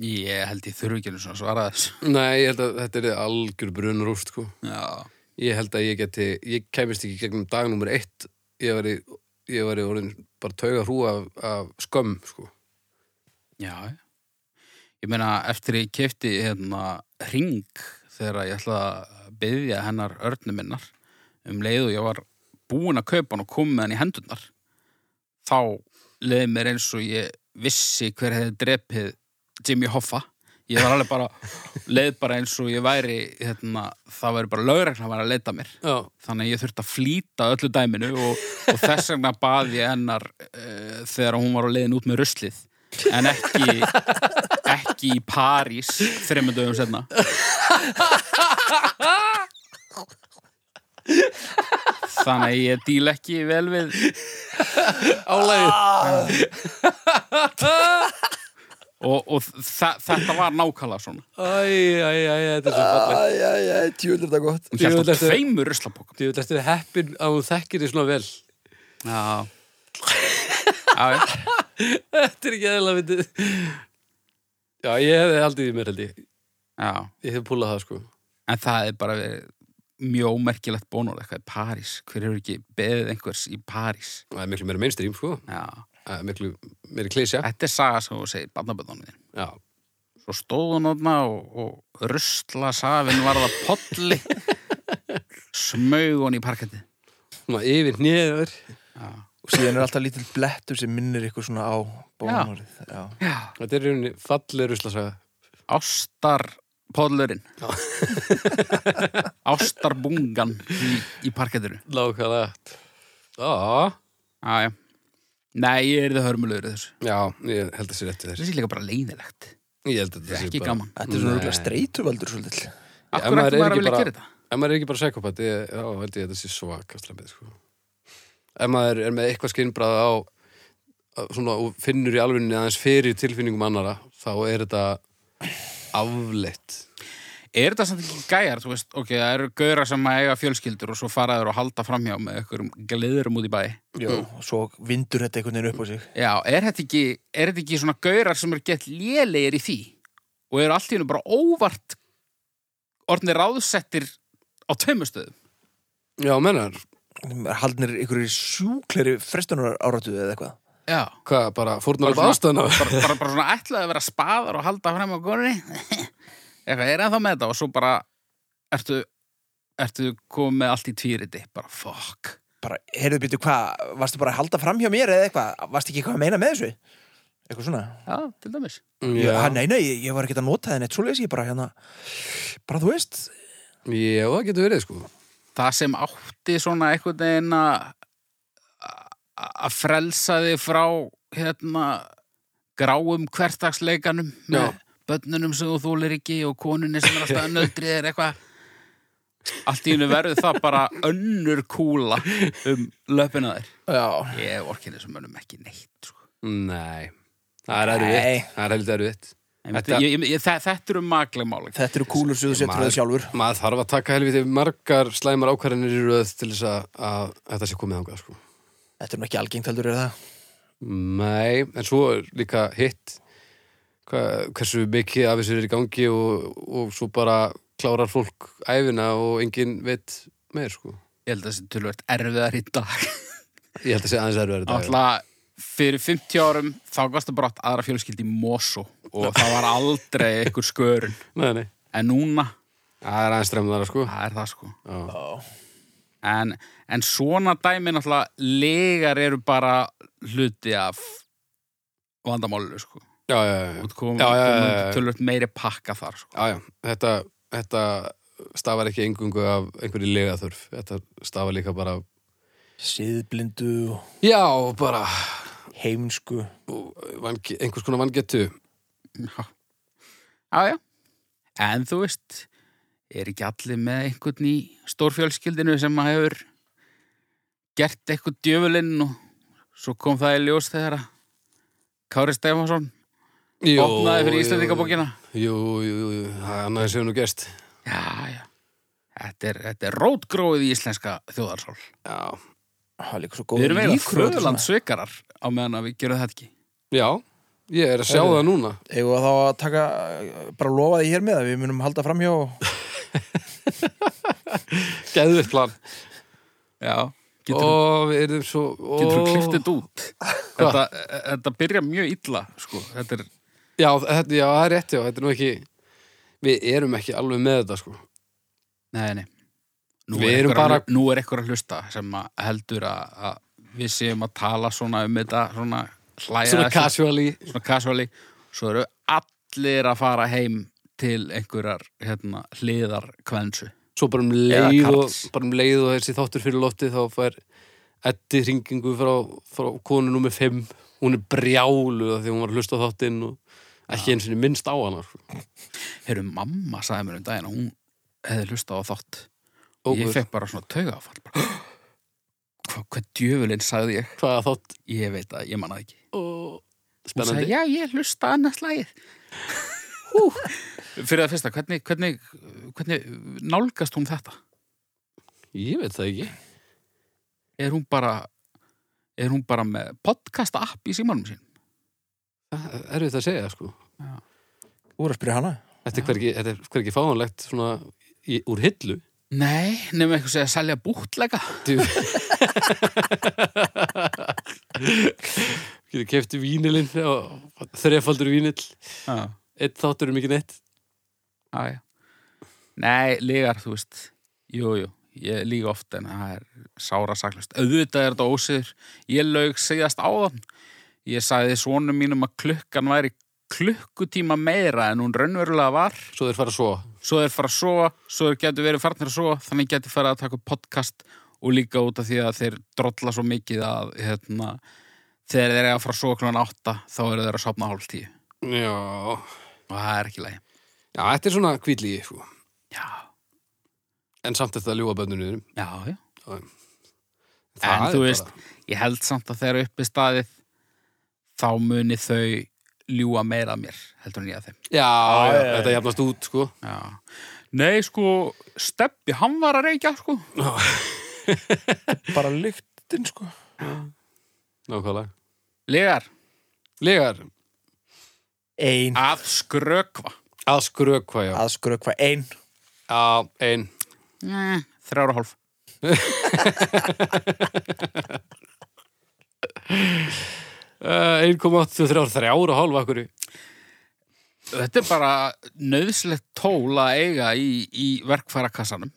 Speaker 2: ég held ég þurfi ekki einu sinni að svara þessu
Speaker 1: nei, ég held að þetta er algjör brunrúst sko
Speaker 2: já,
Speaker 1: Ég held að ég geti, ég kemist ekki gegnum dag nummer eitt, ég var í, ég var í orðin bara tauga hrúa af, af skömm, sko.
Speaker 2: já ég meina eftir ég kefti hérna ring þegar ég ætla að byggja hennar örnum minnar um leið og ég var búin að kaupa hann og kom með hann í hendurnar þá leiði mér eins og ég vissi hver hefði drepið Jimmy Hoffa ég var alveg bara, leið bara eins og ég væri hérna, það væri bara lögregna að vera að leita að mér
Speaker 1: Já.
Speaker 2: þannig að ég þurfti að flýta öllu dæminu og, og þess vegna bað ég hennar uh, þegar hún var á leiðin út með ruslið en ekki ekki í París þreymur dögum senna þannig að ég díl ekki vel við
Speaker 1: Álægið.
Speaker 2: og, og þa- þetta var nákvæmlega svona
Speaker 1: Æ, æ, æ, þetta er svo fallegt.
Speaker 3: Æ, æ, æ, tjúlir þetta gott.
Speaker 2: hún
Speaker 1: Jú,
Speaker 2: held á
Speaker 1: þetta er-
Speaker 2: tveimur ruslapokkum
Speaker 1: Þú veist, þetta er heppin að hún þekkir þið svona vel. [LAUGHS]
Speaker 2: já já, já.
Speaker 1: Þetta er ekki eðla, veitir. Já, ég hefði aldrei í mér, held ég.
Speaker 2: já
Speaker 1: Ég hefði púlað það, sko.
Speaker 2: en það er bara verið mjög ómerkilegt bónor eitthvað í París hver hefur ekki beðið einhvers í París
Speaker 1: Það er miklu meira mainstream, sko.
Speaker 2: já.
Speaker 1: Það er miklu meira klísja.
Speaker 2: þetta er saga sem þú segir barnaböðunum þín
Speaker 1: Já.
Speaker 2: svo stóð hún þarna og, og rusla safin varða
Speaker 1: [LAUGHS]
Speaker 2: polli smaug hún í parketti
Speaker 1: Svona yfir nýður.
Speaker 3: Og síðan er alltaf lítill blettur sem minnir ykkur svona á bónorið. Já.
Speaker 2: já,
Speaker 1: Þetta er í rauninni falleg ruslasaga.
Speaker 2: ástar pollurinn [LAUGHS] ástarbungan í, í parkettinu
Speaker 1: Lákaða. Já.
Speaker 2: já, já Nei, ég er það hörmulegur í þessu.
Speaker 1: Já, ég held að sé rétti þér.
Speaker 2: Þessi er líka bara leiðilegt.
Speaker 1: Ég held að þetta sé
Speaker 2: Ekki
Speaker 1: bara-
Speaker 2: gaman.
Speaker 3: Þetta er svona
Speaker 1: Nei.
Speaker 3: rúglega streituvaldur svolítið.
Speaker 1: Ef
Speaker 2: Akkur
Speaker 1: maður er
Speaker 2: ekki maður að
Speaker 1: ekki
Speaker 2: vilja
Speaker 1: bara-
Speaker 2: gera þetta?
Speaker 1: Ef maður er ekki bara sekopati, þá held ég að þetta sé svakast lemið, sko. Ef maður er með eitthvað skinnbrað á á- svona, og finnur í alvinni aðeins fyrir tilfinningum annara, þá er þetta afleitt.
Speaker 2: Er þetta samt ekki gæjar, þú veist, ok, það eru gauðra sem að eiga fjölskyldur og svo faraður og halda framhjá með einhverjum gleðurum út í bæ.
Speaker 3: Jó. Og svo vindur þetta einhvern veginn upp á sig.
Speaker 2: Já, er þetta ekki, er þetta ekki svona gauðrar sem eru gett lélegir í því og eru allt í hennu bara óvart orðnir ráðsettir á tveimurstuðum?
Speaker 1: Já, mennar.
Speaker 3: Haldnir ykkur í sjúkleri frestunar áratuðu eða eitthvað.
Speaker 2: já
Speaker 1: Hvað, bara fórnar upp
Speaker 2: Bara
Speaker 1: ástæðna?
Speaker 2: bara, bara, bara svona ætlaði að vera spaðar og halda fram á góðinni [LAUGHS] eitthvað er ennþá með þetta og svo bara ertu, ertu komið með allt í tvíriti bara fuck
Speaker 3: bara, heyrðu býtu hvað, varstu bara að halda fram hjá mér eða eitthvað, varstu ekki eitthvað að meina með þessu eitthvað svona
Speaker 2: já, til dæmis
Speaker 3: ég, ha, nei, nei, ég, ég var ekki að nota það neitt svoleiðis, ég bara hérna bara þú veist,
Speaker 1: Já, það getur verið, sko.
Speaker 2: það sem átti svona einhvern veginn að að frelsa þig frá hérna gráum hvertagsleikanum með
Speaker 1: Já.
Speaker 2: börnunum sem þú þólir ekki og konunni sem er alltaf að nöldrið er eitthvað allt í hennu verður það bara önnur kúla um löpina þær
Speaker 3: já
Speaker 2: ég orkið þessum mönnum ekki neitt sko.
Speaker 1: Nei. Það er
Speaker 3: Nei.
Speaker 1: erfitt. Það er heldur erfitt.
Speaker 2: Ég myndi-
Speaker 1: Þetta-
Speaker 2: ég- ég- ég- þe- þetta eru maglegmáli
Speaker 3: þetta eru kúlur sem þú setur
Speaker 1: Maður-
Speaker 3: þau sjálfur
Speaker 1: Maður þarf að taka helviti margar slæmar ákvarðanir í röð til þess að, að þetta sé komið ánga, sko.
Speaker 3: þetta er nú ekki algengt heldur, er það
Speaker 1: Nei, en svo er líka hitt hva, hversu mikið af þessu er í gangi og, og svo bara klárar fólk æfina og enginn veit meir sko.
Speaker 2: ég held að þessi tölvöld erfiðar í dag
Speaker 1: Ég held að segja aðeins erfið þetta.
Speaker 2: Alltaf fyrir 50 árum þá gasta bara átt aðra fjölskyldi í Mosó
Speaker 1: [LAUGHS]
Speaker 2: og það var aldrei einhver skörun
Speaker 1: Nei, nei.
Speaker 2: en núna,
Speaker 1: Það er aðeins stremðara sko.
Speaker 2: það er það sko
Speaker 1: Já.
Speaker 2: en, en svona dæmi náttúrulega legar eru bara hluti af vandamálinu sko
Speaker 1: Já, já, já.
Speaker 2: kom,
Speaker 1: Já, já, já, já, já.
Speaker 2: tölvöld meiri pakka þar sko.
Speaker 1: já, já. Þetta, þetta stafar ekki engungu af einhverju legaþörf. Þetta stafar líka bara...
Speaker 3: síðblindu, og
Speaker 1: Já, bara
Speaker 3: heimsku
Speaker 1: vangi, einhvers konar vangetu.
Speaker 2: já. já, já en þú veist er ekki allir með einhvern í stórfjölskyldinu sem að hefur gert eitthvað djöfulinn og svo kom það í ljós þegar að Kári Stefánsson
Speaker 1: Jó,
Speaker 2: opnaði fyrir
Speaker 1: jú,
Speaker 2: Íslandingabókina
Speaker 1: Jú, jú, jú, jú. Það er annað sem nú gerst.
Speaker 2: já, já Þetta er, þetta er rótgróið í íslenska þjóðarsál.
Speaker 1: Já,
Speaker 3: Ah, það er líka svo
Speaker 2: Við
Speaker 3: góð
Speaker 2: erum eiginlega
Speaker 3: líkur og
Speaker 2: föðurland
Speaker 3: öllu svona.
Speaker 2: sveikarar á meðan að við gerum þetta ekki.
Speaker 1: já. Ég er að sjá
Speaker 3: Heyrðu.
Speaker 1: það núna.
Speaker 3: eigum við þá að taka, eh, bara lofa því hér með að við munum halda fram hjá
Speaker 1: Geðvitt plan.
Speaker 2: Já, getur, oh,
Speaker 1: Og við erum svo... ó.
Speaker 2: getur oh. klift þetta út. Þetta, þetta byrja mjög illa, sko. Þetta er,
Speaker 1: Já, þetta, já, það er rétt, já. Þetta er nú ekki... Við erum ekki alveg með þetta, sko.
Speaker 2: Nei, nei. Nú
Speaker 1: Við
Speaker 2: er,
Speaker 1: erum
Speaker 2: einhver að,
Speaker 1: bara-
Speaker 2: hlu- nú er eitthvað að hlusta sem að heldur að, að við séum að tala svona um þetta, svona hlæja
Speaker 1: Svona
Speaker 2: þessu,
Speaker 1: casually.
Speaker 2: svona casually. Svo eru allir að fara heim til einhverjar hérna, hliðar kvensu.
Speaker 1: Svo bara um
Speaker 2: Eða
Speaker 1: leið og,
Speaker 2: karls.
Speaker 1: bara um leið og þessi þáttur fyrir loftið þá fær Eddi hringingu frá, frá konu nummer 5. Hún er brjálu af því hún var að hlusta á þáttinn og ekki eins og minnst á hana, sko.
Speaker 2: Herru, mamma sagði mér um daginn að hún hefði hlusta á þátt.
Speaker 1: Ó,
Speaker 2: Ég
Speaker 1: guð,
Speaker 2: fekk bara svona taugafall. Bara, [GASPS] hvað, hvað djöfulinn sagði ég?
Speaker 1: Hvaða þátt?
Speaker 2: Ég veit að ég manna ekki.
Speaker 1: Og...
Speaker 2: Hún
Speaker 1: Spennandi.
Speaker 2: sagði, já, ég hlusta annars lagið. Hú. Fyrir það fyrsta, hvernig, hvernig, hvernig nálgast hún þetta?
Speaker 1: Ég veit það ekki.
Speaker 2: Er hún bara, er hún bara með podcast app í símanum sín?
Speaker 1: Það er við það að segja, sko.
Speaker 3: úr að spyrja hana
Speaker 1: Þetta er hvergi, þetta er hvergi fáanlegt svona í, úr hillu.
Speaker 2: Nei, nefnum eitthvað segja að selja búttlega.
Speaker 1: Djú- Getur kefti vínilinn og þrefaldur vínill
Speaker 2: Já,
Speaker 1: Eitt þáttur er mikið neitt
Speaker 2: já, já. Nei, lígar, þú veist. Jú, jú, ég líga oft en það er sára saklust. Auðvitað er þetta ósiður. Ég laug segjast áðan. Ég sagði svonum mínum að klukkan væri klukkutíma meira en hún raunverulega var.
Speaker 1: Svo þeir fara svo
Speaker 2: svo þeir fara að sofa, svo þeir getur verið farnir að sofa, þannig getur farið að taka upp podcast og líka út af því að þeir drolla svo mikið að hérna, þegar þeir eru að fara að sofa klokkan átta þá eru þeir að sopna hálf tíu
Speaker 1: Já,
Speaker 2: og það er ekki lægi.
Speaker 1: Já þetta er svona kvíðlí sko.
Speaker 2: Já,
Speaker 1: En samt þetta ljúa bönnunum
Speaker 2: já, já.
Speaker 1: Það er
Speaker 2: en þú
Speaker 1: bara-
Speaker 2: veist, ég held samt að þegar uppi staðið þá muni þau ljúa meira að mér, heldur en ég að þeim.
Speaker 1: Já, já,
Speaker 3: já, já.
Speaker 1: þetta jafnast út sko.
Speaker 2: Já. Nei, sko, Steppi, hann var að reykja, sko.
Speaker 3: bara lyktin sko
Speaker 1: Nákvæmlega
Speaker 2: Legar,
Speaker 1: Legar,
Speaker 3: ein,
Speaker 2: að skrökva.
Speaker 1: að skrökva já
Speaker 3: að skrökva ein
Speaker 1: Já, ein
Speaker 2: Nei, Þrjára hálf.
Speaker 1: Eh, 1,833 og hálfa akkur
Speaker 2: Þetta er bara nöðslegt tól að eiga í, í verkfærakassanum.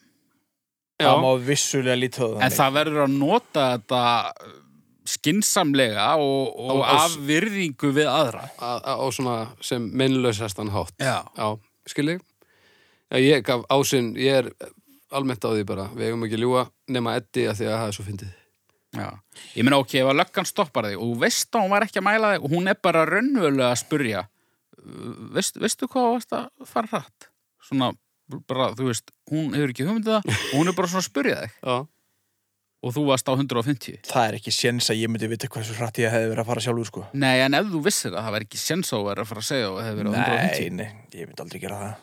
Speaker 3: það má vissulega lítið á það
Speaker 2: En það verður að nota þetta skinsamlega og, og
Speaker 1: Á- á-
Speaker 2: af virðingu við aðra.
Speaker 1: á svona sem minnlausastan hátt
Speaker 2: Já.
Speaker 1: Já, skilji Já, ég gaf ásinn, ég er almennt á því bara, við eigum ekki að ljúga nema Eddi að því að það er svo fyndið
Speaker 2: Já. Ég meina, ok, ef að löggan stoppar þig og þú veist að hún var ekki að mæla þig og hún er bara raunvölu að spurja veist, veistu hvað þú varst að fara hratt? Svona, bara, þú veist, hún hefur ekki hugmyndið það og hún er bara svona að spurja þig
Speaker 1: Já,
Speaker 2: og þú varst á 150.
Speaker 3: það er ekki séns að ég myndi vita hversu hratt ég hefði verið að fara sjálfur sko
Speaker 2: Nei, en ef þú vissir það, það væri ekki sens á að vera að fara að segja og hefur verið á 150.
Speaker 3: nei, nei, ég myndi aldrei gera það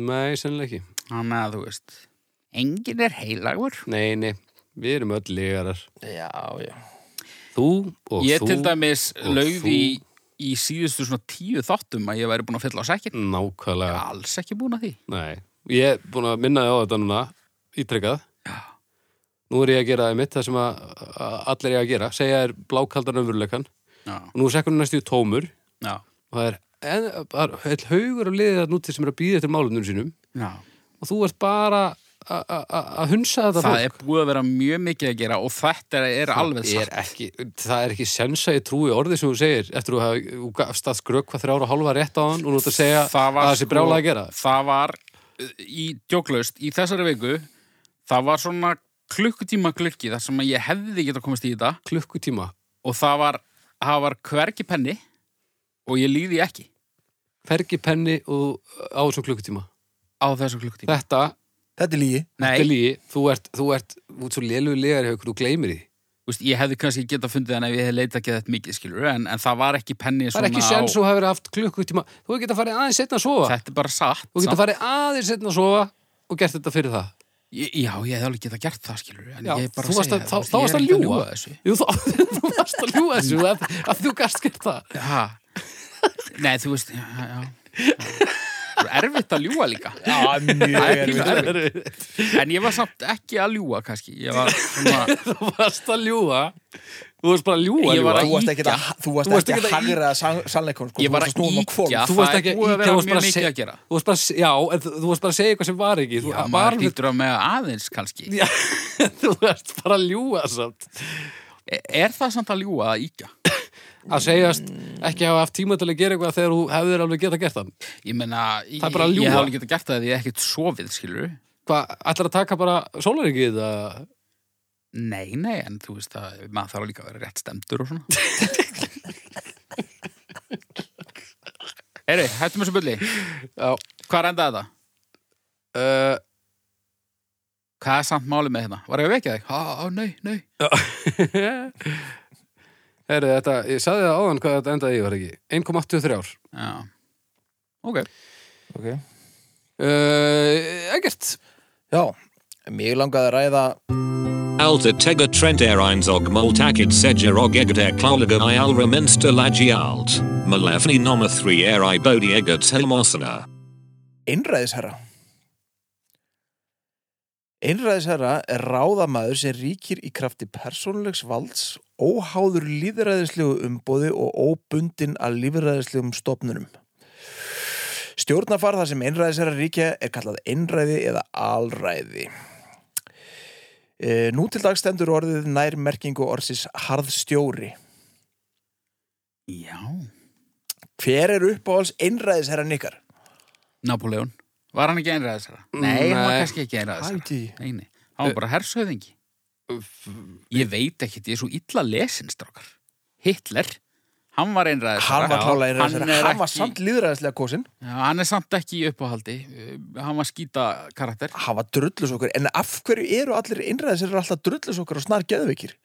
Speaker 1: nei, sennilega ekki
Speaker 2: Þannig að þú veist, enginn er heilagur.
Speaker 1: Nei, nei, við erum öll lígarar
Speaker 3: já, já
Speaker 1: Þú og
Speaker 2: ég
Speaker 1: þú
Speaker 2: til dæmis
Speaker 1: og
Speaker 2: laug
Speaker 1: þú.
Speaker 2: í, í síðustu svona tíu þáttum að ég væri búin að fylla á sækinn.
Speaker 1: Nákvæmlega,
Speaker 2: Alls ekki búin að því.
Speaker 1: nei Ég er búin að minna þig á þetta núna, ítrekkað
Speaker 2: Já.
Speaker 1: Nú er ég að gera það mitt, það sem að, að allir ég að gera segja er blákaldan öfurleikan
Speaker 2: Já,
Speaker 1: og nú er sekkunum næstu tómur
Speaker 2: já,
Speaker 1: og það er, en, það er heil haugur af liðið að núti sem er að býða eftir málunum sínum
Speaker 2: já.
Speaker 1: og þú ert bara a- a- a- að hunsa þetta
Speaker 2: það
Speaker 1: fólk.
Speaker 2: er búið að vera mjög mikið að gera og þetta er, er alveg
Speaker 1: er
Speaker 2: satt
Speaker 1: ekki, það er ekki sensa í trúi orði sem þú segir eftir að þú gafst að skrökva þrjára og hálfa rétt á hann og nú ert að segja
Speaker 2: það
Speaker 1: að
Speaker 2: var, sko-
Speaker 1: það sé brjála að gera
Speaker 2: það var uh, í djóklaust, í þessari viku það var svona klukkutíma glukki þar sem að ég hefði geta komist í þetta
Speaker 1: klukkutíma,
Speaker 2: og það var, það var hvergi penni og ég líði ekki
Speaker 1: fergi penni og á þessum klukkutíma
Speaker 2: á þessu klukkutíma
Speaker 1: þetta,
Speaker 3: þetta er lígi
Speaker 1: þetta er
Speaker 2: Nei,
Speaker 1: lígi, þú ert þú ert út svo lélugur legar hjá ykkur, þú gleymir því
Speaker 2: Vist, ég hefði kannski geta fundið hann ef ég hefði leitað ekki þetta mikið skilur en, en það var ekki penni
Speaker 1: það er ekki
Speaker 2: svona á-
Speaker 1: sens þú hefur haft klukkutíma þú geta farið aðeins setna að sofa
Speaker 2: þetta er bara satt
Speaker 1: þú
Speaker 2: samt.
Speaker 1: geta farið aðeins setna að sofa og gert þetta fyrir það
Speaker 2: Ég- Já, ég hefði alveg getað gert það, skilur en
Speaker 1: Já,
Speaker 2: ég er bara
Speaker 1: þú
Speaker 2: að
Speaker 1: varst
Speaker 2: segja
Speaker 1: að-
Speaker 2: það,
Speaker 1: þá- þá
Speaker 2: ég er
Speaker 1: varst að
Speaker 2: ekkert
Speaker 1: ljúga.
Speaker 2: þessu.
Speaker 1: Jú, þú, [LAUGHS] þú varst að ljúa þessu að, að þú gast gert það
Speaker 2: Ha. Nei, þú veist, já, já, já. Það er Erfitt að ljúga líka
Speaker 3: já, mjög
Speaker 2: Það er
Speaker 3: erfitt.
Speaker 2: pínu erfitt En ég var samt ekki að ljúga, kannski Ég var
Speaker 1: [LAUGHS]
Speaker 2: svona
Speaker 1: Þú varst að ljúa Þú varst bara að ljúa,
Speaker 2: Ég var
Speaker 3: þú
Speaker 1: ljúa.
Speaker 3: varst ekki að, þú varst ekki að hagra sannleikum sko.
Speaker 2: Ég var
Speaker 3: Þú varst
Speaker 2: að
Speaker 3: snúa um á hvolf.
Speaker 2: ýkja.
Speaker 1: Þú varst
Speaker 2: það
Speaker 1: ekki
Speaker 2: er búið að
Speaker 1: ýkja,
Speaker 2: vera
Speaker 1: þú varst
Speaker 2: mjög
Speaker 1: bara
Speaker 2: mikið
Speaker 1: seg-
Speaker 2: að gera.
Speaker 1: Þú varst bara, að- já, en þú þú varst bara að segja eitthvað sem var ekki Þú
Speaker 2: Já,
Speaker 1: var
Speaker 2: maður
Speaker 1: við-
Speaker 2: lítur að með aðeins, kannski
Speaker 1: [LAUGHS] Já, Þú varst bara að ljúa samt
Speaker 2: Er- E, Er það samt að ljúga að íkja?
Speaker 1: Að segjast ekki hafa haft tíma til að gera eitthvað þegar þú hefðir alveg getað gert þann
Speaker 2: Ég meina, ég,
Speaker 1: Það er bara að ljúga.
Speaker 2: ég hef alveg getað gert það ef ég hef ekkert sofið, skilur
Speaker 1: Hvað, ætlar að taka bara sólaringið
Speaker 2: Nei, nei, en þú veist að maður þarf líka að vera rétt stemdur og svona Eri, hættum þessu bulli
Speaker 1: Já
Speaker 2: Hvað rendaði þetta?
Speaker 1: uh, [LAUGHS]
Speaker 2: Hvað er samt málið með hérna? Var ég að vekja þig? Á, á, nei, nei
Speaker 1: Herri, þetta, ég sagði það áðan hvað þetta endaði í var ekki 1,83 ár
Speaker 2: Já, ok
Speaker 3: Ok.
Speaker 1: uh, Ekkert
Speaker 3: já, mig langaði að ræða
Speaker 4: Alta Tega Trent Airines Og Moltakid Seger Og Egder Klaulaga Ialra Minster Lagialt Malefni Noma 3 Airi Bodi Egert Helmosana
Speaker 3: einræðisherra Einræðisherra er ráðamaður sem ríkir í krafti persónulegs valds óháður líðræðislegu umbóði og óbundin að líðræðislegum stofnunum. Stjórnafar þar sem einræðisherra ríkja er kallað einræði eða alræði. E, nú til dag stendur orðið nær merkingu orðsins harðstjóri.
Speaker 2: Já
Speaker 3: Hver er uppáhalds einræðisherran ykkar?
Speaker 2: Napoleon, var hann ekki einræðisara? Nei, hann var
Speaker 1: Nei.
Speaker 2: kannski ekki einræðisara
Speaker 3: Hæti.
Speaker 2: Nei, nei, hann var bara hersöðingi Ég veit ekkit, ég er svo illa lesin, strákar Hitler, hann var einræðisara
Speaker 3: Hann var klála einræðisherra.
Speaker 2: er
Speaker 3: Hann, var
Speaker 2: ekki-
Speaker 3: samt líðræðislega kosin.
Speaker 2: Já, hann er samt ekki í uppáhaldi Uh, hann var skýta karakter
Speaker 3: hafa drullus okkur en af hverju eru allir innræðis eru alltaf drullus okkur og snar geðveikir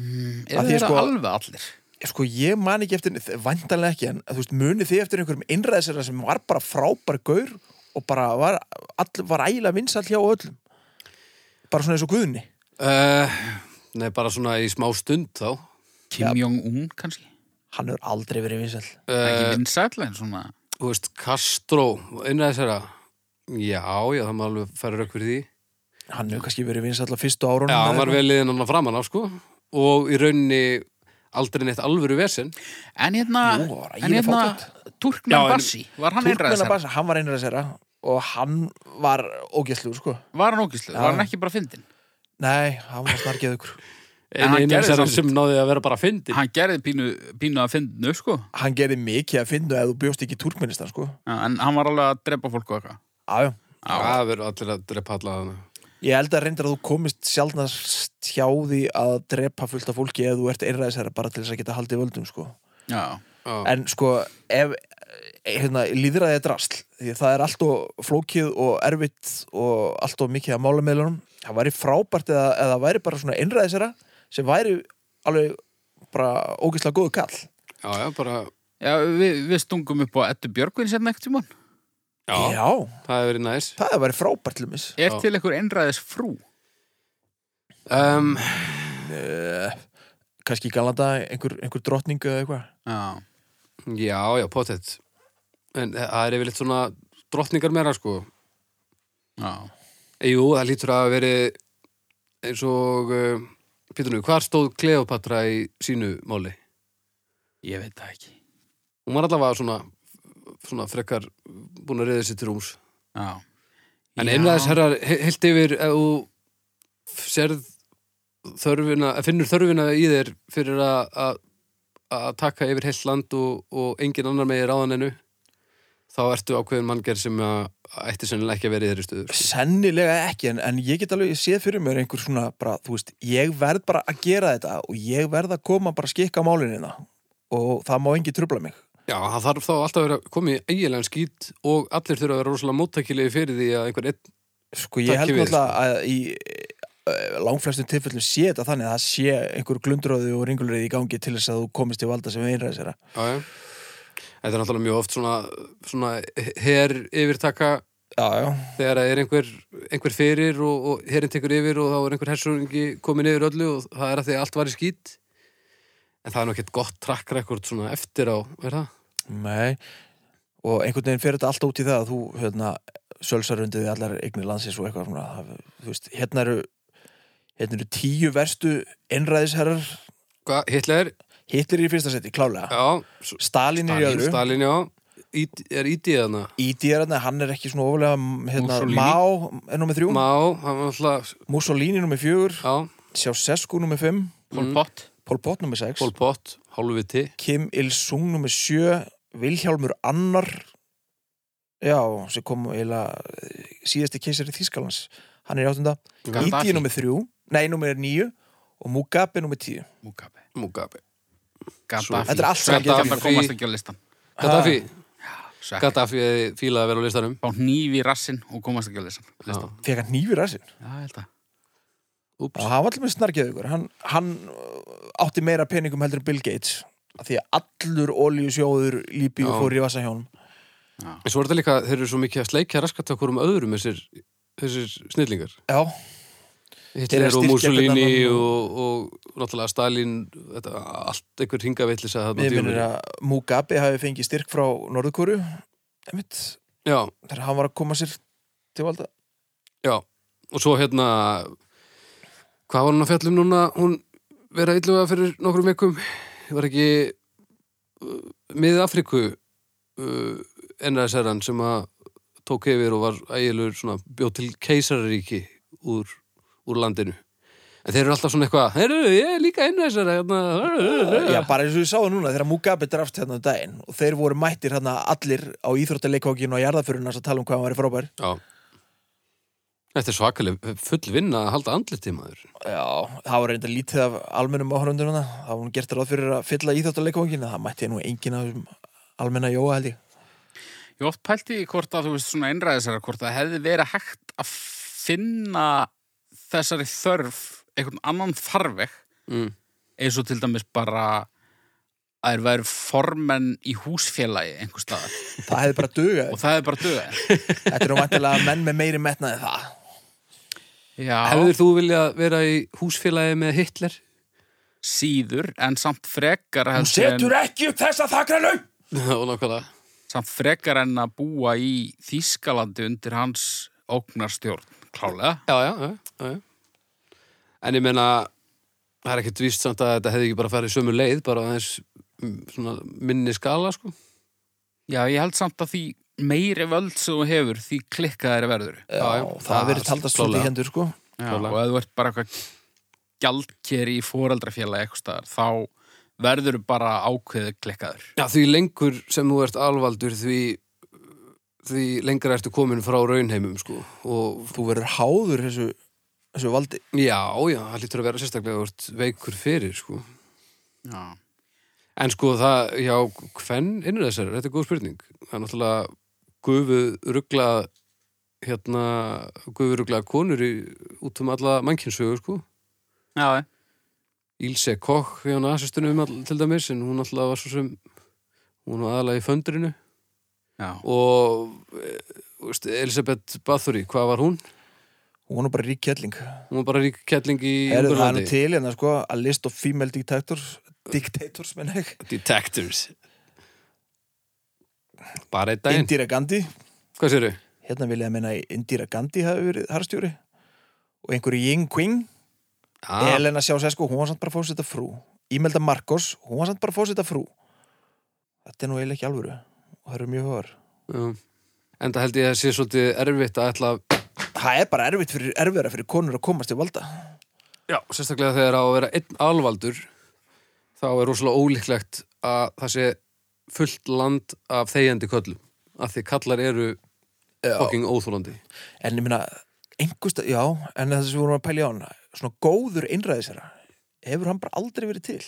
Speaker 2: er
Speaker 3: Að því
Speaker 2: það
Speaker 3: sko-
Speaker 2: alveg allir
Speaker 3: sko ég man ekki eftir, vandanlega ekki en þú veist muni þið eftir einhverjum innræðis sem var bara frábær gaur og bara var, all, var ægilega vinsall hjá öllum bara svona eins og guðni
Speaker 1: uh, Nei, bara svona í smá stund þá
Speaker 2: Kim Jong-un kannski
Speaker 3: hann hefur aldrei verið vinsall
Speaker 2: ekki
Speaker 1: uh,
Speaker 2: vinsætla en svona
Speaker 1: Þú veist, Castro innræðisera Já, já, það má alveg færa rauk fyrir því
Speaker 3: hann hefur kannski verið vinsall á fyrstu árunum
Speaker 1: Já,
Speaker 3: eða
Speaker 1: hann var
Speaker 3: eitthvað.
Speaker 1: vel liðin hann að framan af, sko Og í rauninni aldrei neitt alvöru vesen
Speaker 2: En hérna,
Speaker 3: Jú, það var ægileg
Speaker 2: en hérna
Speaker 1: Já,
Speaker 2: Turkmen
Speaker 1: en-
Speaker 2: Bassi, var hann einræða
Speaker 3: Turkmenna
Speaker 2: sér?
Speaker 3: basa, hann var einræða sér og hann var ógæstlur sko
Speaker 2: Var hann ógislu? Var hann ekki bara fyndin?
Speaker 3: Nei, hann var snarkið ykkur
Speaker 2: En hann gerði
Speaker 1: þessara
Speaker 2: samt.
Speaker 1: sem náði að vera bara fyndin
Speaker 2: Hann gerði pínu, pínu að fyndinu, sko
Speaker 3: Hann gerði mikið að finna ef þú bjóst ekki í Turkmenistan sko
Speaker 2: Já, En hann var alveg að drepa fólk og eitthvað
Speaker 3: Aðjó
Speaker 1: það verður allir að drepa alla hana
Speaker 3: Ég held að reyndar að þú komist sjálfnast hjá því að drepa fullt af fólki ef þú ert einræðisæra bara til þess að geta haldið völdum sko.
Speaker 2: Já,
Speaker 1: Já.
Speaker 3: En sko, ef eh, hérna, líðræði er drasl því að það er allt og flókið og erfitt og allt og mikið að mála meðlunum það væri frábært eða, eða það væri bara svona einræðisæra sem væri alveg bara ógeðslega góðu kall
Speaker 1: já, já, bara
Speaker 2: Já, við, við stungum upp á Eddu Björgvin sérna ekkert tímann.
Speaker 1: já, það hefur verið næs
Speaker 3: það hefði væri frábært lumis
Speaker 2: Er
Speaker 1: Já.
Speaker 2: til einhver einræðis frú?
Speaker 1: um,
Speaker 3: Eh, kannski í galanda einhver, einhver drottning eða eitthvað
Speaker 2: Já,
Speaker 1: já, já, pottet en það er yfirleitt svona drottningar meira sko
Speaker 2: já,
Speaker 1: Jú, það lítur að veri eins og uh, Pítur nú, hvar stóð Kleopatra í sínu máli?
Speaker 2: ég veit það ekki
Speaker 1: Hún var allavega svona, svona frekar búin að reyða sér til rúms
Speaker 2: Já,
Speaker 1: En
Speaker 2: Já.
Speaker 1: einræðis herrar, he- heilt yfir ef þú sérð þörfina, finnur þörfina í þér fyrir að- að að taka yfir heilt land og, og engin annar megir áðan ennu þá ertu ákveðin manngerð sem að ætti sennilega ekki að vera í þeirri stöður
Speaker 3: Sennilega ekki, en, en ég get alveg séð fyrir mér einhver svona, bara, þú veist, ég verð bara að gera þetta og ég verð að koma bara að skikka málinina og það má engi trubla mig.
Speaker 1: Já, það þarf þá alltaf að vera komið í eiginlegan skýt og allir þurfa að vera rosalega móttækilegi fyrir því að einhver einn
Speaker 3: Sko, ég
Speaker 1: Takk
Speaker 3: held
Speaker 1: fyrir,
Speaker 3: náttúrulega að í eh, langflestum tilfellum sé þetta þannig að það sé einhver glundröðu og ringulröði í gangi til þess að þú komist í valda sem einræðis þeirra.
Speaker 1: Já, já Þetta er náttúrulega mjög oft svona, svona her yfirtaka
Speaker 3: Já, já.
Speaker 1: þegar það er einhver, einhver fyrir og, og herinn tekur yfir og þá er einhver hersungi komin yfir öllu og það er að því að allt var í skýt En það er nú ekkert gott track record svona eftir á, er það?
Speaker 3: Nei, og einhvern veginn fer þetta alltaf út í það að þú, hérna, sölsar undir því allar eignir landsins og eitthvað svona, það- þú veist, hérna eru, hérna eru tíu verstu einræðisherrar,
Speaker 1: Hva, Hitler,
Speaker 3: Hitler er í fyrsta seti, klálega,
Speaker 1: já, s-
Speaker 3: Stalin er í
Speaker 1: Stalin,
Speaker 3: öðru,
Speaker 1: Stalin, já, ít, er ítið hana
Speaker 3: Ídi er hérna, hann er ekki svona ofalega, hérna,
Speaker 2: Mussolini.
Speaker 3: Mao er nummið þrjú,
Speaker 1: Má, hann var alltaf,
Speaker 3: Mussolini nummið fjögur,
Speaker 1: já,
Speaker 3: Sjásesku nummið fimm,
Speaker 2: Pol Pot
Speaker 3: Pol Pot nummið sex,
Speaker 1: Pol Pot, hálfviti
Speaker 3: Kim Il-sung nummið sjö, Vilhjálmur annar, já, sem kom eiginlega eh, síðasti keisari Þýskalands, hann er í áttunda, Ídi
Speaker 2: Gaddafi.
Speaker 3: er nummið þrjú, nei, nummið níu og Mugabe nummið tíu.
Speaker 2: Mugabe
Speaker 1: Mugabe
Speaker 2: Gaddafi
Speaker 3: Þetta er allt saman
Speaker 1: Gaddafi.
Speaker 2: Þetta komast ekki á listan
Speaker 1: Gaddafi,
Speaker 2: Sæk
Speaker 1: Gaddafi hefði fílað að vera á listanum
Speaker 2: Fá nýf í rassinn og komast ekki á listan listan.
Speaker 3: Fekk hann nýfur að sinn.
Speaker 2: Já, ég held að
Speaker 1: Úps,
Speaker 3: Og hann var allir með snarkið ykkur. Hann, hann uh, átti meira peningum heldur en Bill Gates. Af því að allur olíusjóður lípi
Speaker 1: Já.
Speaker 3: og fór í vassahjónum.
Speaker 1: en svo er þetta líka þeir eru svo mikið að sleikja raskat okkur um öðrum þessir, þessir snillingar
Speaker 3: Já, Þeir eru
Speaker 1: Hitler
Speaker 3: að
Speaker 1: og
Speaker 3: styrkja
Speaker 1: Mussolini
Speaker 3: hvernig annan
Speaker 1: og, og náttúrulega Stalin þetta, allt einhver hingavillis að
Speaker 3: við
Speaker 1: þarna
Speaker 3: minnir
Speaker 1: dýrunni.
Speaker 3: að Mugabe hafi fengið styrk frá Norðkóru. Einmitt,
Speaker 1: Já,
Speaker 3: þegar hann var að koma sér til valda.
Speaker 1: já og svo hérna hvað var hann að fjallum núna hún vera illuga fyrir nokkrum vikum var ekki uh, miðið Afriku uh, NSR-an sem að tók yfir og var ægilegur svona bjóð til keisararíki úr, úr landinu en þeir eru alltaf svona eitthvað "Heyrðu, ég er líka NSR hérna,
Speaker 3: Já, bara eins og við sáum núna þegar Mugabe drafst hérna um daginn og þeir voru mættir hérna allir á íþróttaleikókinu og jarðaförunars að tala um hvað hann var frábær.
Speaker 1: Já. Þetta er svakaleg full vinna að halda andliti maður.
Speaker 3: Já, það var reynda lítið af almennum áhörundur hana. Það var hún gert ráð fyrir að fylla íþáttaleikvangin það mætti nú enginn af þessum almenna jóa held ég.
Speaker 2: Ég oft pælti í hvort að þú veist svona einræðisæra hvort að hefði verið hægt að finna þessari þörf einhvern annan farveg
Speaker 1: Mm.
Speaker 2: eins og til dæmis bara að þeir væri formenn í húsfélagi einhver staðar
Speaker 3: Það hefði bara dugað.
Speaker 2: og það er bara
Speaker 3: [LAUGHS]
Speaker 2: döðar
Speaker 3: Þetta eru vantilega menn með meiri metnaði en það.
Speaker 2: Já,
Speaker 1: Hefðir þú viljað vera í húsfélagi með Hitler?
Speaker 2: síður en samt frekar
Speaker 3: Hún
Speaker 2: heldur
Speaker 3: setur ekki upp þessa þakranu!
Speaker 1: og nákvæmlega.
Speaker 2: samt frekar en að búa í Þýskalandi undir hans ógnarstjórn, klálega
Speaker 1: Já, já, já, já, já. En ég meina, það er ekkert víst samt að þetta hefði ekki bara farið sömu leið, bara aðeins mm, svona minni skala, sko.
Speaker 2: Já, ég held samt að því meiri völd sem þú hefur, því klikkaðir verður.
Speaker 3: Já,
Speaker 1: já,
Speaker 3: það
Speaker 1: það
Speaker 3: verið taldast svolítið í
Speaker 1: klárlega.
Speaker 3: hendur, sko.
Speaker 2: Já,
Speaker 1: Klárlega.
Speaker 2: og ef þú ert bara eitthvað gjaldkeri í fóreldrafélagi eitthvað staðar, þá verður bara ákveðið klikkaður.
Speaker 1: Já, því lengur sem þú ert alvaldur, því, því lengra ertu komin frá raunheimum, sko. Og
Speaker 3: Þú verður háður þessu, þessu valdi.
Speaker 1: já, já, það lítur að vera sérstaklega að þú ert veikur fyrir, sko.
Speaker 2: Já.
Speaker 1: En sko það, já, hvern innur þessar? Þetta er góð spurning. Það er náttúrulega gufu ruggla hérna, gufu ruggla konur í, út um alla mannkynsögur, sko.
Speaker 2: Já, já.
Speaker 1: Ílse Kokk hjá nasistunum um all, til dæmis, en hún alltaf var svo sem hún var aðalega í föndurinu
Speaker 2: Já,
Speaker 1: og e, þú veist, Elisabeth Bathory, hvað var hún?
Speaker 3: Hún er bara rík kjelling.
Speaker 1: Hún var bara rík kettling í
Speaker 3: Er það nú til hérna, sko, a list of female dictators, dictators, menn ég.
Speaker 1: Detectors. Bara einn daginn.
Speaker 3: Indira Gandhi.
Speaker 1: Hvað sérðu?
Speaker 3: Hérna vil ég að minna Indira Gandhi hafi verið harstjóri. Og einhverju Ying Qing.
Speaker 1: Ah,
Speaker 3: Elena Sjásesku, hún var samt bara fórseta frú. Imelda Marcos, hún var samt bara fórseta frú. Þetta er nú eiginlega ekki alvöru. Og það eru mjög höfar.
Speaker 1: Já. Ah, Enda held ég að sé svolítið erfitt að ætla
Speaker 3: Það er bara erfitt fyrir, erfiðara fyrir konur að komast til valda.
Speaker 1: Já, sérstaklega þegar á að vera einn alvaldur þá er rosalega ólíklegt að það sé fullt land af þegjandi köllum af því kallar eru fucking óþólandi
Speaker 3: En ég minna, einhversta, já, en það sem við vorum að pæla í á hann, svona góður innræðisera, hefur hann bara aldrei verið til.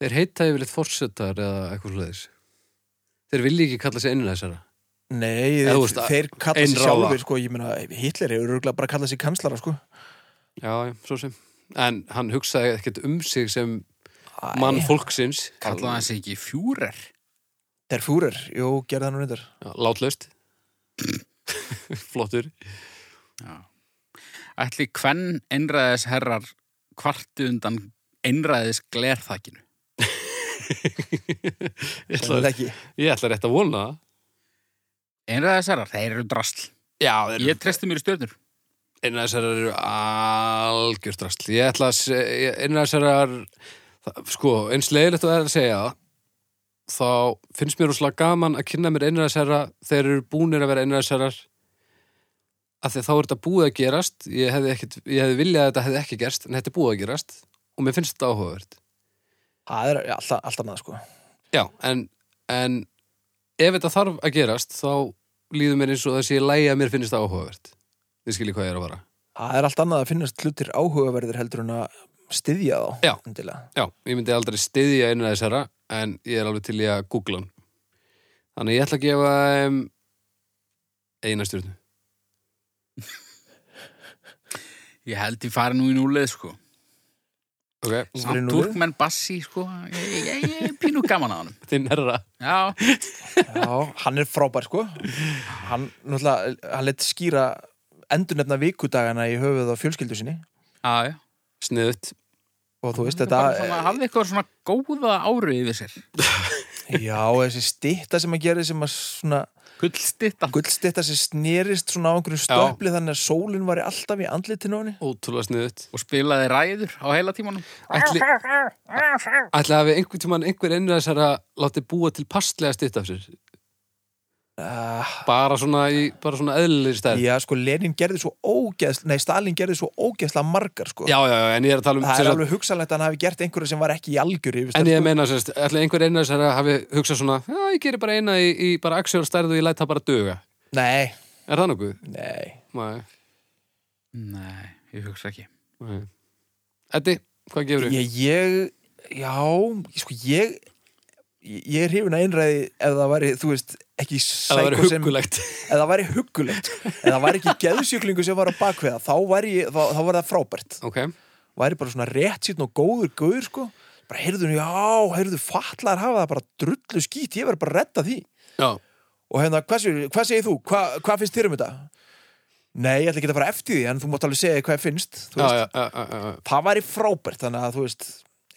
Speaker 1: Þeir heita yfirleitt forsetar eða eitthvað svoleiðis Þeir vilja ekki kalla sig innræðisara
Speaker 3: Nei,
Speaker 1: Eða,
Speaker 3: þeir,
Speaker 1: þú veist,
Speaker 3: þeir kalla sig
Speaker 1: einráða.
Speaker 3: sjálfur, sko, ég minna, Hitler hefur örgulega bara kallað sig kanslara, sko.
Speaker 1: Já, já, svo sem En hann hugsaði ekkert um sig sem mann fólksins
Speaker 2: kallaði hans ekki fjúrer.
Speaker 3: Þeir fúrir, jú, gerði hann nú reyndar.
Speaker 1: Já, [LAUGHS] Látlaust Flottur
Speaker 2: Ætli hvern einræðis herrar kvartu undan einræðis glerþakinu.
Speaker 1: Ég
Speaker 3: Það
Speaker 1: ætla,
Speaker 3: er ekki.
Speaker 1: ég ætla rétt að vona það
Speaker 2: Einræðis herrar, þeir eru drasl.
Speaker 1: Já, þeir eru
Speaker 2: Ég treysti mér í stjörnur.
Speaker 1: Innræðsarar eru algjör drastl. Ég ætla að segja, innræðsarar, sko, eins leiðilegt og það er að segja, það, þá finnst mér úrslega gaman að kynna mér innræðsara þeir eru búnir að vera innræðsarar af því að þá er þetta búið að gerast, ég hefði, ekkit, ég hefði viljað að þetta hefði ekki gerst, en þetta er búið að gerast og mér finnst þetta áhugavert.
Speaker 3: Það er alltaf, alltaf annað, sko.
Speaker 1: Já, en, en ef þetta þarf að gerast, þá líður mér eins og þessi lægi að mér finnst þetta áhugavert. Þið skiljið hvað ég er að vara.
Speaker 3: Það er alltaf annað að finnast hlutir áhugaverðir heldur en að styðja þá.
Speaker 1: Já.
Speaker 3: Endilega.
Speaker 1: Já, ég myndi aldrei styðja einu þessara en ég er alveg til í að googla hann Þannig ég ætla að gefa um, eina stjórnu
Speaker 2: Ég held ég fari nú í núlið, sko.
Speaker 1: Ok,
Speaker 3: Þú fyrir
Speaker 2: Samt
Speaker 3: núlið?
Speaker 2: Turkmenn Bassi, sko. Ég, ég, ég, ég pínu gaman að honum.
Speaker 1: þinn herra
Speaker 2: Já,
Speaker 3: Já, hann er frábær sko Hann, náttúrulega, hann let skýra endurnefna vikudagana í höfuð á fjölskyldu sinni
Speaker 2: já, já.
Speaker 1: Sniðut
Speaker 3: og þú veist
Speaker 2: Bara svona,
Speaker 3: þetta
Speaker 2: hafði eitthvað svona góða áru yfir sér
Speaker 3: Já, þessi stitta sem að gera sem að svona
Speaker 2: gullstittan
Speaker 3: gullstitta sem snerist svona á einhverju stöpli þannig að sólinn var alltaf í andlitinu á henni
Speaker 1: Ótrúlega sniðut
Speaker 2: og spilaði ræður á heila tímanum
Speaker 1: Ætli, ætli hafi einhvern tímann einhver einu þessara láti búa til passlega stytt af sér
Speaker 3: uh,
Speaker 1: Bara svona, í, bara svona eðlilegri stærð
Speaker 3: Já, sko, Lenin gerði svo ógeðsla nei, Stalin gerði svo ógeðsla margar sko
Speaker 1: Já, já, já, en ég er að tala um
Speaker 3: Það
Speaker 1: sem
Speaker 3: er
Speaker 1: sagt-
Speaker 3: alveg hugsanlegt að hann hafi gert einhverju sem var ekki í algjöru sko.
Speaker 1: En ég meina, sérst, ætli einhver einu þessara hafi hugsað svona Já, ég gerir bara eina í, í bara aksjóra stærð og ég læt það bara duga
Speaker 3: Nei,
Speaker 1: Er það nokkuð?
Speaker 3: nei
Speaker 1: Nei,
Speaker 2: nei, ég hugsa ekki
Speaker 1: nei Eddi, hvað gefur þú?
Speaker 3: Ég, ég, já, sko ég, ég ég er hrifin að einræði ef það væri, þú veist, ekki
Speaker 1: Ef það væri
Speaker 3: sæko sem, [LAUGHS]
Speaker 1: huggulegt
Speaker 3: ef það væri huggulegt, ef það væri ekki geðsjöklingu sem var að bakveða, þá væri, ég, þá, þá var það frábært,
Speaker 1: Ok,
Speaker 3: væri bara svona rétt sýtn og góður guður, sko, bara heyrðu, já, heyrðu, fatlar hafa það bara drullu skít, ég verður bara að retta því
Speaker 1: já,
Speaker 3: og hérna, hvað, segir, hvað segir þú, Hva, hvað finnst þér um þetta? Nei, ég ætla ekki að fara eftir því, en þú mátt alveg segja hvað ég finnst,
Speaker 1: já,
Speaker 3: þú veist,
Speaker 1: já, já, já, já.
Speaker 3: það væri frábært þannig að þú veist,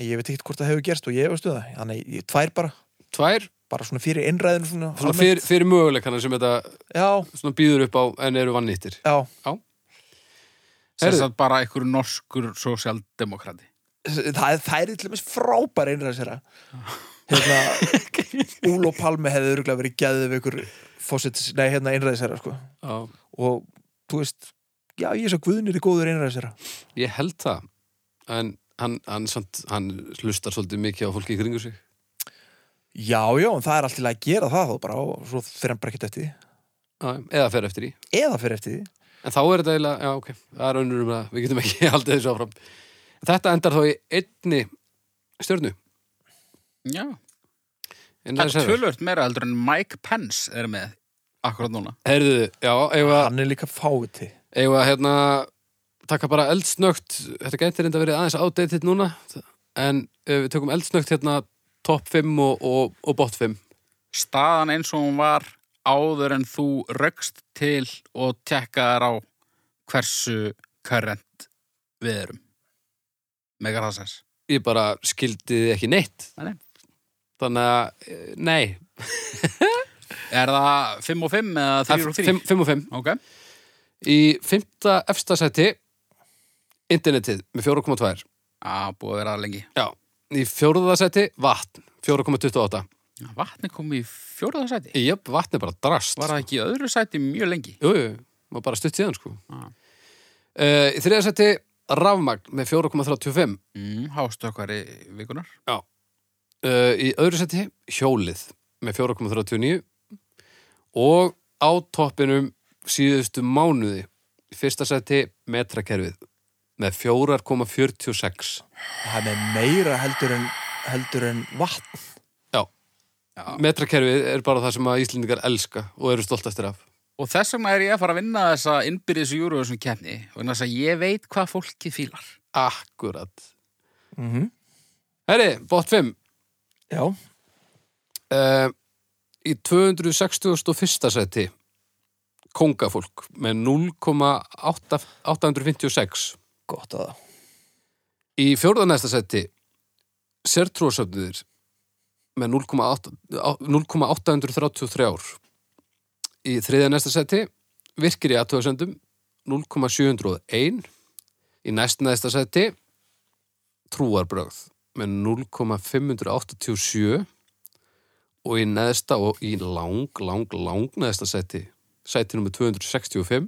Speaker 3: ég veit ekkert hvort það hefur gerst og ég veist um það, þannig ég tvær bara
Speaker 1: Tvær,
Speaker 3: bara svona fyrir innræðinu svona,
Speaker 1: svona
Speaker 3: almennt.
Speaker 1: fyrir, fyrir möguleikana sem þetta
Speaker 3: já,
Speaker 1: svona býður upp á en eru vannýttir
Speaker 3: já,
Speaker 1: Já,
Speaker 2: sem
Speaker 1: Heyrðu.
Speaker 2: sagt bara einhver norskur sósjaldemokrati
Speaker 3: það, það er til dæmis frábær einræðsera
Speaker 1: [LAUGHS]
Speaker 3: hérna, Úl og Palmi hefði örgulega verið gæðið við ykkur fósits, nei, hérna einræðsera sko.
Speaker 1: Já,
Speaker 3: og þú veist já, ég er svo guðnir í góður einræðsera
Speaker 1: ég held það en hann, hann, samt, hann hlustar svolítið mikið á fólki í kringu sig
Speaker 3: já, já, en það er alltaf að gera það þá bara og svo fyrir hann bara ekkert eftir því
Speaker 1: Já, eða fer eftir í
Speaker 3: eða fyrir eftir því
Speaker 1: en þá er þetta eiginlega, já ok, það er önnur um það við getum ekki [LAUGHS] haldið þessu áfram En þetta endar þá í einni stjörnu
Speaker 2: Já,
Speaker 1: einræðisherra.
Speaker 2: það er tölvöld meira heldur en Mike Pence er með akkurat núna
Speaker 1: Heyrðu, já, eigum að-
Speaker 3: hann er líka fáti
Speaker 1: eigum að hérna taka bara eldsnögt þetta gæti reynda verið aðeins outdated núna en uh, við tökum eldsnögt hérna top 5 og, og, og bot 5
Speaker 2: Staðan eins og hún var áður en þú röggst til og tekkaðar á hversu current við erum Megar það sens
Speaker 1: ég bara skildi þið ekki neitt
Speaker 2: Nei, nei.
Speaker 1: þannig að, eh, nei
Speaker 2: Er það 5 og 5 eða 3 og 3?
Speaker 1: 5 og 5
Speaker 2: Ok,
Speaker 1: í 5. efsta seti internetið með 4,2
Speaker 2: að búið að vera það lengi
Speaker 1: já, í 4. seti vatn 4,28
Speaker 2: Vatni kom í fjóraða sæti
Speaker 1: jöp, vatn er bara drast
Speaker 2: Var það ekki í öðru sæti mjög lengi
Speaker 1: Jú, jú, var bara stutt síðan sko
Speaker 2: Ah.
Speaker 1: Eh, Í þriða seti rafmagn með 4,35
Speaker 2: mm, Hástökkari vikunar
Speaker 1: uh, Í öðru seti hjólið með 4,39 og á toppinum síðustu mánuði í fyrsta seti metrakerfið með 4,46
Speaker 3: hann er meira heldur en, heldur en vatn
Speaker 1: Já,
Speaker 2: Já.
Speaker 1: metrakerfið er bara það sem að Íslendingar elska og eru stoltastir af
Speaker 2: Og þess vegna er ég að fara að vinna þessa innbyrðis júruðsum keppni og þess að ég veit hvað fólkið fílar.
Speaker 1: Akkurat
Speaker 3: mm
Speaker 1: Herri, bótt 5
Speaker 3: já,
Speaker 1: uh, í 261. seti kongafólk með 0,856
Speaker 3: gott að það
Speaker 1: í fjórða næsta seti sértrúasöfnuðir með 0,8 0,833 ár í þriðja næsta seti virkir í aðtöðasendum 0,701 í næst næsta seti trúarbrögð með 0,587 og í neðsta og í lang, lang, lang neðsta seti seti nummer 265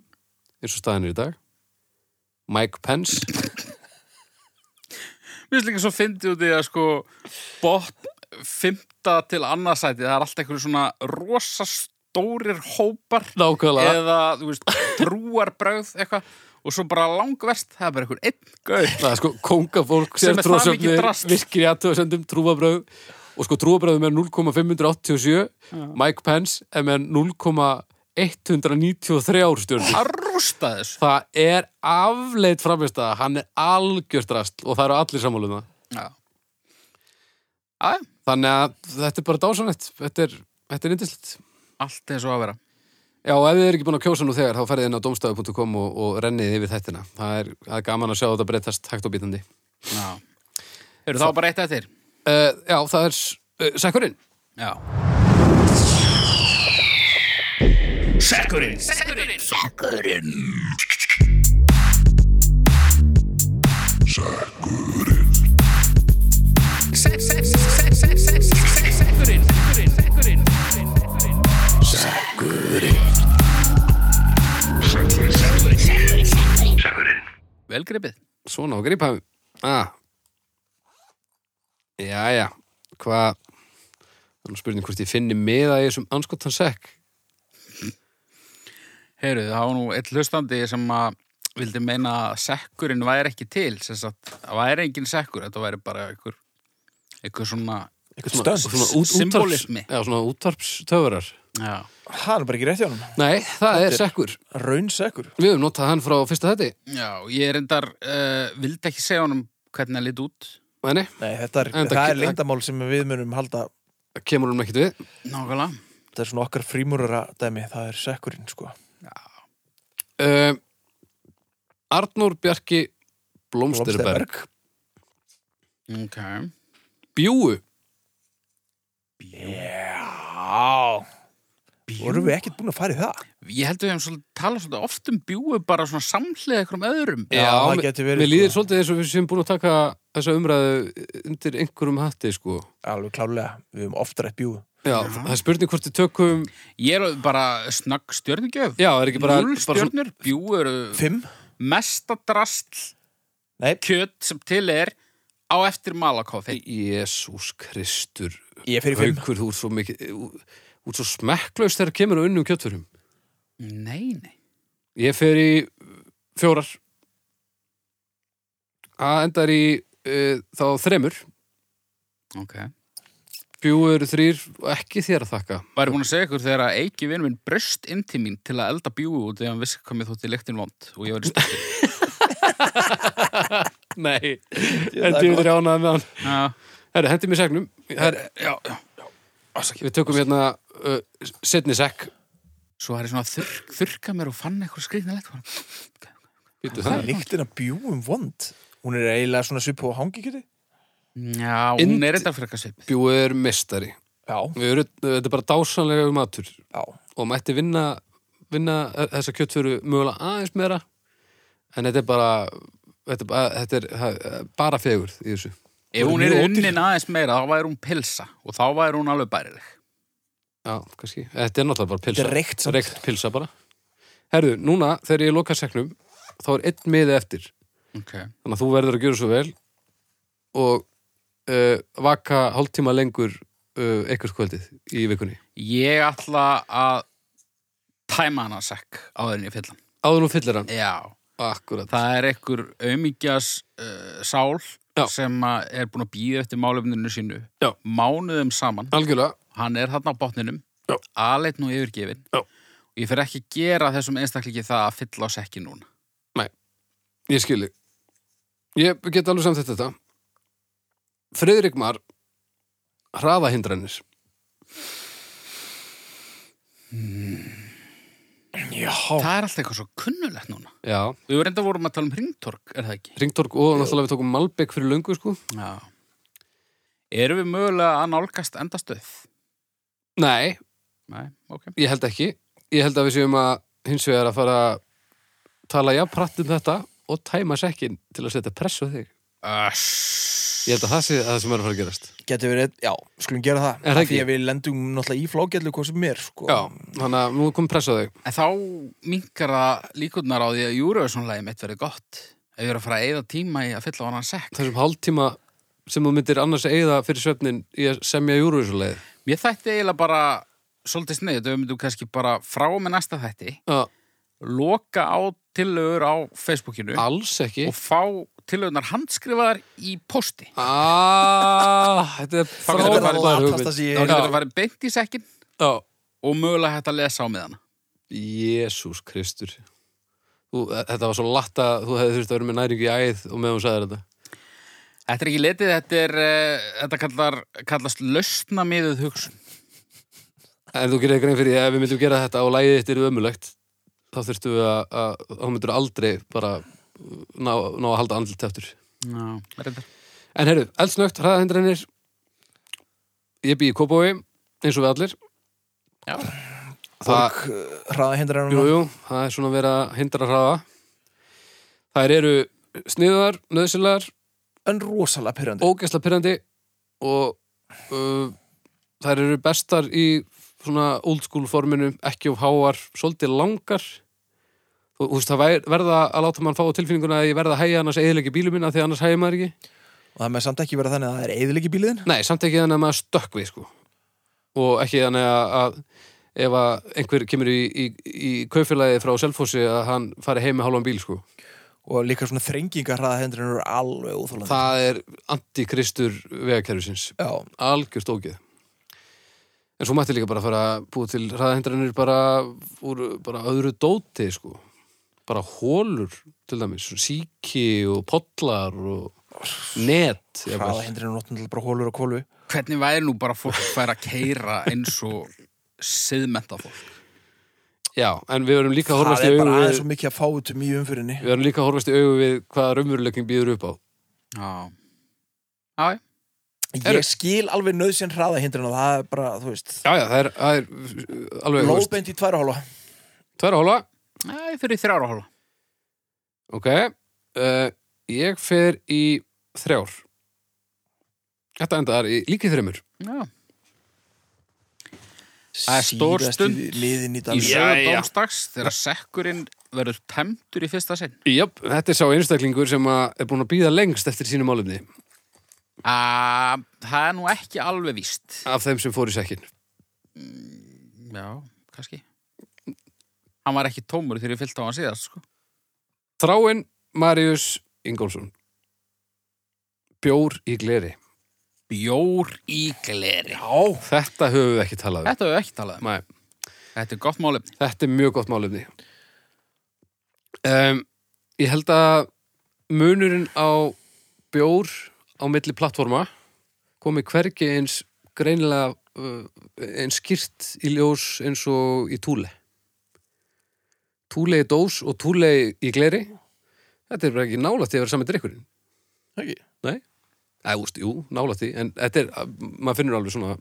Speaker 1: eins og staðan er í dag Mike Pence
Speaker 2: Mér finnst líka svo fyndið út í að sko bótt fymta til annarsæti það er alltaf einhverju svona rosa stórir hópar
Speaker 1: Nákvæmlega
Speaker 2: eða, þú veist, trúarbröð eitthvað og svo bara langverst það er bara einhver einn gauð
Speaker 1: Það er sko kongafólk
Speaker 2: Sem er það mikið
Speaker 1: sértrúasöfnir,
Speaker 2: drasl.
Speaker 1: virkir í aðtöðasendum, trúabröð og sko trúabröðum er 0,587 Mike Pence er með 0,193 stjórnir
Speaker 2: að rústa þessu
Speaker 1: Það er afleitt framist að hann er algjört rast og það eru allir sammálum það
Speaker 2: Já, Æ,
Speaker 1: Þannig að þetta er bara dásanett Þetta er, þetta er yndislegt
Speaker 2: allt eins og að vera
Speaker 1: Já, og ef þið eru ekki búin að kjósa nú þegar þá ferðið inn á domstafu.com og, og rennið yfir þættina það er, það er gaman að sjá þetta breytast hægt og býtandi
Speaker 2: Já Eru þá bara eitt eftir?
Speaker 1: uh, Já, það er uh, sækurinn
Speaker 2: Já Velgripið
Speaker 1: Svona og grípa ah. Jæja Hvað Það er nú spurning hvort ég finni miða í þessum anskotan sekk
Speaker 2: Heyrðu, það var nú eitt hlustandi sem að vildi meina að sekkurinn væri ekki til, sem sagt, það væri engin sekkur, þetta væri bara einhver, einhver svona,
Speaker 1: Svona,
Speaker 3: stönd
Speaker 1: svona út, útvarps,
Speaker 2: Symbolismi.
Speaker 1: já, svona útvarpstöfurar
Speaker 2: já,
Speaker 3: hann er bara ekki rétt hjá hann
Speaker 1: Nei, það er sekkur
Speaker 3: raunsegur
Speaker 1: Við höfum notað hann frá fyrsta þetti
Speaker 2: já, ég reyndar, uh, vildi ekki segja honum hvernig hann lit út,
Speaker 1: Nei,
Speaker 3: Nei, þetta er,
Speaker 1: En það-
Speaker 3: það er lindamál sem við munum halda
Speaker 1: það kemur hann ekkert við
Speaker 2: nákvæmlega,
Speaker 3: þetta er svona okkar frímúrara dæmi, það er sekkurinn sko.
Speaker 1: uh, Arnór Bjarki Blómsterberg
Speaker 2: ok,
Speaker 1: Bjúu
Speaker 3: Já Vorum við ekkert búin að fara í það?
Speaker 2: ég held að við hefum svolítið talað svolítið oft um bjúu bara svona samhliða einhverjum öðrum,
Speaker 3: Já, það gæti verið,
Speaker 1: Við líðir
Speaker 3: sko.
Speaker 1: svolítið eins og við séum búin að taka þessa umræðu undir einhverjum hatti, sko.
Speaker 3: alveg klálega, við höfum ofta rétt bjúð
Speaker 1: Já, það er spurning hvort við tökum,
Speaker 2: Ég er bara snögg stjörnugjöf.
Speaker 1: já, er ekki bara...
Speaker 2: Null
Speaker 1: bara svona-
Speaker 2: stjörnur, bjúur,
Speaker 3: Fimm?
Speaker 2: mesta drastl
Speaker 3: Nei,
Speaker 2: kjöt sem til er á eftir malakoffi.
Speaker 1: Jésús Kristur,
Speaker 3: ég fyrir fimm
Speaker 1: haukur, þú ert svo mikið, þú ert svo smekklaus þegar kemur á unnum kjötfurum.
Speaker 2: Nei, nei.
Speaker 1: Ég fer í uh, fjórar. Það endar í uh, þá þremur.
Speaker 2: Ok.
Speaker 1: Bjúur, þrýr, ekki þér að þakka.
Speaker 2: Var ég búin að segja ykkur þegar að eiki vinn minn bröst inn til mín til að elda bjúu og þegar hann vissi hvað mér þótti lyktin vond og ég var í stund.
Speaker 1: Nei,
Speaker 3: það
Speaker 1: en
Speaker 3: er
Speaker 1: djúður er ánað með hann.
Speaker 2: Já,
Speaker 1: Herri, hendi mér segnum. Herri,
Speaker 2: já, já.
Speaker 1: við tökum hérna uh, setni sekk.
Speaker 2: Svo var ég svona að þurrk, þurrka mér og fann eitthvað skriðnilegt.
Speaker 1: Býttu
Speaker 3: Það er
Speaker 1: það.
Speaker 3: líktin að bjúum vond Hún er eiginlega svona svipu á hangikjöti
Speaker 2: Já, hún er þetta frekar svipið.
Speaker 1: Bjúi er mistari.
Speaker 3: Já,
Speaker 1: Við erum, uh, þetta er bara dásanlega matur
Speaker 3: já,
Speaker 1: og mætti vinna, vinna þessa kjötfuru mögulega aðeins meira en þetta er bara þetta er, bara- þetta er ha- bara fegurð í þessu.
Speaker 2: Ef hún
Speaker 3: Hún
Speaker 2: er
Speaker 3: er mjög ódýr.
Speaker 2: unnin aðeins meira, þá væri hún pilsa og þá væri hún alveg bærileg.
Speaker 1: Já, kannski. Þetta er náttúrulega bara pilsa.
Speaker 3: Þetta er reykt samt.
Speaker 1: Reykt pilsa bara. Herðu, núna þegar ég loka seknum þá er einn miði eftir.
Speaker 2: Ok.
Speaker 1: Þannig að þú verður að gjöra svo vel og uh, vaka hálftíma lengur uh, ekkert kvöldið í vikunni.
Speaker 2: Ég ætla að tæma hana sekk áður en ég fyll hann.
Speaker 1: Áður og fyllir hann.
Speaker 2: Já.
Speaker 1: Akkurat.
Speaker 2: Það er einhver auðmyggjas uh, sál
Speaker 1: Já.
Speaker 2: sem að er búin að býða eftir málefninu sínu
Speaker 1: Já.
Speaker 2: mánuðum saman.
Speaker 1: Algjörlega.
Speaker 2: Hann er þarna á botninum,
Speaker 1: Já.
Speaker 2: aðleitn og yfirgefin.
Speaker 1: Já.
Speaker 2: Og ég fer ekki að gera þessum einstaklingi það að fylla á sekki núna.
Speaker 1: Ég skilji. Ég get alveg samt þetta. Friðrik Mar hraðahindranir.
Speaker 3: já.
Speaker 2: Það er alltaf eitthvað svo kunnulegt núna.
Speaker 1: Já.
Speaker 2: Við vorum enda vorum að tala um hringtork, er það ekki?
Speaker 1: Ringtorg og náttúrulega við tókum Malbek fyrir löngu sko.
Speaker 2: Já. Erum við mögulega að nálgast endastöð?
Speaker 1: Nei,
Speaker 2: Nei, ok.
Speaker 1: ég held ekki. Ég held að við séum að hins vegar að fara að tala jafnpratt um þetta og tæma sekkin til að setja pressu á þig.
Speaker 2: Öss.
Speaker 1: Ég held að það sé það sem er að fara að gerast.
Speaker 3: Geti verið, já, skulum gera það
Speaker 1: Er það
Speaker 3: Af Því
Speaker 1: ekki?
Speaker 3: að við lendum náttúrulega í flókjallu hvað sem er sko.
Speaker 1: Já, þannig að nú kom pressa á þig
Speaker 2: En þá minkar það líkurnar á því að Eurovision-lægi mitt verið gott. Ef ég er að fara að eyða tíma í að fylla á annan sekk.
Speaker 1: Þessum hálftíma sem þú myndir annars eigða fyrir svefnin í að semja júruvísulegð
Speaker 2: Mér þætti eiginlega bara svolítið sneið. Þau myndum kannski bara frá með næsta þætti, loka á tillögur á Facebookinu
Speaker 1: Alls ekki
Speaker 2: og fá tillögurnar handskrifaðar í posti.
Speaker 1: Ah, Þetta er
Speaker 2: Þá getur þetta
Speaker 1: frábær
Speaker 3: farið-
Speaker 1: hugmynd.
Speaker 3: Latasta sem ég
Speaker 2: Þá getur
Speaker 1: Já.
Speaker 2: það farið beint í sekkin
Speaker 1: Já.
Speaker 2: og mögulega hægt að lesa á með hana.
Speaker 1: Jésús Kristur þú, e, Þetta var svo latt að þú hefði þurft að vera með næringu í æð og meðan hún sagði þetta
Speaker 2: Þetta er ekki letið, þetta, er, uh, þetta kallar, kallast lausnamiðuð hugsun.
Speaker 1: En þú gerir grein fyrir því að ef við myndum gera þetta og lægið þitt eru ömulegt þá þurftum við að, að þá myndur aldrei bara ná, ná að halda andlut eftir
Speaker 2: Já, reyndar.
Speaker 1: En heyrðu, eldsnögt, hraðahindranir Ég bý í Kópói eins og við allir
Speaker 2: Já.
Speaker 1: Það,
Speaker 3: Fólk hraða hindra
Speaker 1: jú,
Speaker 3: hennar
Speaker 1: jú, það er svona verið að hindra hraða Þær eru sniðar, nöðsilegar
Speaker 3: En rosalega pyrrandi
Speaker 1: ógeðsla pyrrandi og uh, þær eru bestar í svona old school forminu ekki of háar, svolítið langar og þú veist það væri- verða að láta mann fá á tilfinninguna að ég verða að hæja annars eðilegi bílum minna því annars hæja maður ekki
Speaker 3: Og það með samt ekki vera þannig að það er eðilegi bíliðin
Speaker 1: nei, samt ekki þannig að maður stökk við sko og ekki þannig að, að ef að einhver kemur í, í, í kaufélagi frá Selfossi að hann fari heim með hálfan bíl sko
Speaker 3: Og líka svona þrengingar hraða hindra hennar eru alveg óþólandi
Speaker 1: það er antikristur vegakerfisins
Speaker 3: Já,
Speaker 1: algjörst ógeð en svo mætti líka bara fara að búa til hraðahindranir bara úr bara öðru dóti sko bara hólur til dæmis svona síki og pollar og net
Speaker 3: hraða
Speaker 1: jafnvel.
Speaker 3: hindra hennar náttúrulega bara hólur og kólfi
Speaker 2: Hvernig væri nú bara fólk færa að keira eins og siðmenta fólk?
Speaker 1: já, en við verum líka að
Speaker 3: Það
Speaker 1: horfast í
Speaker 3: er
Speaker 1: augu
Speaker 3: bara aðeins
Speaker 1: við,
Speaker 3: og mikið að fáutum í umfyrinni
Speaker 1: við verum líka að horfast í augu við hvaða raunveruleikin býður upp á
Speaker 2: Já. Já, já.
Speaker 3: Ég skil alveg nöðsinn hraða hindra og það er bara, þú veist
Speaker 1: já, já, það er, það er uh, alveg þú veist,
Speaker 3: Lóðbeint í tværa hóla
Speaker 1: tverra hóla
Speaker 2: Já, ég fyrir þrjára hálfa.
Speaker 1: ok, uh, ég fer eh, í þrjár Þetta endar í líkið þreymur.
Speaker 2: Já. Það er stór
Speaker 3: Síðasti
Speaker 2: stund
Speaker 3: liðin í
Speaker 2: Í
Speaker 3: dag
Speaker 2: sögu
Speaker 1: Jæja.
Speaker 2: dómstags þegar sekkurinn verður temtur í fyrsta sinn.
Speaker 1: Jöp, þetta er sá einstaklingur sem að er búin að býða lengst eftir sínum álefni
Speaker 2: Að, það er nú ekki alveg víst.
Speaker 1: af þeim sem fór í sekkin.
Speaker 2: Já, kannski. Hann var ekki tómur þegar ég fyllt á hann síðast, sko.
Speaker 1: Þráinn Marius Ingólfsson. Bjór í gleri.
Speaker 2: Bjór í gleri.
Speaker 1: Já. Þetta höfum við ekki talað um.
Speaker 2: Þetta hefur ekki talað um.
Speaker 1: Nei,
Speaker 2: Þetta er gott málefni.
Speaker 1: þetta er mjög gott málefni. Um, ég held að munurinn á bjór á milli plattforma komi hvergi eins greinilega uh, eins skýrt í ljós eins og í túle. Túle í dós og túle í gleri. Þetta er bara ekki nálægt því að vera saman drikkurinn.
Speaker 3: Ekki?
Speaker 1: Nei Eða, úst, jú, nálægt því, en þetta er, maður finnur alveg svona,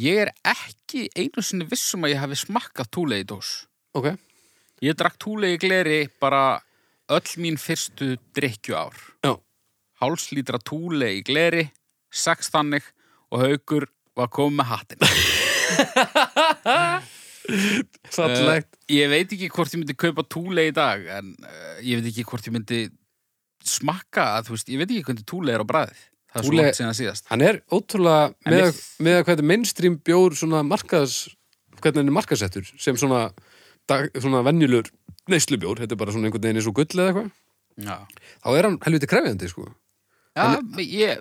Speaker 2: Ég er ekki einu sinni vissum að ég hafi smakkað túlei í dós.
Speaker 1: ok,
Speaker 2: Ég drakk túlei í gleri bara öll mín fyrstu drikju ár.
Speaker 1: já,
Speaker 2: Hálslítra túlei í gleri, sex þannig og haugur var komið með hattinn.
Speaker 1: fallegt,
Speaker 2: Eh, Ég veit ekki hvort ég myndi kaupa túle í dag en uh, ég veit ekki hvort ég myndi smakka að þú veist, ég veit ekki hvernig túle er á bræðið Það er
Speaker 1: Thule-
Speaker 2: svo langt sinna síðast
Speaker 1: hann er ótrúlega,
Speaker 2: En
Speaker 1: með,
Speaker 2: við-
Speaker 1: með að hvernig mainstream bjór svona markaðs, hvernig hann er markaðsettur, sem svona, dag, svona venjulur neyslubjór, þetta er bara svona einhvern veginn eins og gull eða eitthvað,
Speaker 2: Já,
Speaker 1: þá er hann helviti krefjandi, sko.
Speaker 2: Já ég,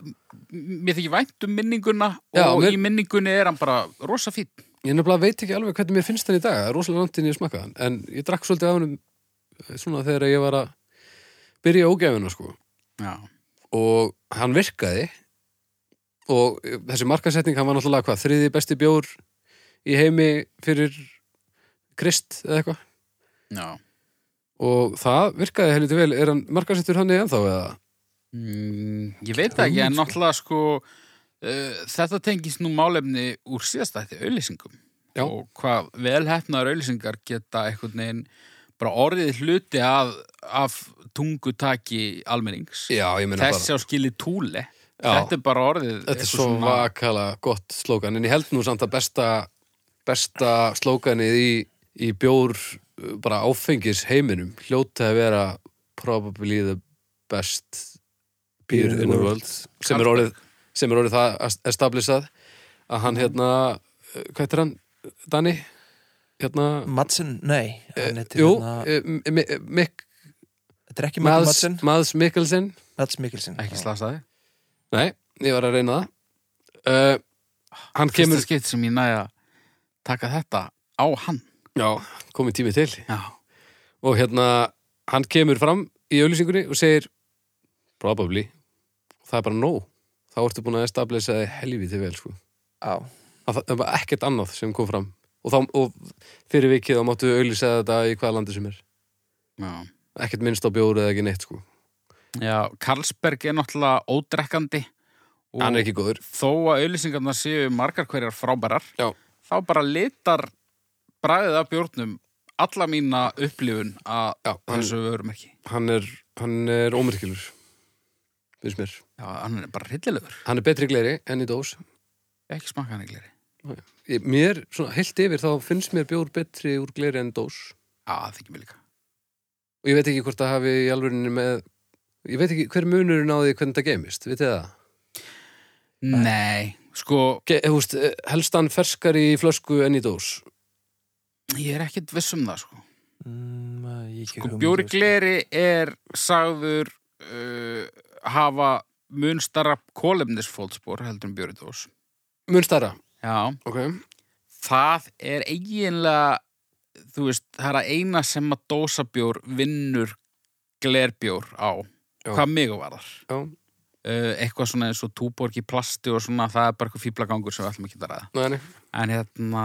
Speaker 2: mér þykir vænt um minninguna
Speaker 1: Já,
Speaker 2: og
Speaker 1: mér-
Speaker 2: í minningunni er hann bara rosa fín
Speaker 1: Ég nefnilega veit ekki alveg hvernig mér finnst hann í dag, það er rosalega langt inn í að smakka hann, en ég drakk svolítið af hann svona þegar ég var að byrja ógæfina, sko.
Speaker 2: Já,
Speaker 1: og hann virkaði og þessi markasetning hann var náttúrulega hvað, þriði besti bjór í heimi fyrir krist eða eitthvað
Speaker 2: já
Speaker 1: og það virkaði helviti vel, er hann markasettur hann ennþá eða?
Speaker 2: mm, Ég veit það ekki, en náttúrulega sko uh, þetta tengist nú málefni úr síðastætti auðlýsingum
Speaker 1: Já.
Speaker 2: og hvað velhefnaðar auðlýsingar geta einhvern veginn bara orðið hluti af, af tungutaki almennings
Speaker 1: Já, ég meina
Speaker 2: þessi
Speaker 1: bara
Speaker 2: á skili túle
Speaker 1: Já.
Speaker 2: þetta er bara orðið
Speaker 1: þetta
Speaker 2: eitthvað
Speaker 1: er svo vakala gott slókan en ég held nú samt að besta besta slókanið í, í bjór uh, bara áfengis heiminum hljóti að vera probably the best beer in the world sem er orðið, sem er orðið það established að hann hérna uh, hvað heitir hann, Danny? hérna,
Speaker 3: Madsen, nei hann heitir
Speaker 1: jú
Speaker 3: hérna-
Speaker 1: eh, M- M- Mick
Speaker 3: Þetta er ekki Michael
Speaker 1: Mads,
Speaker 3: Madsen,
Speaker 1: Mads Mikkelsen
Speaker 3: Mads Mikkelsen
Speaker 2: ekki slasaði
Speaker 1: nei, ég var að reyna það uh, hann
Speaker 2: fyrsta
Speaker 1: kemur
Speaker 2: skipt sem ég næja taka þetta á hann
Speaker 1: já, komið tími til
Speaker 2: já,
Speaker 1: og hérna, hann kemur fram í auðlýsingunni og segir probably, það er bara no þá ertu búin að establisa þig helviti vel sko.
Speaker 3: Já,
Speaker 1: Að það það var ekkert annað sem kom fram og, þá, og fyrir vikið þá máttu auðlýsa þetta í hvaða landi sem er
Speaker 2: já.
Speaker 1: ekkert minnst á bjóru eða ekki neitt sko.
Speaker 2: já Karlsberg er náttúrulega ódrekkandi og
Speaker 1: hann er ekki góður
Speaker 2: þó að auðlýsingarnar séu margar hverjar frábærar
Speaker 1: Já.
Speaker 2: þá bara litar bræðið af bjórnum alla mína upplifun að
Speaker 1: Já, hann-
Speaker 2: þessu vörumerki
Speaker 1: hann er, hann er ómerkilur finnst mér
Speaker 2: já, hann er bara hryllilegur,
Speaker 1: hann er betri í gleri enn í dós
Speaker 2: ekki smakka hann í gleri
Speaker 1: Ég- mér, svona heilt yfir, þá finnst mér bjór betri úr gleri enn dós
Speaker 2: já, það þykir mér líka
Speaker 1: og ég veit ekki hvort það hafi í alvörinu með ég veit ekki hver munurinn á því hvernig það geimist vitið þið það?
Speaker 2: nei, sko,
Speaker 1: Ge, húst, helst hann ferskar í flösku en í dós
Speaker 2: ég er ekkit viss um það sko
Speaker 3: mm, ég ekki
Speaker 2: Sko,
Speaker 3: hugmynd,
Speaker 2: Bjóri
Speaker 3: veist.
Speaker 2: Gleri er sagður uh, hafa mun starra kólefnisfóldspor heldur en Bjóri Dós.
Speaker 1: mun starra
Speaker 2: Já.
Speaker 1: okay.
Speaker 2: Það er eiginlega, þú veist, það er að eina sem að dósabjór vinnur glerbjór á.
Speaker 1: Já.
Speaker 2: Hvað mig varðar.
Speaker 1: Já.
Speaker 2: Uh, eitthvað svona eins og túborg í plasti og svona, það er bara eitthvað fýblagangur sem við ætlum ekki að ræða.
Speaker 1: Nei, nei.
Speaker 2: En hérna,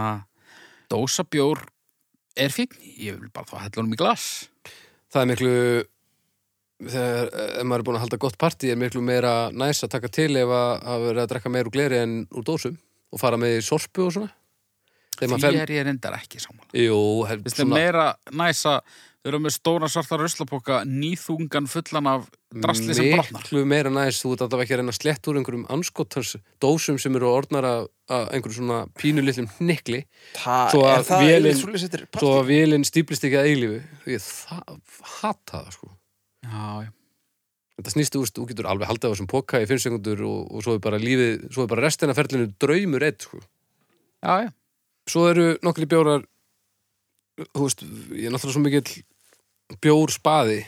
Speaker 2: dósabjór er fín. Ég vil bara þá hella honum í glas.
Speaker 1: það er miklu þegar eh, ef maður er búin að halda gott partí er miklu meira næs að taka til ef að hafa verið að drekka meira úr gleri en úr dósum og fara með í sorpu og svona þegar
Speaker 2: Því
Speaker 1: maður fer
Speaker 2: er ég reyndar ekki saman.
Speaker 1: Jú, hef,
Speaker 2: Vist,
Speaker 1: svona,
Speaker 2: meira næsa Við erum með stóra svarta ruslapoka, nýþungan fullan af drasli sem brotnar.
Speaker 1: Miklu meira næst, þú ert alltaf ekki að reyna að slett úr einhverjum anskotans dósum sem eru orðnar af, af einhverjum svona pínu litlum hnikli
Speaker 3: Það
Speaker 1: Svo að
Speaker 3: er það
Speaker 1: vélin-
Speaker 3: eilið svolítið settir
Speaker 1: svo að vélinn stíplist ekki að eilífu. Ég það, hata það, sko.
Speaker 2: Já, já.
Speaker 1: Þetta snýst, þú veist, þú getur alveg haldið á þessum poka í fimm sekundur og, og svo er bara lífið, svo er bara restina ferlinu draumur eitt, sko.
Speaker 2: Já, já.
Speaker 1: svo eru nokkri bjórar þú veist, ég er náttúrulega svo mikill bjór spaði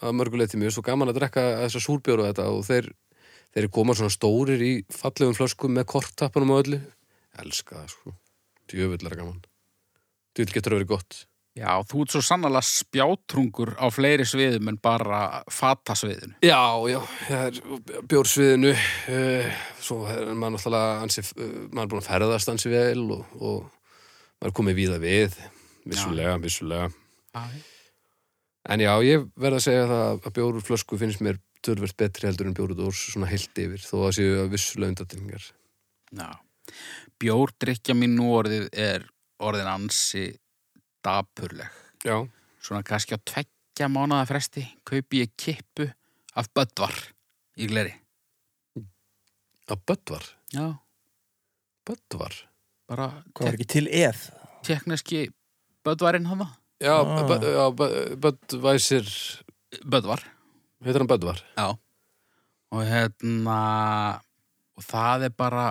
Speaker 1: að mörguleiti mjög, svo gaman að drekka þessa súrbjóru og þetta og þeir, þeir koma svona stórir í fallegum flöskum með korttappanum og öllu elska það sko, djöfull er það gaman djöfull getur að vera gott
Speaker 2: Já, þú ert svo sannlega spjátrungur á fleiri sviðum en bara fatasviðinu.
Speaker 1: já, já, það er bjórsviðinu uh, svo er maður náttúrulega ansi, uh, maður er búin að ferðast ansi vel og, og maður er komið víða við vissulega, vissulega
Speaker 2: Já, já.
Speaker 1: En já, ég verð að segja það að bjór úr flösku finnst mér törvert betri heldur en bjór úr dós svona heilt yfir, þó að séu að vissulega undatilningar.
Speaker 2: Já. Bjórdrykja mín nú orðið er orðin ansi dapurleg.
Speaker 1: Já.
Speaker 2: Svona kannski á tveggja mánada fresti kaupi ég kippu af böttvar í gleri.
Speaker 1: Að böttvar.
Speaker 2: Já.
Speaker 1: Böttvar.
Speaker 2: Bara
Speaker 3: Hvað var ekki til eð?
Speaker 2: tekneski böttvarinn hann það?
Speaker 1: Já,
Speaker 3: Ah.
Speaker 1: ah. böttvæsir,
Speaker 2: Böttvar.
Speaker 1: heitir hann böttvar?
Speaker 2: Já. Og hérna, og það er bara,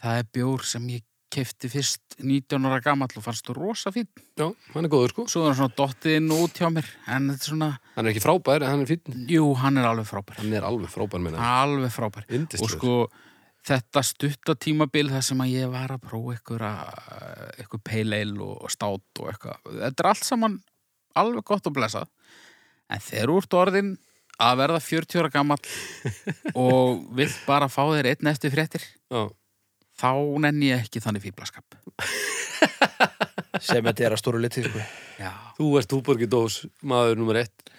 Speaker 2: það er bjór sem ég kefti fyrst 19 ára gamall og fannst þú rosa fín.
Speaker 1: Já, hann er góður sko.
Speaker 2: Svo er hann svona dottiðinn út hjá mér, en þetta er svona,
Speaker 1: Hann er ekki frábær, en hann er fínn.
Speaker 2: jú, hann er alveg frábær.
Speaker 1: Hann er alveg frábær, minna.
Speaker 2: alveg frábær og
Speaker 1: Yndislegur.
Speaker 2: sko þetta stutta tímabil þar sem að ég var að prófa ykkur að ykkur peileil og, og stát og eitthvað þetta er allt saman alveg gott að blessa en þeir úr orðin að verða 40 ára gamall
Speaker 1: [LAUGHS]
Speaker 2: og vilt bara fá þér einn eftir fréttir
Speaker 1: Já.
Speaker 2: þá nenni ég ekki þannig fýblaskap
Speaker 3: Sem þetta er að stóru liti sko.
Speaker 2: já,
Speaker 1: Þú ert Húborgi Dós, maður nummer ett.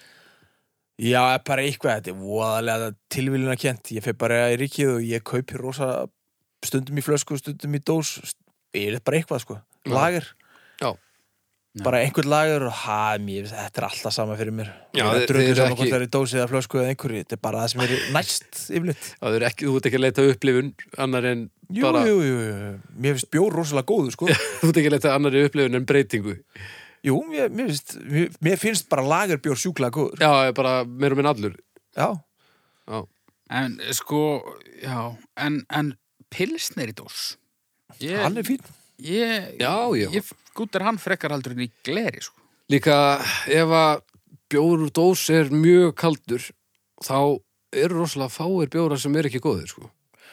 Speaker 3: Já, er bara eitthvað, þetta er voðalega tilvíluna kjent Ég fer bara í ríkið og ég kaupi rosa stundum í flösku, stundum í dós st- Ég er bara eitthvað sko,
Speaker 1: Já.
Speaker 3: lager
Speaker 1: Já.
Speaker 3: Bara einhvern lager og ha, mér, þetta er alltaf sama fyrir mér
Speaker 1: Já, þið-
Speaker 3: Ég er að
Speaker 1: þið
Speaker 3: drukka
Speaker 1: eru
Speaker 3: saman hvort
Speaker 1: ekki-
Speaker 3: það er í dós eða flösku eða einhverju Þetta er bara það sem er í- næst yfirleitt
Speaker 1: Það er ekki, þú ert ekki að leita að upplifun annar en
Speaker 3: Jú,
Speaker 1: bara,
Speaker 3: jú, jú, jú, mér finnst bjór rosalega góður sko
Speaker 1: þú ert ekki að leita að annari upplifun en breytingu.
Speaker 3: Jú, mér, mér, finnst, mér, mér finnst bara lager bjór sjúklega góður
Speaker 1: Já, ég bara meir og minn allur.
Speaker 3: Já,
Speaker 1: Já.
Speaker 2: en sko já, en, en pilsner í dós ég,
Speaker 3: hann er fín
Speaker 2: ég,
Speaker 1: Já, já.
Speaker 2: ég gúttir hann frekar heldur en í gleri sko.
Speaker 1: Líka ef að bjóður úr dós er mjög kaldur þá eru rosalega fáir bjóra sem er ekki góðir sko.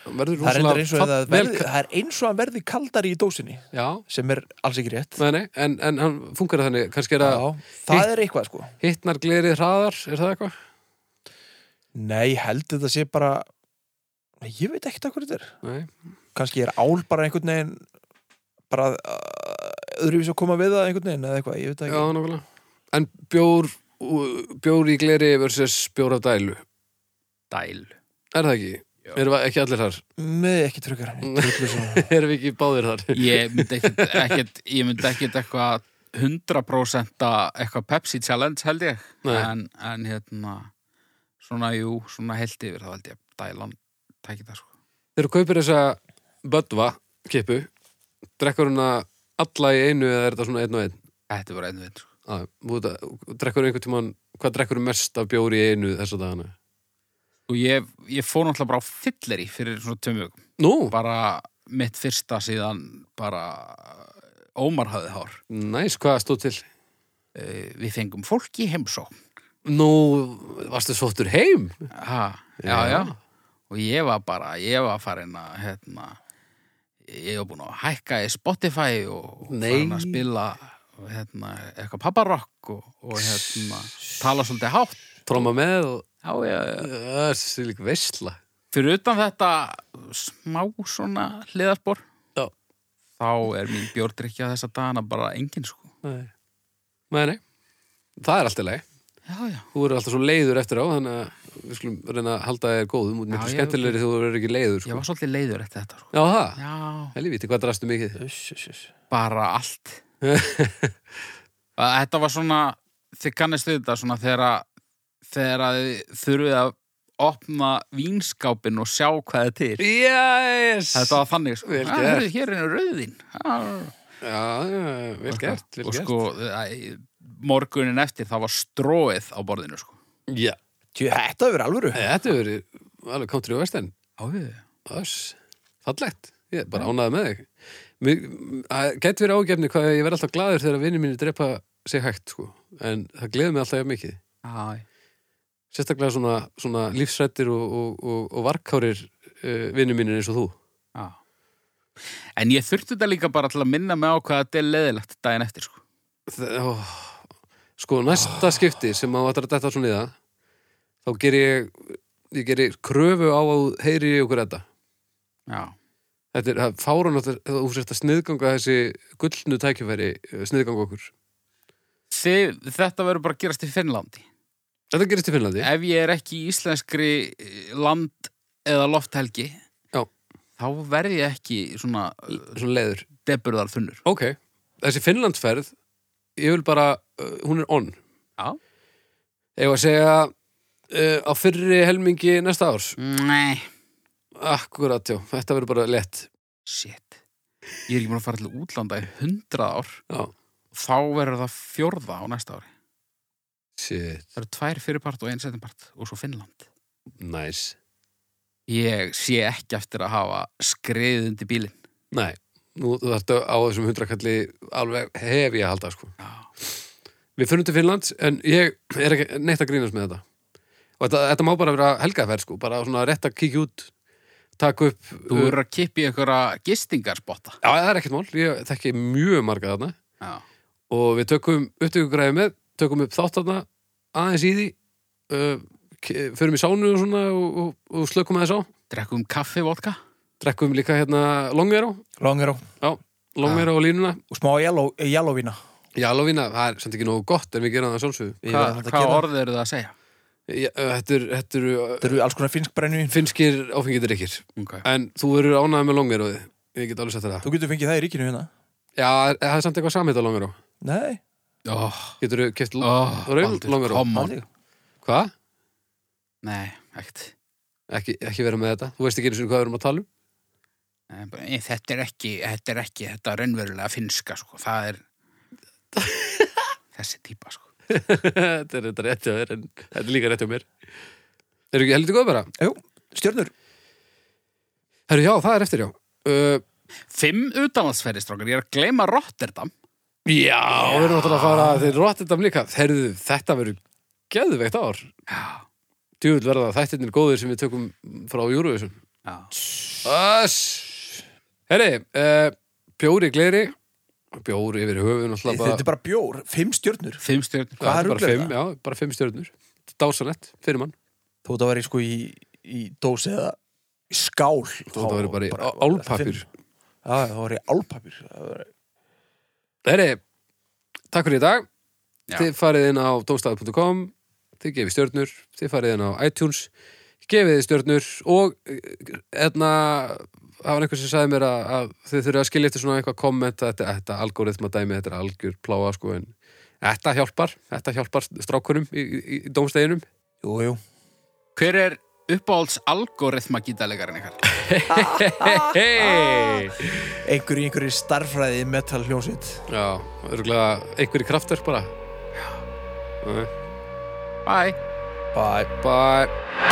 Speaker 1: Það verður
Speaker 3: Það er reyndar
Speaker 1: rosalega
Speaker 3: eins og að
Speaker 1: fall-
Speaker 3: það verði, það er eins og hann verði kaldari í dósinni
Speaker 1: Já,
Speaker 3: sem er alls ekki rétt
Speaker 1: nei, nei, en, en hann funkar þannig kannski er að
Speaker 3: Já, það er eitthvað sko
Speaker 1: hittnar glerið hraðar er það eitthvað?
Speaker 3: Nei, ég held þetta sé bara ég veit ekkert hvað þetta er
Speaker 1: Nei,
Speaker 3: kannski er ál bara einhvern veginn bara uh, öðruvís að koma við það einhvern veginn eða eitthvað, ég veit það
Speaker 1: já,
Speaker 3: ekki
Speaker 1: nákvæmlega En bjór, bjór í gleri versus bjór af dælu,
Speaker 2: dæl
Speaker 1: er það ekki?
Speaker 2: Já.
Speaker 1: Erum við ekki allir þar? [LAUGHS]
Speaker 3: Nei, ekki tryggar
Speaker 1: Erum við ekki báðir þar?
Speaker 2: ég myndi ekkit, ekkit, ég myndi ekkit eitthvað 100% eitthvað Pepsi Challenge held ég
Speaker 1: Nei.
Speaker 2: en, en hérna svona jú, svona heilt yfir þá held ég dælan, tæki það sko
Speaker 1: Þegar þú kaupir þessa bödva kippu, drekkur hún að alla í einu eða er þetta svona einn og einn?
Speaker 2: þetta er bara einu veit sko.
Speaker 1: að, Ah, þú veit að, drekkur einhvern tímann hvað drekkur mest af bjóri í einu þessa dagana?
Speaker 2: og ég, ég fór náttúrulega bara á fylleri fyrir svona tömjögum,
Speaker 1: Nú,
Speaker 2: bara mitt fyrsta síðan bara Ómar hafði hár
Speaker 1: næs, hvað stóð til?
Speaker 2: Eh, við fengum fólk í heimsó
Speaker 1: Nú, varstu svoftur heim?
Speaker 2: ha, já,
Speaker 1: Já.
Speaker 2: já, og ég var bara, ég var farin að hérna, ég var búin að hækka í Spotify og, og
Speaker 1: Nei.
Speaker 2: farin að spila hérna, eitthvað papparokk og, og hérna, tala svolítið hátt
Speaker 1: Tróma með og
Speaker 2: já, já, já.
Speaker 1: það er sér líka veistla
Speaker 2: fyrir utan þetta smá svona hliðarspor
Speaker 1: Já.
Speaker 2: þá er mín bjórdrykja þessa dagana bara engin sko
Speaker 1: Nei, nei, nei. það er allt í leið
Speaker 2: já, já,
Speaker 1: Þú eru alltaf svo leiður eftir á þannig að við skulum reyna að halda þér góðum út miklu
Speaker 2: Já, ég-
Speaker 1: skemmtilegri þegar þú eru ekki leiður
Speaker 2: ég
Speaker 1: sko.
Speaker 2: var svolítið leiður eftir þetta sko.
Speaker 1: Já, það,
Speaker 2: já,
Speaker 1: helvíti, hvað drastu mikið? [LAUGHS]
Speaker 3: Uss, uss, uss.
Speaker 2: bara allt Að þetta var svona þið kannast við þetta svona þegar að þegar að þið þurfið að opna vínskápin og sjá hvað er til
Speaker 1: Yes!
Speaker 2: þetta var þannig sko,
Speaker 1: Vel
Speaker 2: "Ah,
Speaker 1: gert."
Speaker 2: heyrðu, hér er einu rauðin ah.
Speaker 1: Já, já, vel gert, vel
Speaker 2: og
Speaker 1: gert.
Speaker 2: sko æ, morgunin eftir það var stróið á borðinu sko.
Speaker 1: Já,
Speaker 3: Tjú, þetta verður alvöru.
Speaker 1: þetta hefur verið alveg country og western. Þess, fallegt. Ég er bara ánaði með þig. Mér- Það Gæti verið ágefni hvað ég verð alltaf glaður þegar vinnir mínir drepa sig hægt, sko. En það gleður mig alltaf jafn mikið.
Speaker 2: Æ.
Speaker 1: Sérstaklega svona, svona lífsrættir og, og, og, og varkárir uh, vinnir mínir eins og þú.
Speaker 2: Já. En ég þurfti þetta líka bara til að minna mig á hvað þetta er leðilegt daginn eftir, sko.
Speaker 1: Þe- ó, Sko, næsta skipti sem maður ætlar að detta svona í það, þá ger ég, ég ger ég kröfu á að þú heyri í okkur þetta.
Speaker 2: Já.
Speaker 1: Þetta er það fáran að þú sérst að sniðganga þessi gullnu tækifæri, eh, sniðganga okkur.
Speaker 2: Þið, þetta verður bara að gerast í Finnlandi.
Speaker 1: Þetta gerist í Finnlandi.
Speaker 2: Ef ég er ekki í íslenskri eh, land- eða lofthelgi,
Speaker 1: Já.
Speaker 2: þá verð ég ekki svona
Speaker 1: Svona leiður.
Speaker 2: deburðar þunnur.
Speaker 1: Ok, þessi Finnlandsferð, ég vil bara, uh, hún er on.
Speaker 2: Já.
Speaker 1: Ég var að segja uh, á fyrri helmingi næsta árs.
Speaker 2: Nei,
Speaker 1: Akkurat, já, þetta verður bara lett.
Speaker 2: shit. Ég er ekki búin að fara til útlanda í hundrað ár.
Speaker 1: Já,
Speaker 2: Þá verður það fjórða á næsta ári.
Speaker 1: shit,
Speaker 2: Það eru tvær fyrirpart og einsettinpart og svo Finnland.
Speaker 1: nice.
Speaker 2: Ég sé ekki eftir að hafa skriðið undir bílinn.
Speaker 1: Nei, nú þú þarftu á þessum hundrakalli alveg hef ég að halda, sko.
Speaker 2: Já.
Speaker 1: Við fyrir til Finnlands, en ég er ekki neitt að grínast með þetta. Og þetta, þetta má bara vera helgaferð, sko, bara svona rétt að kíkja út, taka upp... uh,
Speaker 2: Þú verður að kippa í einhverja gistingarspotta.
Speaker 1: Já, það er ekkert mál, ég þekki mjög marga þarna.
Speaker 2: Já.
Speaker 1: og við tökum upptökugræði með tökum upp þátt þarna aðeins í því uh, ke- förum í sánu og svona og, og, og slökum aðeins á
Speaker 2: Drekkum kaffi, vodka.
Speaker 1: drekkum líka hérna longveró
Speaker 3: Longeró.
Speaker 1: já, longveró og línuna
Speaker 3: Og smá yellow- eh, yellowvína.
Speaker 1: jálóvína, það er samt ekki nógu gott en við gerum það að sjálfsögðu
Speaker 3: Við verðum
Speaker 2: Hva,
Speaker 3: þetta að
Speaker 2: hvað
Speaker 3: gera.
Speaker 2: orð eru það að segja?
Speaker 1: Já, uh, þetta eru- þetta eru
Speaker 3: Þetta
Speaker 1: uh,
Speaker 3: eru alls konar finnsk brennvín.
Speaker 1: finnskir áfengitir ykkir
Speaker 2: Okay.
Speaker 1: en þú verður ánægð með longveróði ég get alveg sett það
Speaker 3: Þú getur fengið það í ríkinu hérna.
Speaker 1: já, er- það er samt eitthvað samhitt á longveró
Speaker 3: Nei.
Speaker 2: Oh,
Speaker 1: getur þú keft
Speaker 2: oh,
Speaker 1: raun longveró
Speaker 2: come on.
Speaker 3: Aldrei.
Speaker 1: hvað?
Speaker 2: Nei, ekkert.
Speaker 1: Ekki, ekki vera með þetta, þú veist ekki einu sinni hvað við erum að tala um
Speaker 2: Nei, bara, nei, Þetta er ekki, þetta er ekki, þetta er raunverulega finnska, sko. Það er þessi típa, sko.
Speaker 1: þetta er þetta rétt hjá þér en þetta er líka rétt hjá mér Eru ekki heldur góð bara?
Speaker 3: Jú, stjörnur.
Speaker 1: Herru, já, það er eftir, já uh,
Speaker 2: Fimm utanlandsferðir, strókar. Ég er að gleyma Rotterdam.
Speaker 1: Já, við erum náttúrulega að fara til Rotterdam um líka Herru, þetta verður geðveikt ár
Speaker 2: Já.
Speaker 1: Djúvill verða þættirnir góðir sem við tökum frá Eurovision
Speaker 2: Já.
Speaker 1: Öss Herri, uh, bjóri gleri Bjóri yfir höfun alltaf
Speaker 3: Þetta er bara bjór. Fimm stjörnur.
Speaker 2: Fimm stjörnur.
Speaker 3: hvað
Speaker 1: Já, þetta
Speaker 3: er
Speaker 1: bara
Speaker 3: ruglið
Speaker 1: fimm, já, bara fimm stjörnur Dásanett, fyrir mann
Speaker 3: Þú þetta væri sko í, í dósi eða í skál.
Speaker 1: Þú þetta verður bara í á- álpappír.
Speaker 3: Fimm. Já, já, það væri í álpapir.
Speaker 1: Herri, takk fyrir í dag
Speaker 2: Já.
Speaker 1: Þið farið inn á domstafur.com Þið gefið stjörnur, þið farið inn á iTunes gefið þið stjörnur og eðna það var einhver sem sagði mér að, að þið þurfið að skilja eftir svona eitthvað komment þetta, þetta algoritma dæmi, þetta er algjör pláa sko en þetta hjálpar, þetta hjálpar strákunum í, í, í domsteginum
Speaker 3: Jú, jú.
Speaker 2: Hver er uppáhalds algoritma gítalegarinn ykkar?
Speaker 1: Hei!
Speaker 3: Einhver í einhverju starfræði metal hljómsveit.
Speaker 1: Já, örgulega einhverjir kraftverk bara
Speaker 2: Bye!
Speaker 3: Bye.
Speaker 1: Bye